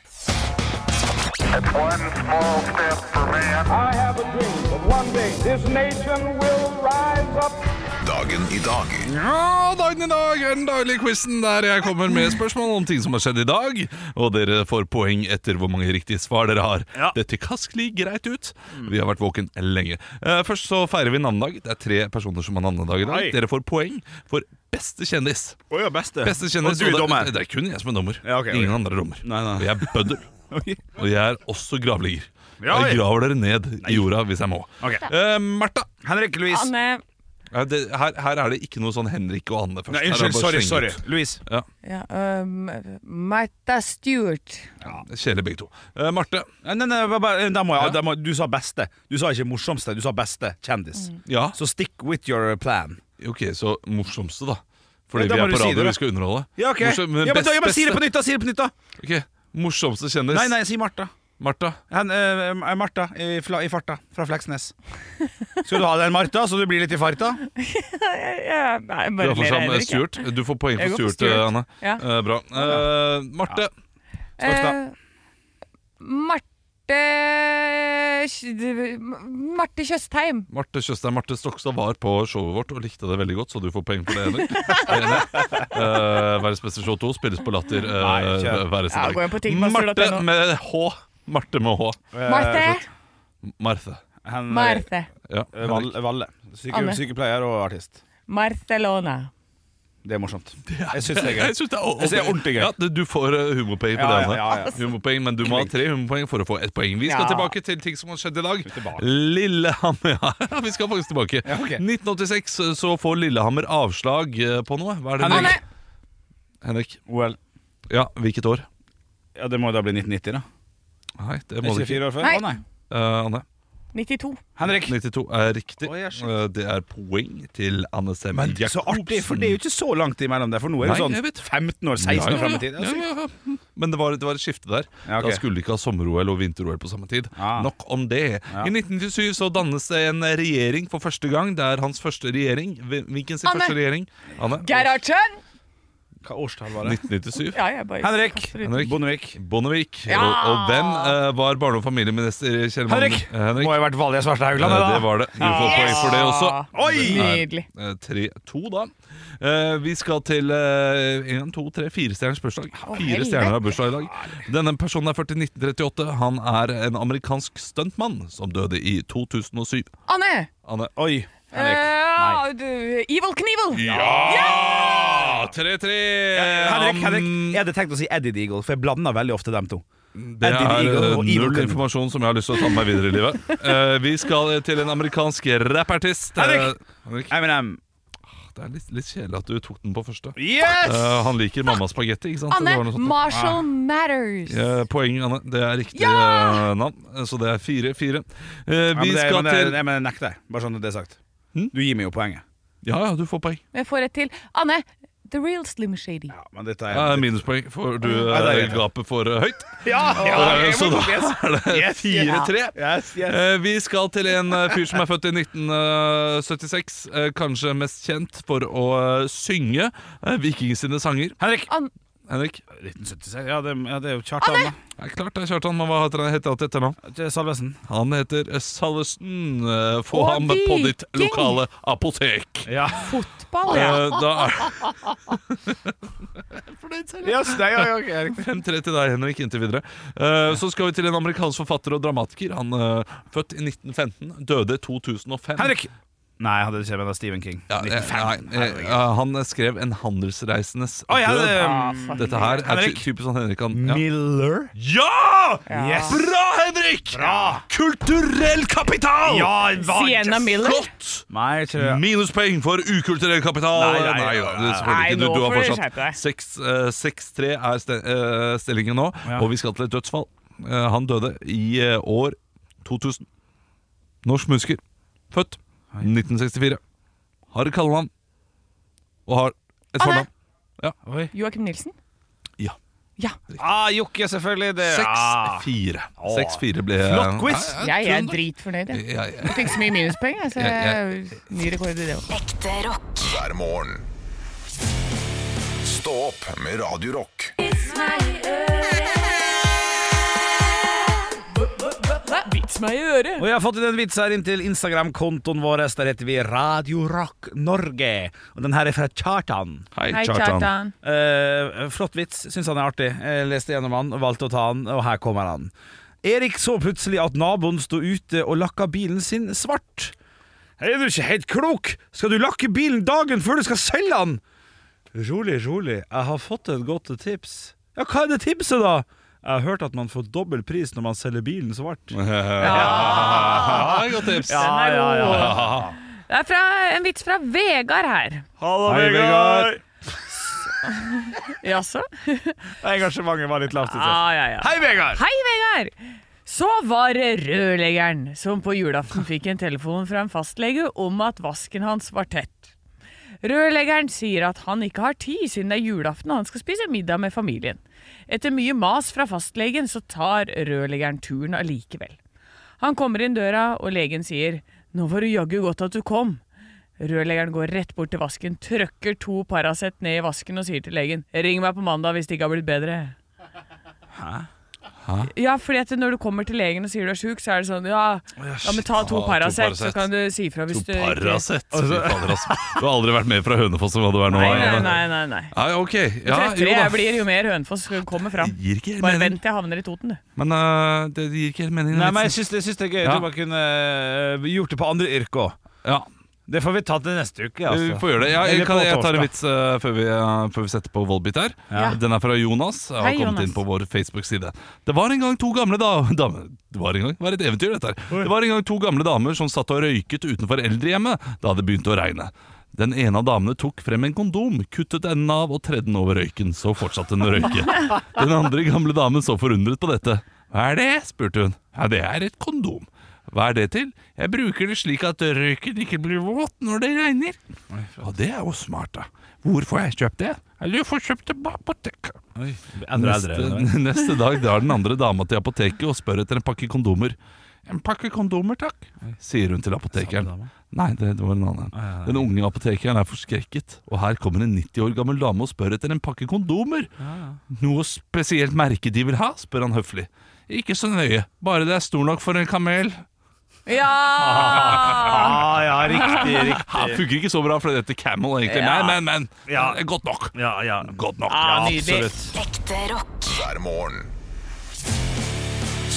S1: Dagen i dag
S4: Ja, dagen i dag er den daglige quizen der jeg kommer med spørsmål om ting som har skjedd i dag. Og dere får poeng etter hvor mange riktige svar dere har. Dette kaskelig greit ut. Vi har vært våken lenge. Eh, først så feirer vi navnedag. Det er tre personer som har navnedag i dag.
S10: Oi.
S4: Dere får poeng for beste kjendis.
S10: Å ja, beste.
S4: Beste kjendis.
S10: Og du er
S4: det-
S10: dommer.
S4: Det er kun jeg som er dommer.
S10: Ja, ok, ok.
S4: Ingen andre er dommer. Og jeg er bøddel. Og jeg er også gravlegger.
S10: Ja,
S4: jeg
S10: oi.
S4: graver dere ned i jorda hvis jeg må. Eh, Martha.
S2: Henrik
S5: Anne
S4: ja, det, her, her er det ikke noe sånn Henrik og Anne først.
S2: Nei,
S4: Her er
S2: unnskyld,
S4: det bare
S2: sorry,
S4: slenge
S2: sorry.
S4: ut.
S2: Louise.
S4: Ja,
S5: ja, um, Martha Stewart.
S4: Kjedelig begge to. Eh, Marte.
S2: Nei, nei, nei, bare- eh, da må jeg, da må, du sa beste. Du sa ikke morsomste, du sa beste kjendis.
S5: Mm.
S4: Ja.
S2: Så stick with your plan.
S4: Ok, så morsomste, da.
S2: Ja,
S4: Fordi
S2: da
S4: vi
S2: må
S4: er
S2: du
S4: på
S2: si
S4: radio,
S2: det, da.
S4: vi skal underholde.
S2: Ja, ok.
S4: Morsom- men
S2: ja, men, da,
S4: best-
S2: ja, men si det
S4: beste-
S2: på nytt, da! Si det på nytt, da!
S4: Ok, Morsomste kjendis.
S2: Nei, nei, si Martha.
S4: Martha.
S2: Hen, eh, Martha i, fla, i farta fra Fleksnes. Skal du ha deg en Martha, så du blir litt i farta?
S5: Ja, nei, jeg
S4: Du
S5: bare ler
S4: har fortsatt
S5: heller
S4: med
S5: ikke.
S4: Stuart. Du får poeng
S5: Jeg
S4: for
S5: går for
S4: Stuart, eh,
S5: Stuart.
S4: Anne.
S5: Ja.
S4: Eh, bra. Eh, Marte.
S5: Eh, Marte Kj- Marte Tjøstheim.
S4: Marte Tjøstheim Marte Stokstad var på showet vårt og likte det veldig godt, så du får poeng for det, Henrik. Det er enig. Eh, Verdens beste show 2 spilles på Latter eh,
S10: Nei, kjør.
S4: hver eneste
S10: Ja,
S4: dag.
S10: gå inn på ticketmaster.no.
S4: Marte med H. Marte med H.
S5: Marte.
S4: Marthe.
S5: Marthe.
S4: Ja,
S2: Valle. eh, Valle. Syke,
S5: Anne.
S2: sykepleier og artist.
S5: Marcelona.
S2: Det er morsomt. Jeg syns det er gøy.
S4: Jeg synes det er,
S2: Jeg synes det er ordentlig gøy.
S4: Ja, du- du får eh, humorpoeng på
S2: Ja,
S4: det.
S2: ja,
S4: Anne.
S2: ja, ja.
S4: Humorpoeng, men du må ha tre humorpoeng for å få ett poeng. Vi skal
S2: Ja.
S4: tilbake til ting som har skjedd i dag. Lillehammer ja, Vi skal faktisk tilbake. 1986 så får Lillehammer avslag eh, på noe. Hva er det?
S2: Henrik.
S4: Henrik.
S2: OL.
S4: Ja, hvilket år?
S2: Ja, Det må jo da bli 1990, da.
S4: Nei, det
S2: Det
S4: må
S2: er
S4: du
S2: ikke
S4: ikke.
S2: fire år før?
S5: Nei.
S2: Å, nei.
S4: Eh, Anne.
S5: 92.
S2: Henrik.
S4: 92 er riktig.
S2: Oi, jeg
S4: Eh, det er poeng til Anne Sem
S2: Men så artig, for det er jo ikke så langt imellom der. For nå er det
S4: Nei,
S2: sånn
S4: jeg vet.
S2: 15 år, 16
S4: Ja,
S2: år
S4: ja,
S2: fram i tid.
S4: ja, ja, ja. Men det var, det var et skifte der.
S2: ok.
S4: Da skulle de ikke ha sommer-OL og vinter-OL på samme tid. Nok om det. I 1997 så dannes det en regjering for første gang. Det er hans første regjering. Hvil- Hvilken sin
S5: Anne.
S4: første regjering? Anne.
S5: Gerhardsen!
S2: Hva årstall var det?
S4: 1997.
S5: Ja, jeg bare kaster ut.
S2: Bondevik.
S4: Bondevik.
S5: Ja.
S4: Og, og hvem eh, var barne- og familieminister Kjell Magne?
S2: Henrik.
S4: Eh, Henrik.
S2: Må ha vært Valje Svarte Haugland,
S4: Eh, det var det. Du får poeng for det også.
S5: Nydelig.
S4: Eh, 3-2, da. Eh, vi skal til eh, 1, 2, 3, 4 stjerners bursdag. Fire
S10: helvete.
S4: stjerner har bursdag i dag. Denne personen er født i 1938. Han er en amerikansk stuntmann som døde i 2007.
S5: Anne!
S4: Anne.
S2: Oi!
S5: Uh, du, Evil Knievel!
S4: Ja! 3-3.
S2: Henrik, Henrik, jeg hadde tenkt å si Eddie the Eagle, for jeg blander veldig ofte dem to.
S4: um, Det
S2: Eddie the
S4: er
S2: Eagle
S4: eh,
S2: og Evil
S4: null
S2: Knievel.
S4: informasjon som jeg har lyst til å ta med meg videre i livet. Eh, vi skal eh, til en amerikansk rappartist. Eh, Ah,
S2: Henrik! Eminem.
S4: Det er litt, litt kjedelig at du tok den på første.
S2: Yes!
S4: Eh, han liker mammas spagetti, ikke sant? Sånn Det var
S5: Anne
S4: noe sånt.
S5: Marshall Matters.
S4: Eh, Poeng, Anne. Det er riktig eh, navn. Så det er fire, fire. Eh,
S2: Ja, men
S4: vi
S2: det,
S4: skal
S2: men det,
S4: til
S2: Jeg mener, nekter. Bare sånn at det er sagt. Du gir meg jo poenget.
S4: Hm? Ja, ja, du får poeng.
S5: Jeg får et til. Anne The Real Slim Shady.
S2: Men dette er
S4: Ja, minuspoeng, for du
S2: Ja, det er
S4: eh,
S2: greit.
S4: gapet for eh, høyt.
S2: Ja, ja,
S4: Eh,
S2: jeg
S4: så
S2: må-
S4: da
S2: yes.
S4: er det
S2: Yes, yes.
S4: 4-3.
S2: Yes, yes.
S4: Eh, Vi skal til en eh, fyr som er født i 1976. eh, Kanskje mest kjent for å eh, synge eh, Viking sine sanger.
S2: Henrik!
S4: Henrik.
S2: 1976, ja det, ja, det er jo Kjartan, da.
S4: Ja, klart det er Kjartan, men hva heter han heter han til etternavn?
S2: Salvesen.
S4: Han heter eh, Salvesen. Eh, Få
S2: Og
S4: ham på ditt
S2: Viking!
S4: lokale apotek.
S2: Ja.
S5: Fotball,
S4: ja. Eh, da er-
S2: Yes, nei, ja, ja, ok, Erik.
S4: 5-3 til deg, Henrik, inntil videre. Eh, så skal vi til en eh, amerikansk forfatter og dramatiker. Han uh, født i 1915, døde 2005.
S2: Henrik! Nei, jeg hadde det ikke, men det er Stephen King.
S4: Ja, eh,
S2: 1905.
S4: nei, eh, han skrev 'En handelsreisendes
S2: Å, ja,
S4: død'.
S2: det- Ah, fuck.
S4: Dette her er ty-
S2: Henrik.
S4: typisk sånn Henrik han ja.
S2: Miller?
S4: Ja!
S2: Yes.
S4: Bra, Henrik! Kulturell kapital!
S2: Ja, hva-
S5: Sienna Miller?
S4: Flott!
S2: Nei, ikke det.
S4: Minuspoeng for ukulturell kapital.
S2: Nei, nei, nei,
S4: da,
S2: nei.
S4: selvfølgelig
S5: Nei,
S4: ikke.
S5: nå
S4: Du, du
S5: får
S4: har
S5: du skjerpe deg.
S4: fortsatt seks, eh, 6-3 er ste, eh, stillingen nå, og vi skal til et dødsfall. Eh, han døde i eh, år 2000. Norsk musiker. Født 1964. Har et kallenavn. Og har et fornavn. Ja.
S5: Joakim Nilsen?
S4: Ja.
S5: Ja.
S2: Ah, Jokke, selvfølgelig. Det. Ah. Ja.
S4: 6-4.
S2: Åh.
S4: 6-4 ble
S2: Flott quiz.
S4: Ja, ja,
S5: Jeg er
S4: tror det.
S5: dritfornøyd. jeg.
S4: Ja, ja.
S5: Jeg fikk så mye minuspoeng, jeg, så
S4: Ja,
S5: jeg-
S4: ja.
S5: ny rekord i det òg.
S6: Ekte rock.
S1: hver morgen. Stå opp med Radio Rock.
S5: Vits meg i øret!
S2: Og jeg har fått inn en vits her inn til Instagram-kontoen vår. Der heter vi Radio Rock Norge. Og den her er fra Kjartan.
S5: Hei, Kjartan. Kjartan.
S2: Eh, flott vits. Syns han er artig. Jeg leste gjennom han, valgte å ta han, og her kommer han. Erik så plutselig at naboen sto ute og lakka bilen sin svart. Er du ikke helt klok? Skal du lakke bilen dagen før du skal selge den? Rolig, rolig. Jeg har fått et godt tips. Ja, hva er det tipset, da? Jeg har hørt at man får dobbel pris når man selger bilen svart.
S4: Ja, godt tips.
S2: Ja, ja, ja.
S8: Det er fra, en vits fra Vegard her.
S2: Hallo,
S8: Hei,
S2: Vegard.
S8: Jaså? Ah,
S2: Engasjementet var litt lavt.
S8: Ja, ja, ja.
S2: Hei, Vegard!
S8: Hei, Vegard! Så var det rørleggeren som på julaften fikk en telefon fra en fastlege om at vasken hans var tett. Rørleggeren sier at han ikke har tid siden det er julaften og han skal spise middag med familien. Etter mye mas fra fastlegen så tar rørleggeren turen allikevel. Han kommer inn døra, og legen sier 'Nå var du jaggu godt at du kom'. Rørleggeren går rett bort til vasken, trøkker to Paracet ned i vasken og sier til legen 'Ring meg på mandag hvis det ikke har blitt bedre'.
S2: Hæ?
S8: Ja, fordi at når du kommer til legen og sier du er sjuk, så er det sånn Ja, ja men ta to
S4: shit. Ta to
S8: Paracet, så
S4: Paracet.
S8: kan du si ifra hvis
S4: To
S8: du ikke-
S4: Paracet. Fy fader, altså. Du har aldri vært med fra Hønefoss som hva det var nå?
S8: Nei, nei,
S4: eh.
S8: nei. nei, nei.
S4: Ja, ok.
S8: Jo
S4: Ja,
S8: tettere
S4: Ah, jo da.
S8: jeg blir, jo mer Hønefoss kommer fram.
S4: gir ikke helt
S8: Bare
S4: mening.
S8: vent til jeg havner i Toten, du.
S4: Men eh, det gir ikke helt mening. den
S2: Nei, men jeg
S4: vitsen.
S2: syns det, jeg syns det er gøy.
S4: Ja.
S2: Du bare kunne øh, gjort det på andre yrker òg. Det får vi ta til neste uke. Altså.
S4: Vi får gjøre det. Ja, jeg,
S2: Eller
S4: kan,
S2: på
S4: jeg tar en
S2: torsdag.
S4: vits eh, før, vi, eh, før vi setter på vollbit her.
S2: Ja.
S4: Den er fra Jonas. Jeg har
S2: Hei,
S4: kommet
S2: Jonas.
S4: inn på vår Facebook-side. Det var en gang to gamle da damer Det var en gang, det var et eventyr dette her. Det var en gang to gamle damer som satt og røyket utenfor eldrehjemmet da det begynte å regne. Den ene av damene tok frem en kondom, kuttet enden av og tredde den over røyken. Så fortsatte den å røyke. Den andre gamle damen så forundret på dette. Hva er det? spurte hun. Ja, det er et kondom. Hva er det til? Jeg bruker det slik at røyken ikke blir våt når det regner. Og det er jo smart, da. Hvor får jeg kjøpt det? Eller du får kjøpt det på apoteket.
S2: eldre,
S4: Neste,
S2: eldre.
S4: neste dag drar den andre dama til apoteket og spør etter en pakke kondomer. En pakke kondomer, takk, sier hun til apotekeren. Nei, det var en annen. Den unge apotekeren er forskrekket, og her kommer en 90 år gammel dame og spør etter en pakke kondomer. Noe spesielt merke de vil ha, spør han høflig. Ikke så nøye, bare det er stor nok for en kamel.
S8: Ja!
S2: Ah, ja, riktig,
S4: Ja,
S2: riktig.
S4: funker ikke så bra for dette camel, egentlig.
S2: Ja.
S4: Men, men, men. Det er Godt nok. Godt nok.
S1: Ja,
S4: absolutt.
S6: Ekte rock.
S1: Hver morgen.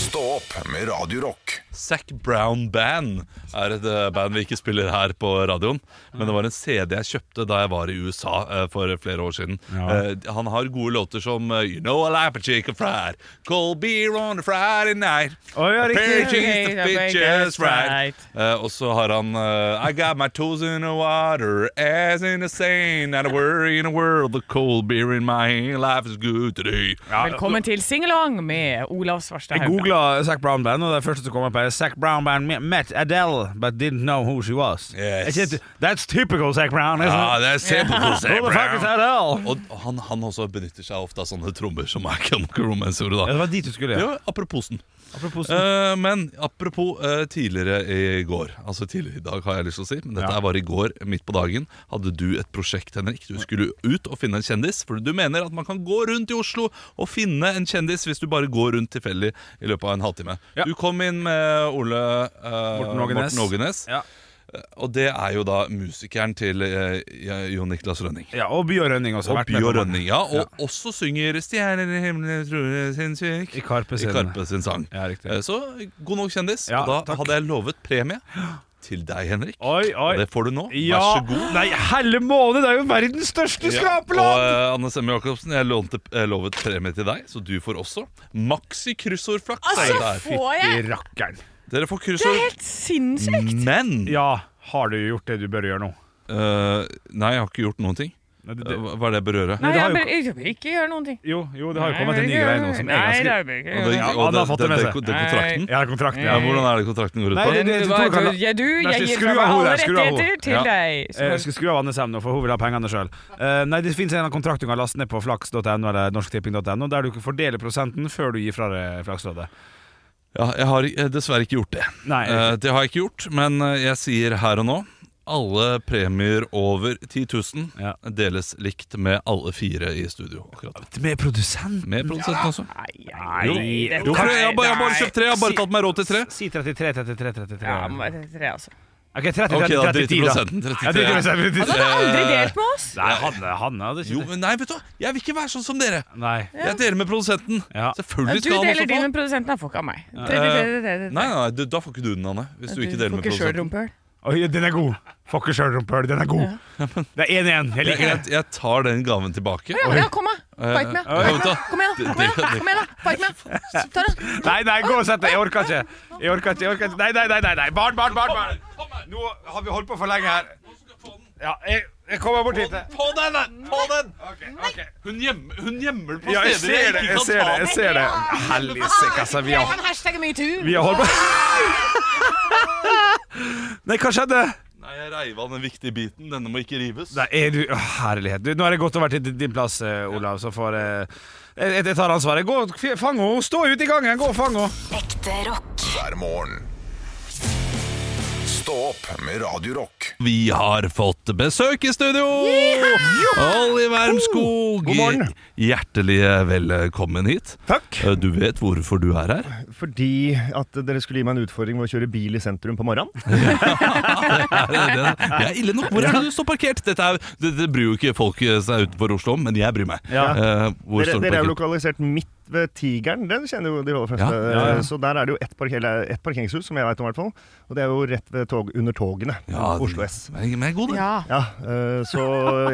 S1: Stå opp med Radio Rock.
S4: Zac Brown Band er et eh, band vi ikke spiller her på radioen. Men det var en CD jeg kjøpte da jeg var i USA eh, for flere år siden. Eh, Han har gode låter som eh, You know I like a chicken fried Cold beer on a Friday night
S2: Å, ja,
S4: A pair of
S2: riktig.
S4: chickens to
S2: Okay,
S4: be
S2: I think
S4: just
S2: that's
S4: fried.
S2: right.
S4: Eh, Og så har han eh, I got my toes in the water Ass in the sand Not a worry in the world The cold beer in my hand Life is good today
S8: Velkommen til Singalong med Olav Svarstad
S2: Jeg
S8: Haugland.
S2: googla Zac Brown Band, og det første som kom opp, er Zac Brown Band me- met Adele, but didn't know who she was.
S4: Yes.
S2: Ikke- That's typical Zac Brown, isn't
S4: Ja,
S2: it?
S4: det er
S2: Yeah.
S4: typical Zac
S2: Who the fuck
S4: Brown.
S2: is Adele?
S4: Og han, han også benytter seg ofte av sånne trommer som er Chemical Romance gjorde da.
S2: Ja, det var dit du skulle, ja.
S4: ja apropos den.
S2: Apropos
S4: Eh, men apropos eh, tidligere i går, altså tidligere i dag har jeg lyst til å si, men dette
S2: Ja.
S4: her var i går midt på dagen, hadde du et prosjekt, Henrik. Du skulle ut og finne en kjendis, for du mener at man kan gå rundt i Oslo og finne en kjendis hvis du bare går rundt tilfeldig i løpet av en halvtime. Du kom inn med Ole eh,
S2: Morten Ågenes.
S4: Morten Ågenes. Eh, Og det er jo da musikeren til eh, Jon Niklas Rønning.
S2: Ja, og Bjørn Rønning også.
S4: Og
S2: vært med
S4: Bjørn
S2: på mange.
S4: Rønning, ja. Og også synger 'Stjerner i himmelen tror jeg sinnssyk'
S2: I Karpe
S4: i
S2: sin-
S4: Karpe sin sang.
S2: Ja, riktig.
S4: Eh, Så god nok kjendis.
S2: Ja,
S4: og da
S2: takk.
S4: hadde jeg lovet premie til deg, Henrik.
S2: Oi, oi.
S4: Og det får du nå.
S2: Ja.
S4: Vær så god.
S2: Nei, helle måned! Det er jo verdens største
S4: Og
S2: skrapeland!
S4: eh, Anne Semme Jacobsen, jeg lånte, eh, lovet premie til deg, så du får også maxi kryssordflaks.
S5: Altså,
S4: der.
S5: får jeg- Fytti
S2: rakkeren.
S4: Dere får
S5: Det er
S4: kryssord.
S5: helt
S4: Mm.
S5: sinnssykt!
S4: Men Eh,
S2: Ja, har du gjort det du bør gjøre nå?
S4: nei, jeg har ikke gjort noen ting.
S2: det-
S4: Eh, Hva hva er det jeg bør gjøre?
S5: Nei, jeg, bør- jeg, bør ikke gjøre noen ting.
S2: Jo, jo det har jo
S5: Nei,
S2: kommet en ny
S5: jeg bør
S2: greie
S5: ikke
S2: nå
S5: gjøre
S2: som
S5: det.
S2: er
S5: Nei,
S2: ganske
S5: det bør jeg ikke
S4: Og det-
S5: gjøre.
S4: og
S2: han har fått det med
S4: det-
S2: seg.
S4: Det er kontrakten?
S2: Nei. Ja, kontrakten,
S4: ja.
S2: ja.
S4: Hvordan er det kontrakten går ut
S2: Nei,
S4: på?
S2: det- det- jeg tror
S5: Hva
S2: ikke han-
S5: gjør du?
S2: Nei,
S5: Jeg
S2: så
S5: gir
S2: skru
S5: fra meg
S2: av hodet,
S5: alle
S2: skru av hodet.
S5: rettigheter til
S2: Ja.
S5: deg. Så-
S2: Eh, skal skru av Anne Sem nå, for hun vil ha pengene sjøl. nei, det fins en eller annen kontrakt du kan laste ned på flaks.no eller norsktipping.no, der du ikke fordeler prosenten før du gir fra deg Flaksrådet.
S4: Ja, jeg har eh, dessverre ikke gjort det.
S2: Nei,
S4: Eh, det har jeg ikke gjort, men eh, jeg sier her og nå alle premier over 10 000 deles likt med alle fire i studio. akkurat
S2: Med produsent?
S4: Med produsenten også.
S2: Nei,
S4: Jo,
S2: det-
S4: jo, for jeg har bare- jeg har bare kjøpt tre. Jeg har bare tatt meg råd til tre.
S2: Si 33, 33, 33.
S5: Ja, men det er tre, altså.
S2: Ok, 30,
S4: Ok,
S2: 30,
S4: da
S2: 30,
S4: driter prosenten.
S2: Ja, driter prosenten.
S5: Han hadde aldri
S4: Eh,
S5: delt med oss!
S2: Nei, han, han hadde ikke
S4: Jo,
S2: det.
S4: men nei, vet du hva? Jeg vil ikke være sånn som dere.
S2: Nei.
S4: Jeg deler med produsenten.
S5: Du
S4: Selvfølgelig skal han
S5: deler
S4: også
S5: din,
S4: få.
S5: men produsenten har fått av meg. Tre, tre, tre, tre, tre,
S4: Eh,
S5: tre.
S4: Nei, nei, du- da får ikke du den, Anne. Hvis du ikke deler med
S5: får ikke sjøl
S4: produsenten.
S5: rumpehull.
S2: Oi, den er god. Får ikke sjøl rumpehøl, den er god. Det er 1-1. Jeg
S4: Jeg,
S2: liker
S4: jeg,
S2: det.
S4: jeg tar den gaven tilbake.
S5: Ja, men ja, kom, da! Fight med! Fight
S4: Eh, vet du
S5: med.
S4: hva?
S5: Kom igjen, da! Kom igjen, da! Kom igjen, da. Fight med! Ta det!
S2: Nei, nei, gå og sett deg. Jeg orker ikke. Jeg orker ikke. jeg orker ikke Nei, nei, nei. nei, nei. Barn, barn, barn. barn. Nå har vi holdt på for lenge her. Ja, jeg, jeg kommer bort hit.
S4: På den! da! På den! Hun, gjemmer, hun gjemmer den på
S2: Ja, jeg
S4: steder
S2: ser det.
S4: ikke
S2: Jeg
S4: kan
S2: ser
S4: ta
S2: det.
S4: den.
S2: jeg ser det Helsike, altså. Vi har,
S5: hashtagge metoo!
S2: vi har holdt på Nei, hva skjedde?
S4: Nei, jeg reiv av den viktige biten. Denne må ikke rives.
S2: Nei, er du, å, herlighet. Du, nå har jeg gått over til din- din plass, eh, Olav. Så får eh, jeg, jeg- jeg tar ansvaret. Gå og f- fang henne. Stå ute i gangen. Gå og fang henne.
S6: Ekte rock.
S1: hver morgen. Stå opp med Radio Rock.
S4: Vi har fått besøk i studio! Olli Wermskog!
S3: God morgen.
S4: Hjertelig velkommen hit. Eh,
S3: Takk.
S4: Du vet hvorfor du er her?
S3: Eh, Fordi at dere skulle gi meg en utfordring med å kjøre bil i sentrum på morgenen.
S4: Er det, det, det er ille nok. Hvor er det du står parkert? Dette er, det, det bryr jo ikke folk eh, seg utenfor Oslo om, men jeg bryr meg.
S3: Ja.
S4: Eh, hvor
S3: dere,
S4: står du
S3: dere er jo
S4: parkert?
S3: lokalisert midt ved Tigeren, den kjenner jo de aller fleste.
S4: Ja, ja, ja.
S3: Så der er det jo ett parker, eller ett parkeringshus, som jeg veit om i hvert fall. Og det er jo rett ved tog, under togene.
S4: Ja,
S3: Oslo S.
S4: Men men jeg er god, det.
S5: Ja.
S3: Ja, eh, så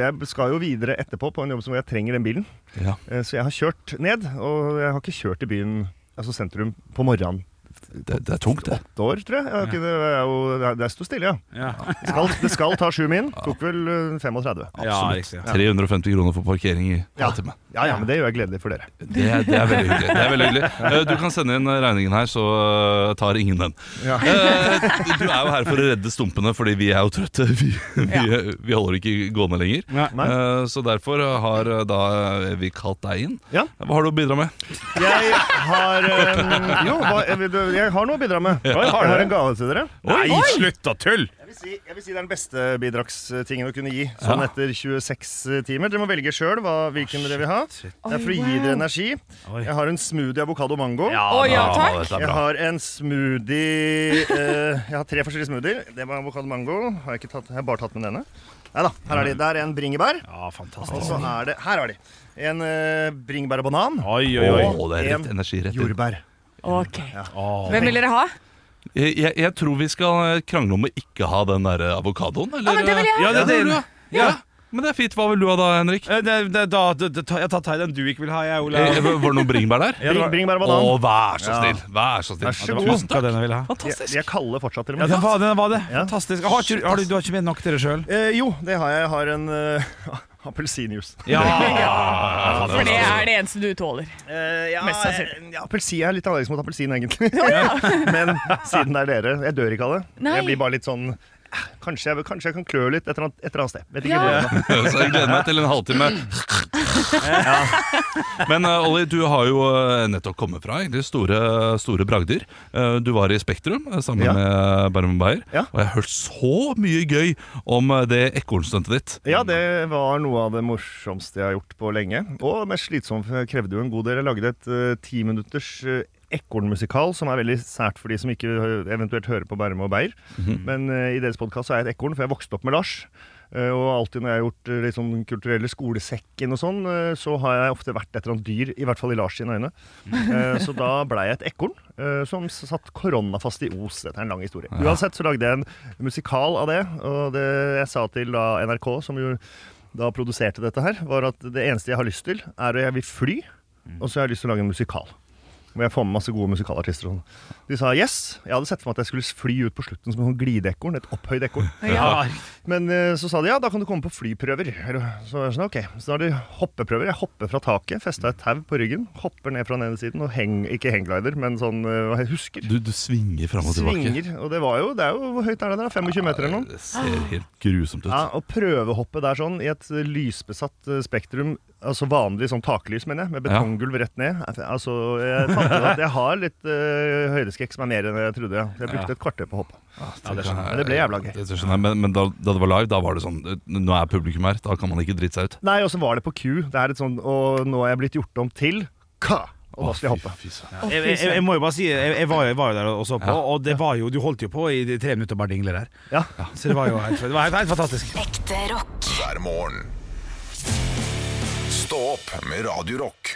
S3: jeg skal jo videre etterpå på en jobb som hvor jeg trenger den bilen.
S4: Ja.
S3: Eh, Så jeg har kjørt ned, og jeg har ikke kjørt i byen, altså sentrum, på morgenen.
S4: Det, det er tungt, det.
S3: Åtte år, tror jeg. jeg har ikke, det, er jo, det er- det sto stille, ja.
S2: Ja,
S3: Det skal, det skal ta sju min. Tok vel eh, 35.
S2: ja riktig.
S4: 350 kroner for parkering i
S3: Ja.
S4: halvtime.
S3: Ja, ja, men det gjør jeg gledelig for dere.
S4: Det, er- det er veldig hyggelig. Det er veldig hyggelig. Eh, Du kan sende inn regningen her, så eh, tar ingen den.
S3: Ja.
S4: Eh, Du er jo her for å redde stumpene, fordi vi er jo trøtte. Vi, vi, vi holder ikke gående lenger.
S3: Nei.
S4: Eh, Så derfor har eh, da vi kalt deg inn.
S3: Ja.
S4: Hva har du å bidra med?
S3: Jeg har eh, Jo, hva, jeg, vil- jeg har noe å bidra med. Jeg har en gave til dere.
S2: Nei, slutt å tulle!
S3: Jeg vil, si, jeg vil si det er den beste bidragstingen å kunne gi sånn
S4: Ja.
S3: etter 26 timer. Dere må velge sjøl hvilken dere vil ha. Det er for å gi dere energi.
S2: Oi.
S3: Jeg har en smoothie avokado mango.
S5: Å ja, takk!
S4: dette er
S3: Jeg
S4: bra.
S3: har en smoothie eh, Jeg har tre forskjellige smoothier. Det var avokado mango. Har jeg, ikke tatt, jeg har bare tatt med denne. Nei da. Her er de. Der er en bringebær.
S2: Ja, fantastisk.
S3: Og så er det Her har de. En eh, bringebær og banan.
S2: Oi, oi, oi.
S4: Å, det er rett
S3: en
S4: energi rett inn.
S3: Jordbær.
S5: Ok. Hvem vil dere ha?
S4: Jeg, jeg, jeg tror vi skal eh, krangle om å ikke ha den der eh, avokadoen.
S5: Å, men det vil jeg ha.
S2: Ja, det, det,
S4: Ja. Ja. Men det er fint. Hva vil du ha da, Henrik?
S2: Eh, det, det, da, det, det, jeg tar den du ikke vil ha, jeg,
S4: Eh,
S2: Olav.
S4: Var det noen bringebær der?
S2: Ja, det var-
S3: Bring, bringebær og
S4: Å,
S3: banan.
S4: vær så snill! Vær så snill.
S3: Vær så
S4: Ja, det var-
S3: god.
S4: Tusen takk.
S2: den jeg ville ha.
S3: De, de er kalde fortsatt. til og
S2: Ja,
S3: med.
S2: den var, den var det.
S3: Ja.
S2: Fantastisk. Har, ikke, har du, du har ikke med nok til deg sjøl?
S3: Eh, jo, det har jeg. Jeg har en uh, appelsinjuice.
S2: Ja.
S5: For det er det eneste du tåler.
S3: ja,
S5: Mest sannsynlig.
S3: ja, appelsin, jeg er litt allergisk mot appelsin, egentlig. Men siden det er dere Jeg dør ikke av det.
S5: Nei.
S3: Jeg blir bare litt sånn eh, Kanskje jeg, kanskje jeg kan klø litt et eller annet, et eller annet sted. Vet ikke
S5: Ja.
S3: hvor. ennå.
S4: Så jeg gleder meg til en halvtime. Men eh, Olli, du har jo eh, nettopp kommet fra egentlig store, store bragder. Eh, du var i Spektrum eh, sammen
S3: Ja.
S4: med Bærum Beyer,
S3: Ja.
S4: og jeg har hørt så mye gøy om eh, det ekornstuntet ditt.
S3: Ja, det var noe av det morsomste jeg har gjort på lenge. Og mest slitsomt, for jeg krevde jo en god del. Jeg lagde et eh, timinutters eh, ekornmusikal, som er veldig sært for de som
S4: Mhm.
S3: ikke eh, eventuelt hører på Bærum og Beyer. Men eh, i deres podkast er jeg et ekorn, for jeg vokste opp med Lars. Eh, Og alltid når jeg har gjort eh, litt sånn kulturelle skolesekken og sånn, eh, så har jeg ofte vært et eller annet dyr, i hvert fall i Lars sine øyne. Eh, Så da blei jeg et ekorn eh, som s- satt koronafast i Os. Dette er en lang historie.
S10: Ja.
S3: Uansett så lagde jeg en musikal av det, og det jeg sa til da NRK, som jo da produserte dette her, var at det eneste jeg har lyst til, er at jeg vil fly, og så har jeg lyst til å lage en musikal. Hvor jeg får med masse gode musikalartister. og sånn. De sa yes. Jeg hadde sett for meg at jeg skulle fly ut på slutten som en sånn glideekorn. Et opphøyd ekorn.
S10: Ja.
S3: Men eh, så sa de ja, da kan du komme på flyprøver. Eller, Så jeg sånn, ok, så da har de hoppeprøver. Jeg hopper fra taket, festa et tau på ryggen, hopper ned fra den ene siden og heng, ikke hangglider, men sånn eh, hva jeg husker.
S4: Du, du svinger fram og tilbake.
S3: Svinger. Og det var jo, det er jo Hvor høyt er det der? 25 meter eller noe?
S4: Ser helt grusomt ut.
S3: Ja, og prøvehoppe der sånn, i et eh, lysbesatt eh, spektrum, altså vanlig sånn taklys, mener jeg, med
S4: Ja.
S3: betonggulv rett ned. Altså, jeg fant ut at jeg har litt eh, høydeskrekk som er mer enn jeg trodde. ja. Så Jeg brukte
S4: Ja.
S3: et kvarter på å hoppe.
S4: Ja, det skjønner jeg.
S3: Men det ble jævla gøy.
S4: Det skjønner jeg, Men, men da, da det var live, da var det sånn eh, Nå er publikum her, da kan man ikke drite seg ut.
S3: Nei, og så var det på Q. Det er et sånn, og nå er jeg blitt gjort om til Ka! Og da skal jeg hoppe.
S2: Jeg, jeg, jeg må jo bare si, jeg, jeg, var, jeg var jo der og så på, og det var jo, du holdt jo på i de tre minutter bare dingle der. Så det var jo helt, det var helt, helt fantastisk.
S6: Ekte rock.
S1: Hver morgen. Stå opp med Radio Rock.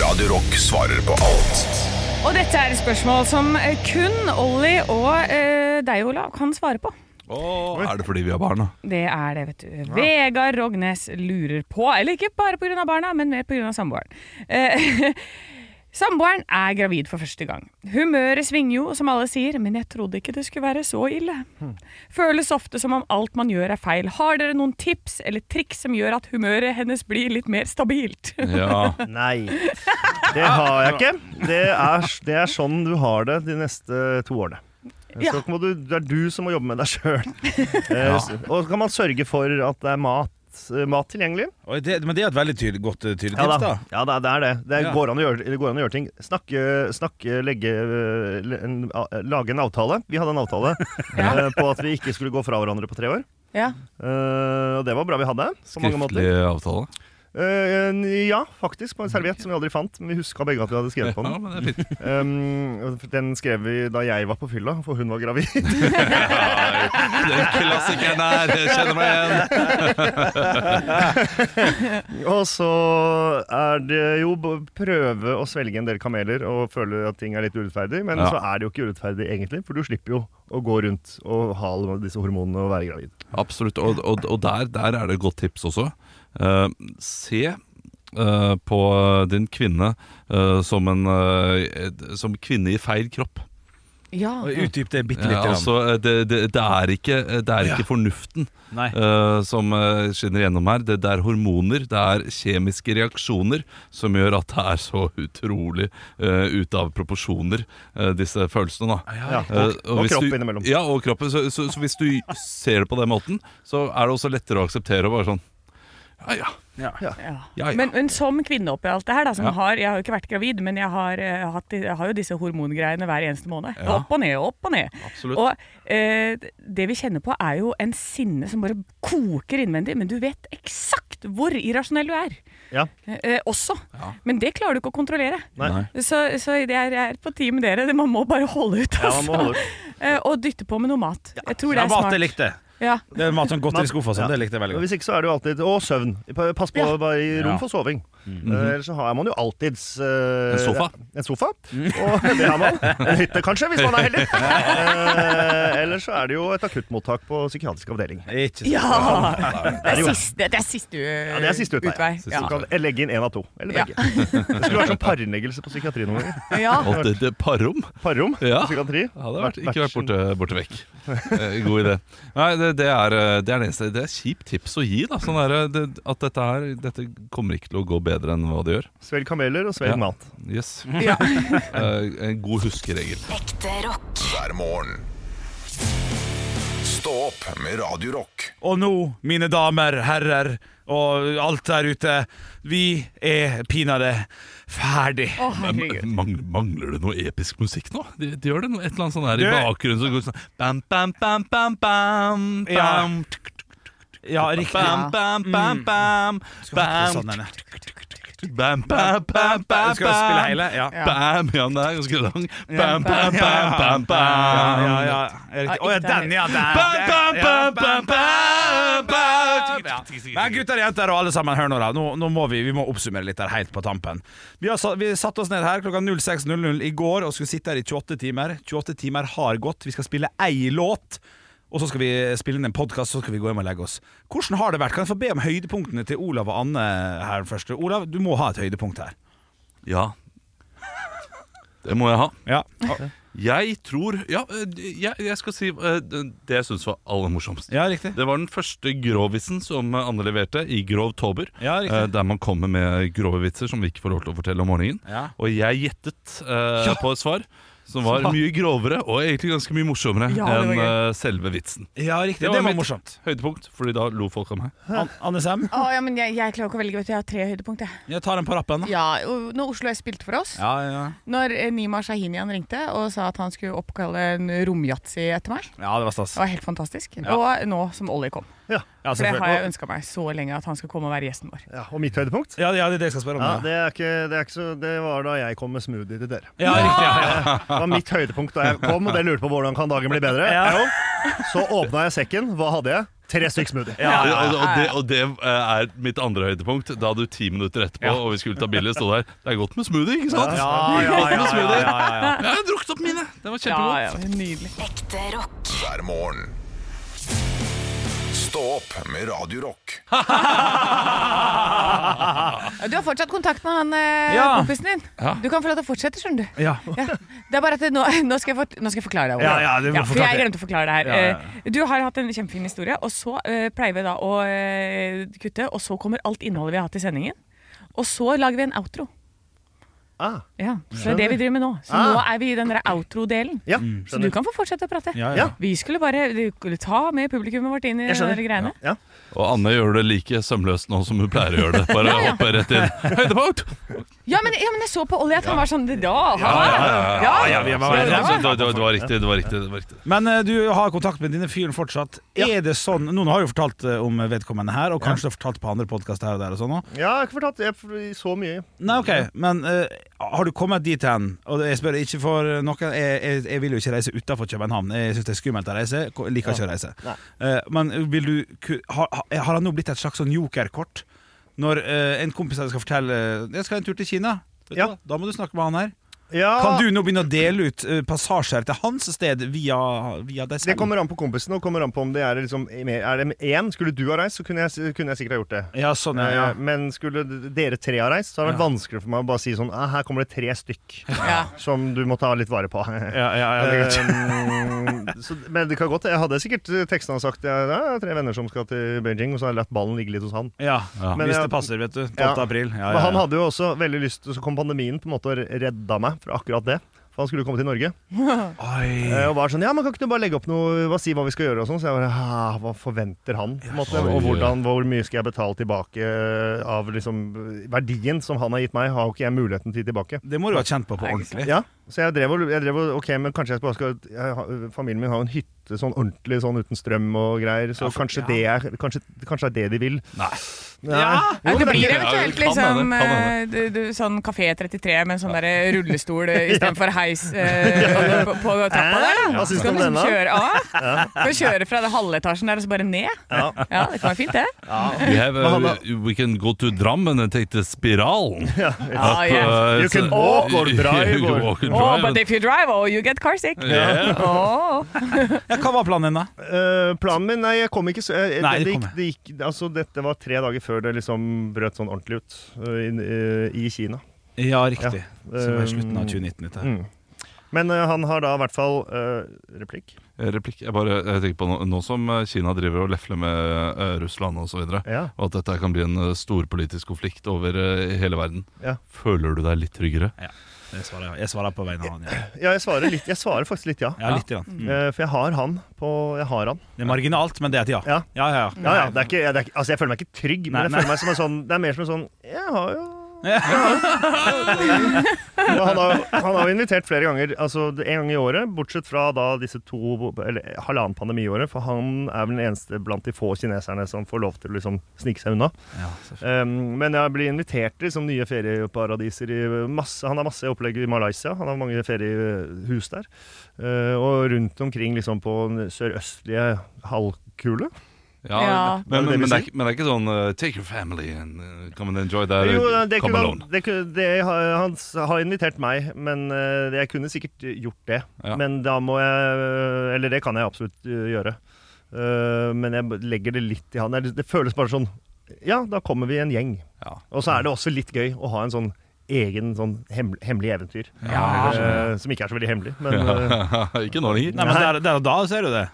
S1: Radio Rock svarer på alt.
S5: Og dette er et spørsmål som eh, kun Olli og eh, deg, Olav, kan svare på.
S4: Åh, er det fordi vi har barn, da?
S5: Det er det, vet du. Vegard Rognes lurer på, eller ikke bare pga. barna, men mer pga. samboeren. Eh, Samboeren er gravid for første gang. Humøret svinger jo, som alle sier, men jeg trodde ikke det skulle være så ille. Føles ofte som om alt man gjør er feil. Har dere noen tips eller triks som gjør at humøret hennes blir litt mer stabilt?
S3: Nei. Det har jeg ikke. Det er, det er sånn du har det de neste to årene.
S5: Ja.
S3: Så må du, det er du som må jobbe med deg sjøl.
S2: Ja.
S3: Og så kan man sørge for at det er mat, eh, mat tilgjengelig.
S2: Og det, men det er et veldig tydelig, godt eh, tydelig
S3: Ja da.
S2: tips, da.
S3: Ja, det er- det er det. Det
S2: Ja.
S3: går an å gjøre, det går an å gjøre ting. Snakke, snakke legge øh, le- en, a- Lage en avtale. Vi hadde en avtale øh, på at vi ikke skulle gå fra hverandre på tre år.
S5: Ja.
S3: Eh, og det var bra vi hadde. På mange
S4: Skriftlig
S3: måter.
S4: avtale.
S3: Eh, en- ja, faktisk. På en serviett som vi aldri fant. Men vi huska begge at vi hadde skrevet på den.
S4: Ja, men det er
S3: Um, for den skrev vi da jeg var på fylla, for hun var gravid.
S4: Den klassikeren her, jeg kjenner meg
S3: igjen. og så er det jo b- prøve å svelge en del kameler og føle at ting er litt urettferdig, men
S4: Ja.
S3: så er det jo ikke urettferdig egentlig, for du slipper jo å gå rundt og ha alle disse hormonene og være gravid.
S4: Absolutt. Og, og, og der, der er det et godt tips også. Eh, se eh, på din kvinne eh, som en eh, et- som kvinne i feil kropp.
S5: Ja.
S2: Og Utdyp det bitte lite
S4: Ja,
S2: grann.
S4: altså, eh, det, det, det er ikke, eh, det er ikke fornuften
S2: Nei.
S4: eh, som eh, skinner gjennom her. Det, det er hormoner, det er kjemiske reaksjoner som gjør at det er så utrolig eh, ute av proporsjoner, eh, disse følelsene. Da.
S3: Ja, og-
S4: Eh,
S3: og
S4: hvis
S3: kropp
S4: du,
S3: innimellom.
S4: Ja, og kroppen. Så, så, så hvis du ser det på den måten, så er det også lettere å akseptere og bare sånn Ja,
S2: ja.
S4: Ja, ja.
S5: Men, men som kvinne oppi alt det her, da, som
S4: Ja.
S5: har, jeg har jo ikke vært gravid, men jeg har, eh, hatt, jeg har jo disse hormongreiene hver eneste måned.
S4: Ja.
S5: Opp og ned, opp og ned.
S4: Absolutt.
S5: Og eh, det vi kjenner på er jo en sinne som bare koker innvendig, men du vet eksakt hvor irrasjonell du er.
S3: Ja.
S5: Eh, også. Men det klarer du ikke å kontrollere.
S3: Nei. Nei.
S5: Så, så det er, jeg er på team med dere. Det- Man må bare holde ut,
S2: Ja, man må holde ut.
S5: Eh, og dytte på med noe mat. Jeg tror det
S2: Ja,
S5: er
S2: mat
S5: smart.
S2: jeg likte.
S5: Ja.
S2: Det er mat som godt
S3: Man-
S2: i skuffa, sånn.
S3: ja.
S2: Det likte jeg veldig
S3: Og
S2: godt.
S3: Hvis ikke så er det jo alltid Og søvn. Pa- Pass på
S2: Ja.
S3: bare i rom
S2: Ja.
S3: for soving.
S2: Mhm.
S3: Eh, Ellers så har man jo alltids eh,
S2: En sofa.
S3: En sofa.
S5: Mm.
S3: Og det har man. En hytte, kanskje, hvis man er heldig. Eh, ellers så er det jo et akuttmottak på psykiatrisk avdeling.
S2: Ikke
S5: Ja!
S3: Det er
S5: Det
S3: jo-
S5: er siste, det er siste,
S3: Ja, det er siste utvei.
S5: utvei.
S3: Så
S5: Ja.
S3: Du kan legge inn én av to. Eller
S5: Ja.
S3: begge. Det skulle vært sånn parnleggelse på psykiatri noen ganger.
S5: Ja.
S4: Og det, det, parom?
S3: Parom
S4: Ja.
S3: på psykiatri.
S4: Ja, det har vært, ikke vært borte, borte vekk. Eh, God idé. Nei, det, det, er, eh, det er det eneste Det er kjipt tips å gi. da sånn er, det- det, At dette her Dette kommer ikke til å gå bedre enn hva det gjør.
S3: Svelg kameler og svelg
S4: Ja.
S3: mat.
S4: Yes.
S3: Ja.
S4: Eh, en god huskeregel.
S6: Ekte rock.
S1: Hver morgen. Stå opp med Radio Rock.
S2: Og nå, mine damer, herrer og alt der ute, vi er pinadø ferdig.
S4: Men mang- mangler det noe episk musikk nå? De, de gjør det noe, et eller annet sånn her i
S2: Du-
S4: bakgrunnen som går sånn bam, bam, bam, bam, bam, bam.
S2: Ja, riktig.
S3: Mm.
S4: Bam, bam, bam, bam,
S2: Skal ha det
S4: bam.
S2: sånn, denne.
S4: Bam, bam, bam, bam,
S2: Skal vi spille hele? Ja.
S4: Bam, ja, den er ganske lang. Bam, bam, bam, bam, bam.
S2: Ja, ja, ja. Er riktig. Å ja, den, ja. Den,
S4: Bam,
S2: den.
S4: bam,
S2: Ja,
S4: bam, bam, bam, bam.
S2: Ja. Men gutter, jenter og alle sammen, hør nå da. Nå, nå må vi, vi må oppsummere litt her helt på tampen. Vi, har, sa- vi satt oss ned her klokka 06.00 i går og skulle sitte her i 28 timer. 28 timer har gått. Vi skal spille ei låt. Og så skal vi spille inn en podkast, så skal vi gå hjem og legge oss. Hvordan har det vært? Kan jeg få be om høydepunktene til Olav og Anne her først? Olav, du må ha et høydepunkt her.
S4: Ja. Det må jeg ha.
S2: Ja.
S4: Jeg tror Ja, eh, jeg, jeg skal si eh, det det jeg syns var aller morsomst.
S2: Ja, riktig
S4: Det var den første grovvitsen som eh, Anne leverte, i Grov Tober.
S2: Ja, riktig.
S4: eh, der man kommer med grove vitser som vi ikke får lov til å fortelle om morgenen.
S2: Ja.
S4: Og jeg gjettet eh,
S2: Ja.
S4: på et svar som var
S2: Ja.
S4: mye grovere og egentlig ganske mye morsommere
S2: Ja, det var
S4: enn
S2: gøy.
S4: eh, selve vitsen.
S2: Ja, riktig. Det var morsomt.
S4: høydepunkt, fordi da lo folk av meg.
S2: An Anne Sem,
S5: Å, ja, men jeg, jeg klarer ikke å velge. Vet du. Jeg har tre høydepunkt. Jeg.
S2: jeg tar en på rappen. da.
S5: Ja, og Når Oslo S spilte for oss,
S2: Ja, ja.
S5: når eh, Nima Shahinian ringte og sa at han skulle oppkalle en romyatzy etter meg
S2: ja, det var stas.
S5: Det var helt fantastisk.
S2: Ja.
S5: Og nå som Ollie kom.
S2: Ja,
S5: For det har jeg
S2: selvfølgelig.
S5: ønska meg så lenge, at han skal komme og være gjesten vår.
S3: Ja, og mitt høydepunkt?
S2: Ja, ja, det er det jeg skal spørre om.
S3: Ja,
S2: ja.
S3: det, er ikke, det, er ikke så, det var da jeg kom med smoothie til dere.
S2: Ja, riktig, ja, ja.
S3: Det var mitt høydepunkt da jeg kom, og dere lurte på hvordan kan dagen bli bedre.
S2: Ja.
S3: Jo. Så åpna jeg sekken. Hva hadde jeg? Tre stykk smoothie.
S4: Ja, og- Og, det, og det eh, er mitt andre høydepunkt. Da du ti minutter etterpå og vi skulle ta bilde, stod der Det er godt med smoothie, ikke sant?
S2: Ja, ja, ja,
S4: Godt med smoothie.
S2: ja, ja, ja.
S4: Jeg har drukket opp mine. Det var kjempegodt.
S5: nydelig.
S6: Ekte rock.
S1: hver morgen. Stå opp med Radio Rock.
S5: Ja, Du har fortsatt kontakt med han eh,
S2: Ja.
S5: kompisen din.
S2: Ja.
S5: Du kan få lov til å fortsette, skjønner du.
S2: Ja.
S5: Ja. Det er bare at nå, nå, skal jeg fort, nå skal jeg forklare deg Olav.
S2: Ja, ja, det må
S5: for
S2: forklare
S5: jeg
S2: det.
S5: glemte å forklare det her.
S2: Ja, ja,
S5: Eh, Du har hatt en kjempefin historie, og så eh, pleier vi da å eh, kutte, og så kommer alt innholdet vi har hatt i sendingen. Og så lager vi en outro.
S3: Ah.
S5: Ja, så det er det vi driver med nå. Så
S3: Ah.
S5: nå er vi i den der outro-delen.
S3: Ja,
S2: Mm.
S5: Så du kan få fortsette å prate.
S4: Ja, ja.
S5: Vi skulle bare eh, ta med publikummet vårt inn i
S3: Jeg
S5: de
S3: skjønner.
S5: der greiene.
S3: Ja.
S4: Og Anne gjør det like sømløst nå som hun pleier å gjøre det. Bare
S5: Ja, ja.
S4: hopper rett inn. Høydepunkt!
S5: Ja, men, ja, men jeg så på Ollie at han var sånn da,
S2: Ja, ja, vi
S4: Så-
S2: var veldig
S4: så-
S2: redd.
S4: så- det, var- det var riktig. det var riktig, det var riktig
S2: Men eh, du har kontakt med denne fyren fortsatt. Er det sånn Noen har jo fortalt eh, om vedkommende her, og kanskje det har fortalt på andre podkaster her og der og sånn òg.
S3: Ja, jeg har ikke fortalt jeg, så mye.
S2: Nei, ok, men eh, har du kommet dit hen? Og jeg spør ikke for noen Jeg, jeg, jeg vil jo ikke reise utafor København. Jeg syns det er skummelt å reise. ko- Jeg liker ikke å reise. Eh, men vil du ku- har, har han nå blitt et slags sånn jokerkort? Når eh, en kompis av deg skal fortelle eh, Jeg skal en tur til Kina. Vet du hva? Da må du snakke med han her.
S3: Ja.
S2: Kan du nå begynne å dele ut eh, passasjer til hans altså sted via, via deg selv?
S3: Det kommer an på kompisen, og kommer an på om det er liksom mer- Er det én? Skulle du ha reist, så kunne jeg, kunne jeg sikkert ha gjort det.
S2: Ja, sånn, ja, ja.
S3: Eh, Men skulle d- dere tre ha reist, så har det vært
S2: Ja.
S3: vanskelig for meg å bare si sånn «Ah, Her kommer det tre stykk som du må ta litt vare på.
S2: Ja, ja, ja, det er
S3: Eh, så, men det kan godt Jeg hadde sikkert eh, teksten og sagt ja, det er tre venner som skal til Beijing, og så har jeg latt ballen ligge litt hos han.
S2: Ja,
S3: Men
S2: hvis
S3: jeg-
S2: det passer, vet du. 12.
S3: Ja.
S2: april. Ja,
S3: Men
S2: ja,
S3: han
S2: ja.
S3: hadde jo også veldig lyst Så kom pandemien på en måte og redda meg fra akkurat det. For han skulle komme til Norge. Eh, Og var sånn Ja, men kan ikke du bare legge opp noe Hva si hva vi skal gjøre og sånn? Så jeg bare «Ah, Hva forventer han? På en måte?
S4: Oi.
S3: Og hvordan, hvor mye skal jeg betale tilbake av liksom verdien som han har gitt meg? Har jo ikke jeg muligheten til tilbake.
S2: Det må du ha kjent på på ordentlig.
S3: Ja, så jeg drev og jeg drev og- Ok, men kanskje jeg bare skal jeg, har- Familien min har jo en hytte sånn ordentlig sånn uten strøm og greier, så
S2: Ja, for-
S3: kanskje det er kanskje, kanskje det er det de vil.
S4: Nei.
S3: Nei. Jo,
S5: Nei, det
S3: men ikke-
S5: blir eventuelt
S4: Ja, det kan
S5: liksom
S4: hende, kan hende.
S5: eh, du, du, sånn Kafé 33 med en sånn der rullestol eh, istedenfor heis eh, på, på trappa der. da.
S3: Hva syns du
S5: Skal
S3: om
S5: liksom
S3: denne?
S5: kjøre, ja. Skal kjøre fra det halvetasjen der og så bare ned. Ja, det kan være fint, det.
S4: We, have,
S3: Men han
S4: uh, we can go to Drammen and take the spiral.
S5: Ah, yes.
S3: You can walk or drive
S4: You
S3: or-
S4: can walk or
S5: Oh,
S4: drive.
S5: but if you drive, oh, you get car sick.
S4: Yeah.
S5: Oh.
S2: Ja, hva var planen din, da?
S3: Eh, planen min Nei, jeg kom ikke så jeg, det,
S2: Nei, du
S3: det,
S2: kom
S3: gikk, det gikk, altså, Dette var tre dager før det liksom brøt sånn ordentlig ut eh, inn, eh, i Kina.
S2: Ja, riktig.
S3: Ja.
S2: Så det var i slutten av 2019. Dette. her.
S3: Eh, Mm. Men eh, han har da i hvert fall eh, replikk.
S4: Replikk. Jeg bare jeg tenker på nå, nå som eh, Kina driver og lefler med eh, Russland osv., og, så videre,
S3: Ja.
S4: og at dette kan bli en eh, storpolitisk konflikt over eh, hele verden,
S3: Ja.
S4: føler du deg litt tryggere?
S2: Jeg, svarer, jeg svarer på vegne av han. Ja,
S3: Ja, jeg svarer, litt, jeg svarer faktisk litt ja.
S2: ja litt. Grann. Mm.
S3: Eh, for jeg har han på Jeg har han.
S2: Det er marginalt, men det er et ja.
S3: Ja.
S2: Ja, ja, ja.
S3: Ja, ja, det er ikke, det er ikke, altså, jeg føler meg ikke trygg, men
S2: Mm. Nei,
S3: jeg
S2: nei.
S3: føler meg som en sånn Det er mer som en sånn Jeg har jo Men han, har, han har jo invitert flere ganger, altså en gang i året, bortsett fra da disse to, eller halvannen pandemiåret, for han er vel den eneste blant de få kineserne som får lov til å liksom snike seg unna. um, men jeg blir invitert til liksom, nye ferieparadiser i masse Han har masse opplegg i Malaysia, han har mange feriehus der. Uh, og rundt omkring liksom på den sørøstlige halvkule.
S4: Ja,
S3: Ja. Var det
S4: Men,
S3: det
S4: men,
S3: vi
S4: men, det er,
S3: sier?
S4: ikke- men det er ikke sånn eh, Take your family and eh, come and enjoy that
S3: Jo,
S4: eh,
S3: det
S4: come
S3: kunne,
S4: alone.
S3: han- det, kunne- det, har- han s- har invitert meg, men eh, jeg kunne sikkert gjort det.
S4: Ja.
S3: Men da må jeg Eller det kan jeg absolutt eh, gjøre. Eh, men jeg b- legger det litt i han. Det det føles bare sånn Ja, da kommer vi en gjeng. Og så er det også litt gøy å ha en sånn egen sånn hemmel- hemmelig eventyr.
S4: Ja, det skjønner
S3: Eh, som ikke er så veldig hemmelig, men eh,
S4: ikke nå lenger.
S2: Nei, men der, der og da ser du det.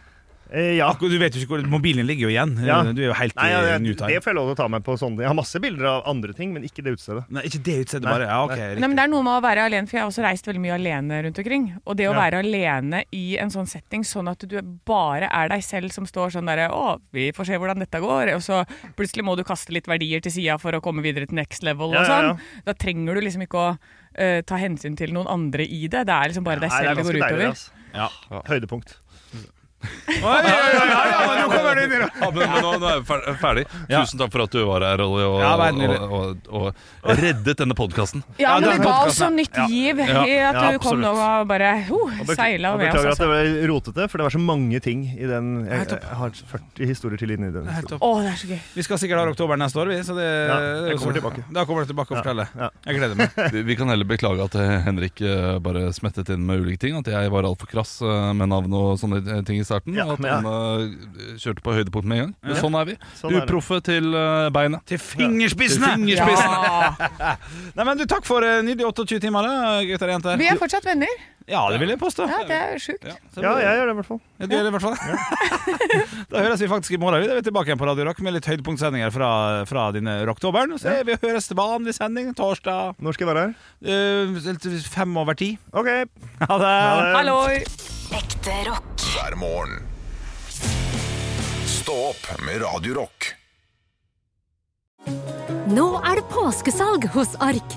S3: ja.
S2: Du vet jo ikke hvor Mobilen ligger jo igjen.
S3: ja.
S2: eh, Du er jo helt
S3: Nei, ja,
S2: i
S3: det,
S2: new time.
S3: det får jeg lov til å ta med på sånne. Jeg har masse bilder av andre ting, men ikke det utestedet.
S2: Nei, ikke det utstedet
S3: Nei.
S2: bare. Ja, ok,
S3: Nei.
S2: riktig.
S5: Nei, men det er noe med å være alene, for jeg har også reist veldig mye alene rundt omkring. Og det å
S3: Ja.
S5: være alene i en sånn setting, sånn at du bare er deg selv som står sånn derre Å, vi får se hvordan dette går. Og så plutselig må du kaste litt verdier til sida for å komme videre til next level
S3: Ja,
S5: og
S3: ja, ja.
S5: sånn. Da trenger du liksom ikke å eh, ta hensyn til noen andre i det. Det er liksom bare deg
S3: Nei,
S5: selv det, går
S3: ganske
S5: utover.
S3: deilig, altså. Høydepunkt.
S4: Ja, men, men nå, nå er vi fer- ferdig. Tusen takk for at du var her Olli, og,
S2: Ja, vær
S4: og,
S2: nydelig.
S4: og, og, reddet denne podkasten.
S5: Ja, men det ga oss sånn nytt giv
S4: Ja.
S5: i at
S4: Ja,
S5: du kom nå og bare oh,
S3: Og bek-
S5: seila
S3: og
S5: med oss.
S3: Beklager at
S5: Altså.
S3: det ble rotete, for det var så mange ting i den. Jeg,
S5: topp.
S3: jeg har 40 historier til inni den. historien.
S2: Helt topp.
S5: Å, det er så gøy.
S2: Vi skal sikkert ha oktober neste år, vi. Så det,
S3: Ja,
S2: det er jo
S3: jeg kommer
S2: så-
S3: tilbake.
S2: Da kommer du tilbake og
S3: Ja,
S2: forteller.
S3: ja.
S2: Jeg gleder meg.
S4: Vi, vi kan heller beklage at eh, Henrik eh, bare smettet inn med ulike ting. At jeg var altfor krass eh, med navn og sånne eh, ting i starten.
S3: Ja,
S4: og at
S3: men
S4: han eh, kjørte på høydepunkt med en gang. Men sånn er vi.
S3: Sånn er det.
S4: Uproffe til eh, beinet.
S2: Til fingerspissene!
S4: Til fingerspissene.
S2: Nei, men du, Takk for uh, nydelige 28 timer, da, gutter og jenter.
S5: Vi er fortsatt venner.
S2: Ja, det vil jeg påstå.
S5: Ja, det er sjukt.
S2: Så
S3: Ja,
S2: det-
S3: jeg gjør det i hvert fall.
S2: Ja, du gjør det i hvert fall. da høres vi faktisk i morgen. Vi er tilbake igjen på Radio Rock med litt høydepunktsendinger fra, fra denne rocktoberen. Så vi høres til vanlig sending torsdag
S3: Når skal jeg være her?
S2: eh, fem over ti.
S3: OK.
S2: Ha det!
S5: Halloi!
S6: Ekte rock.
S1: hver morgen. Stå opp med Radio Rock.
S10: Nå er det påskesalg hos Ark.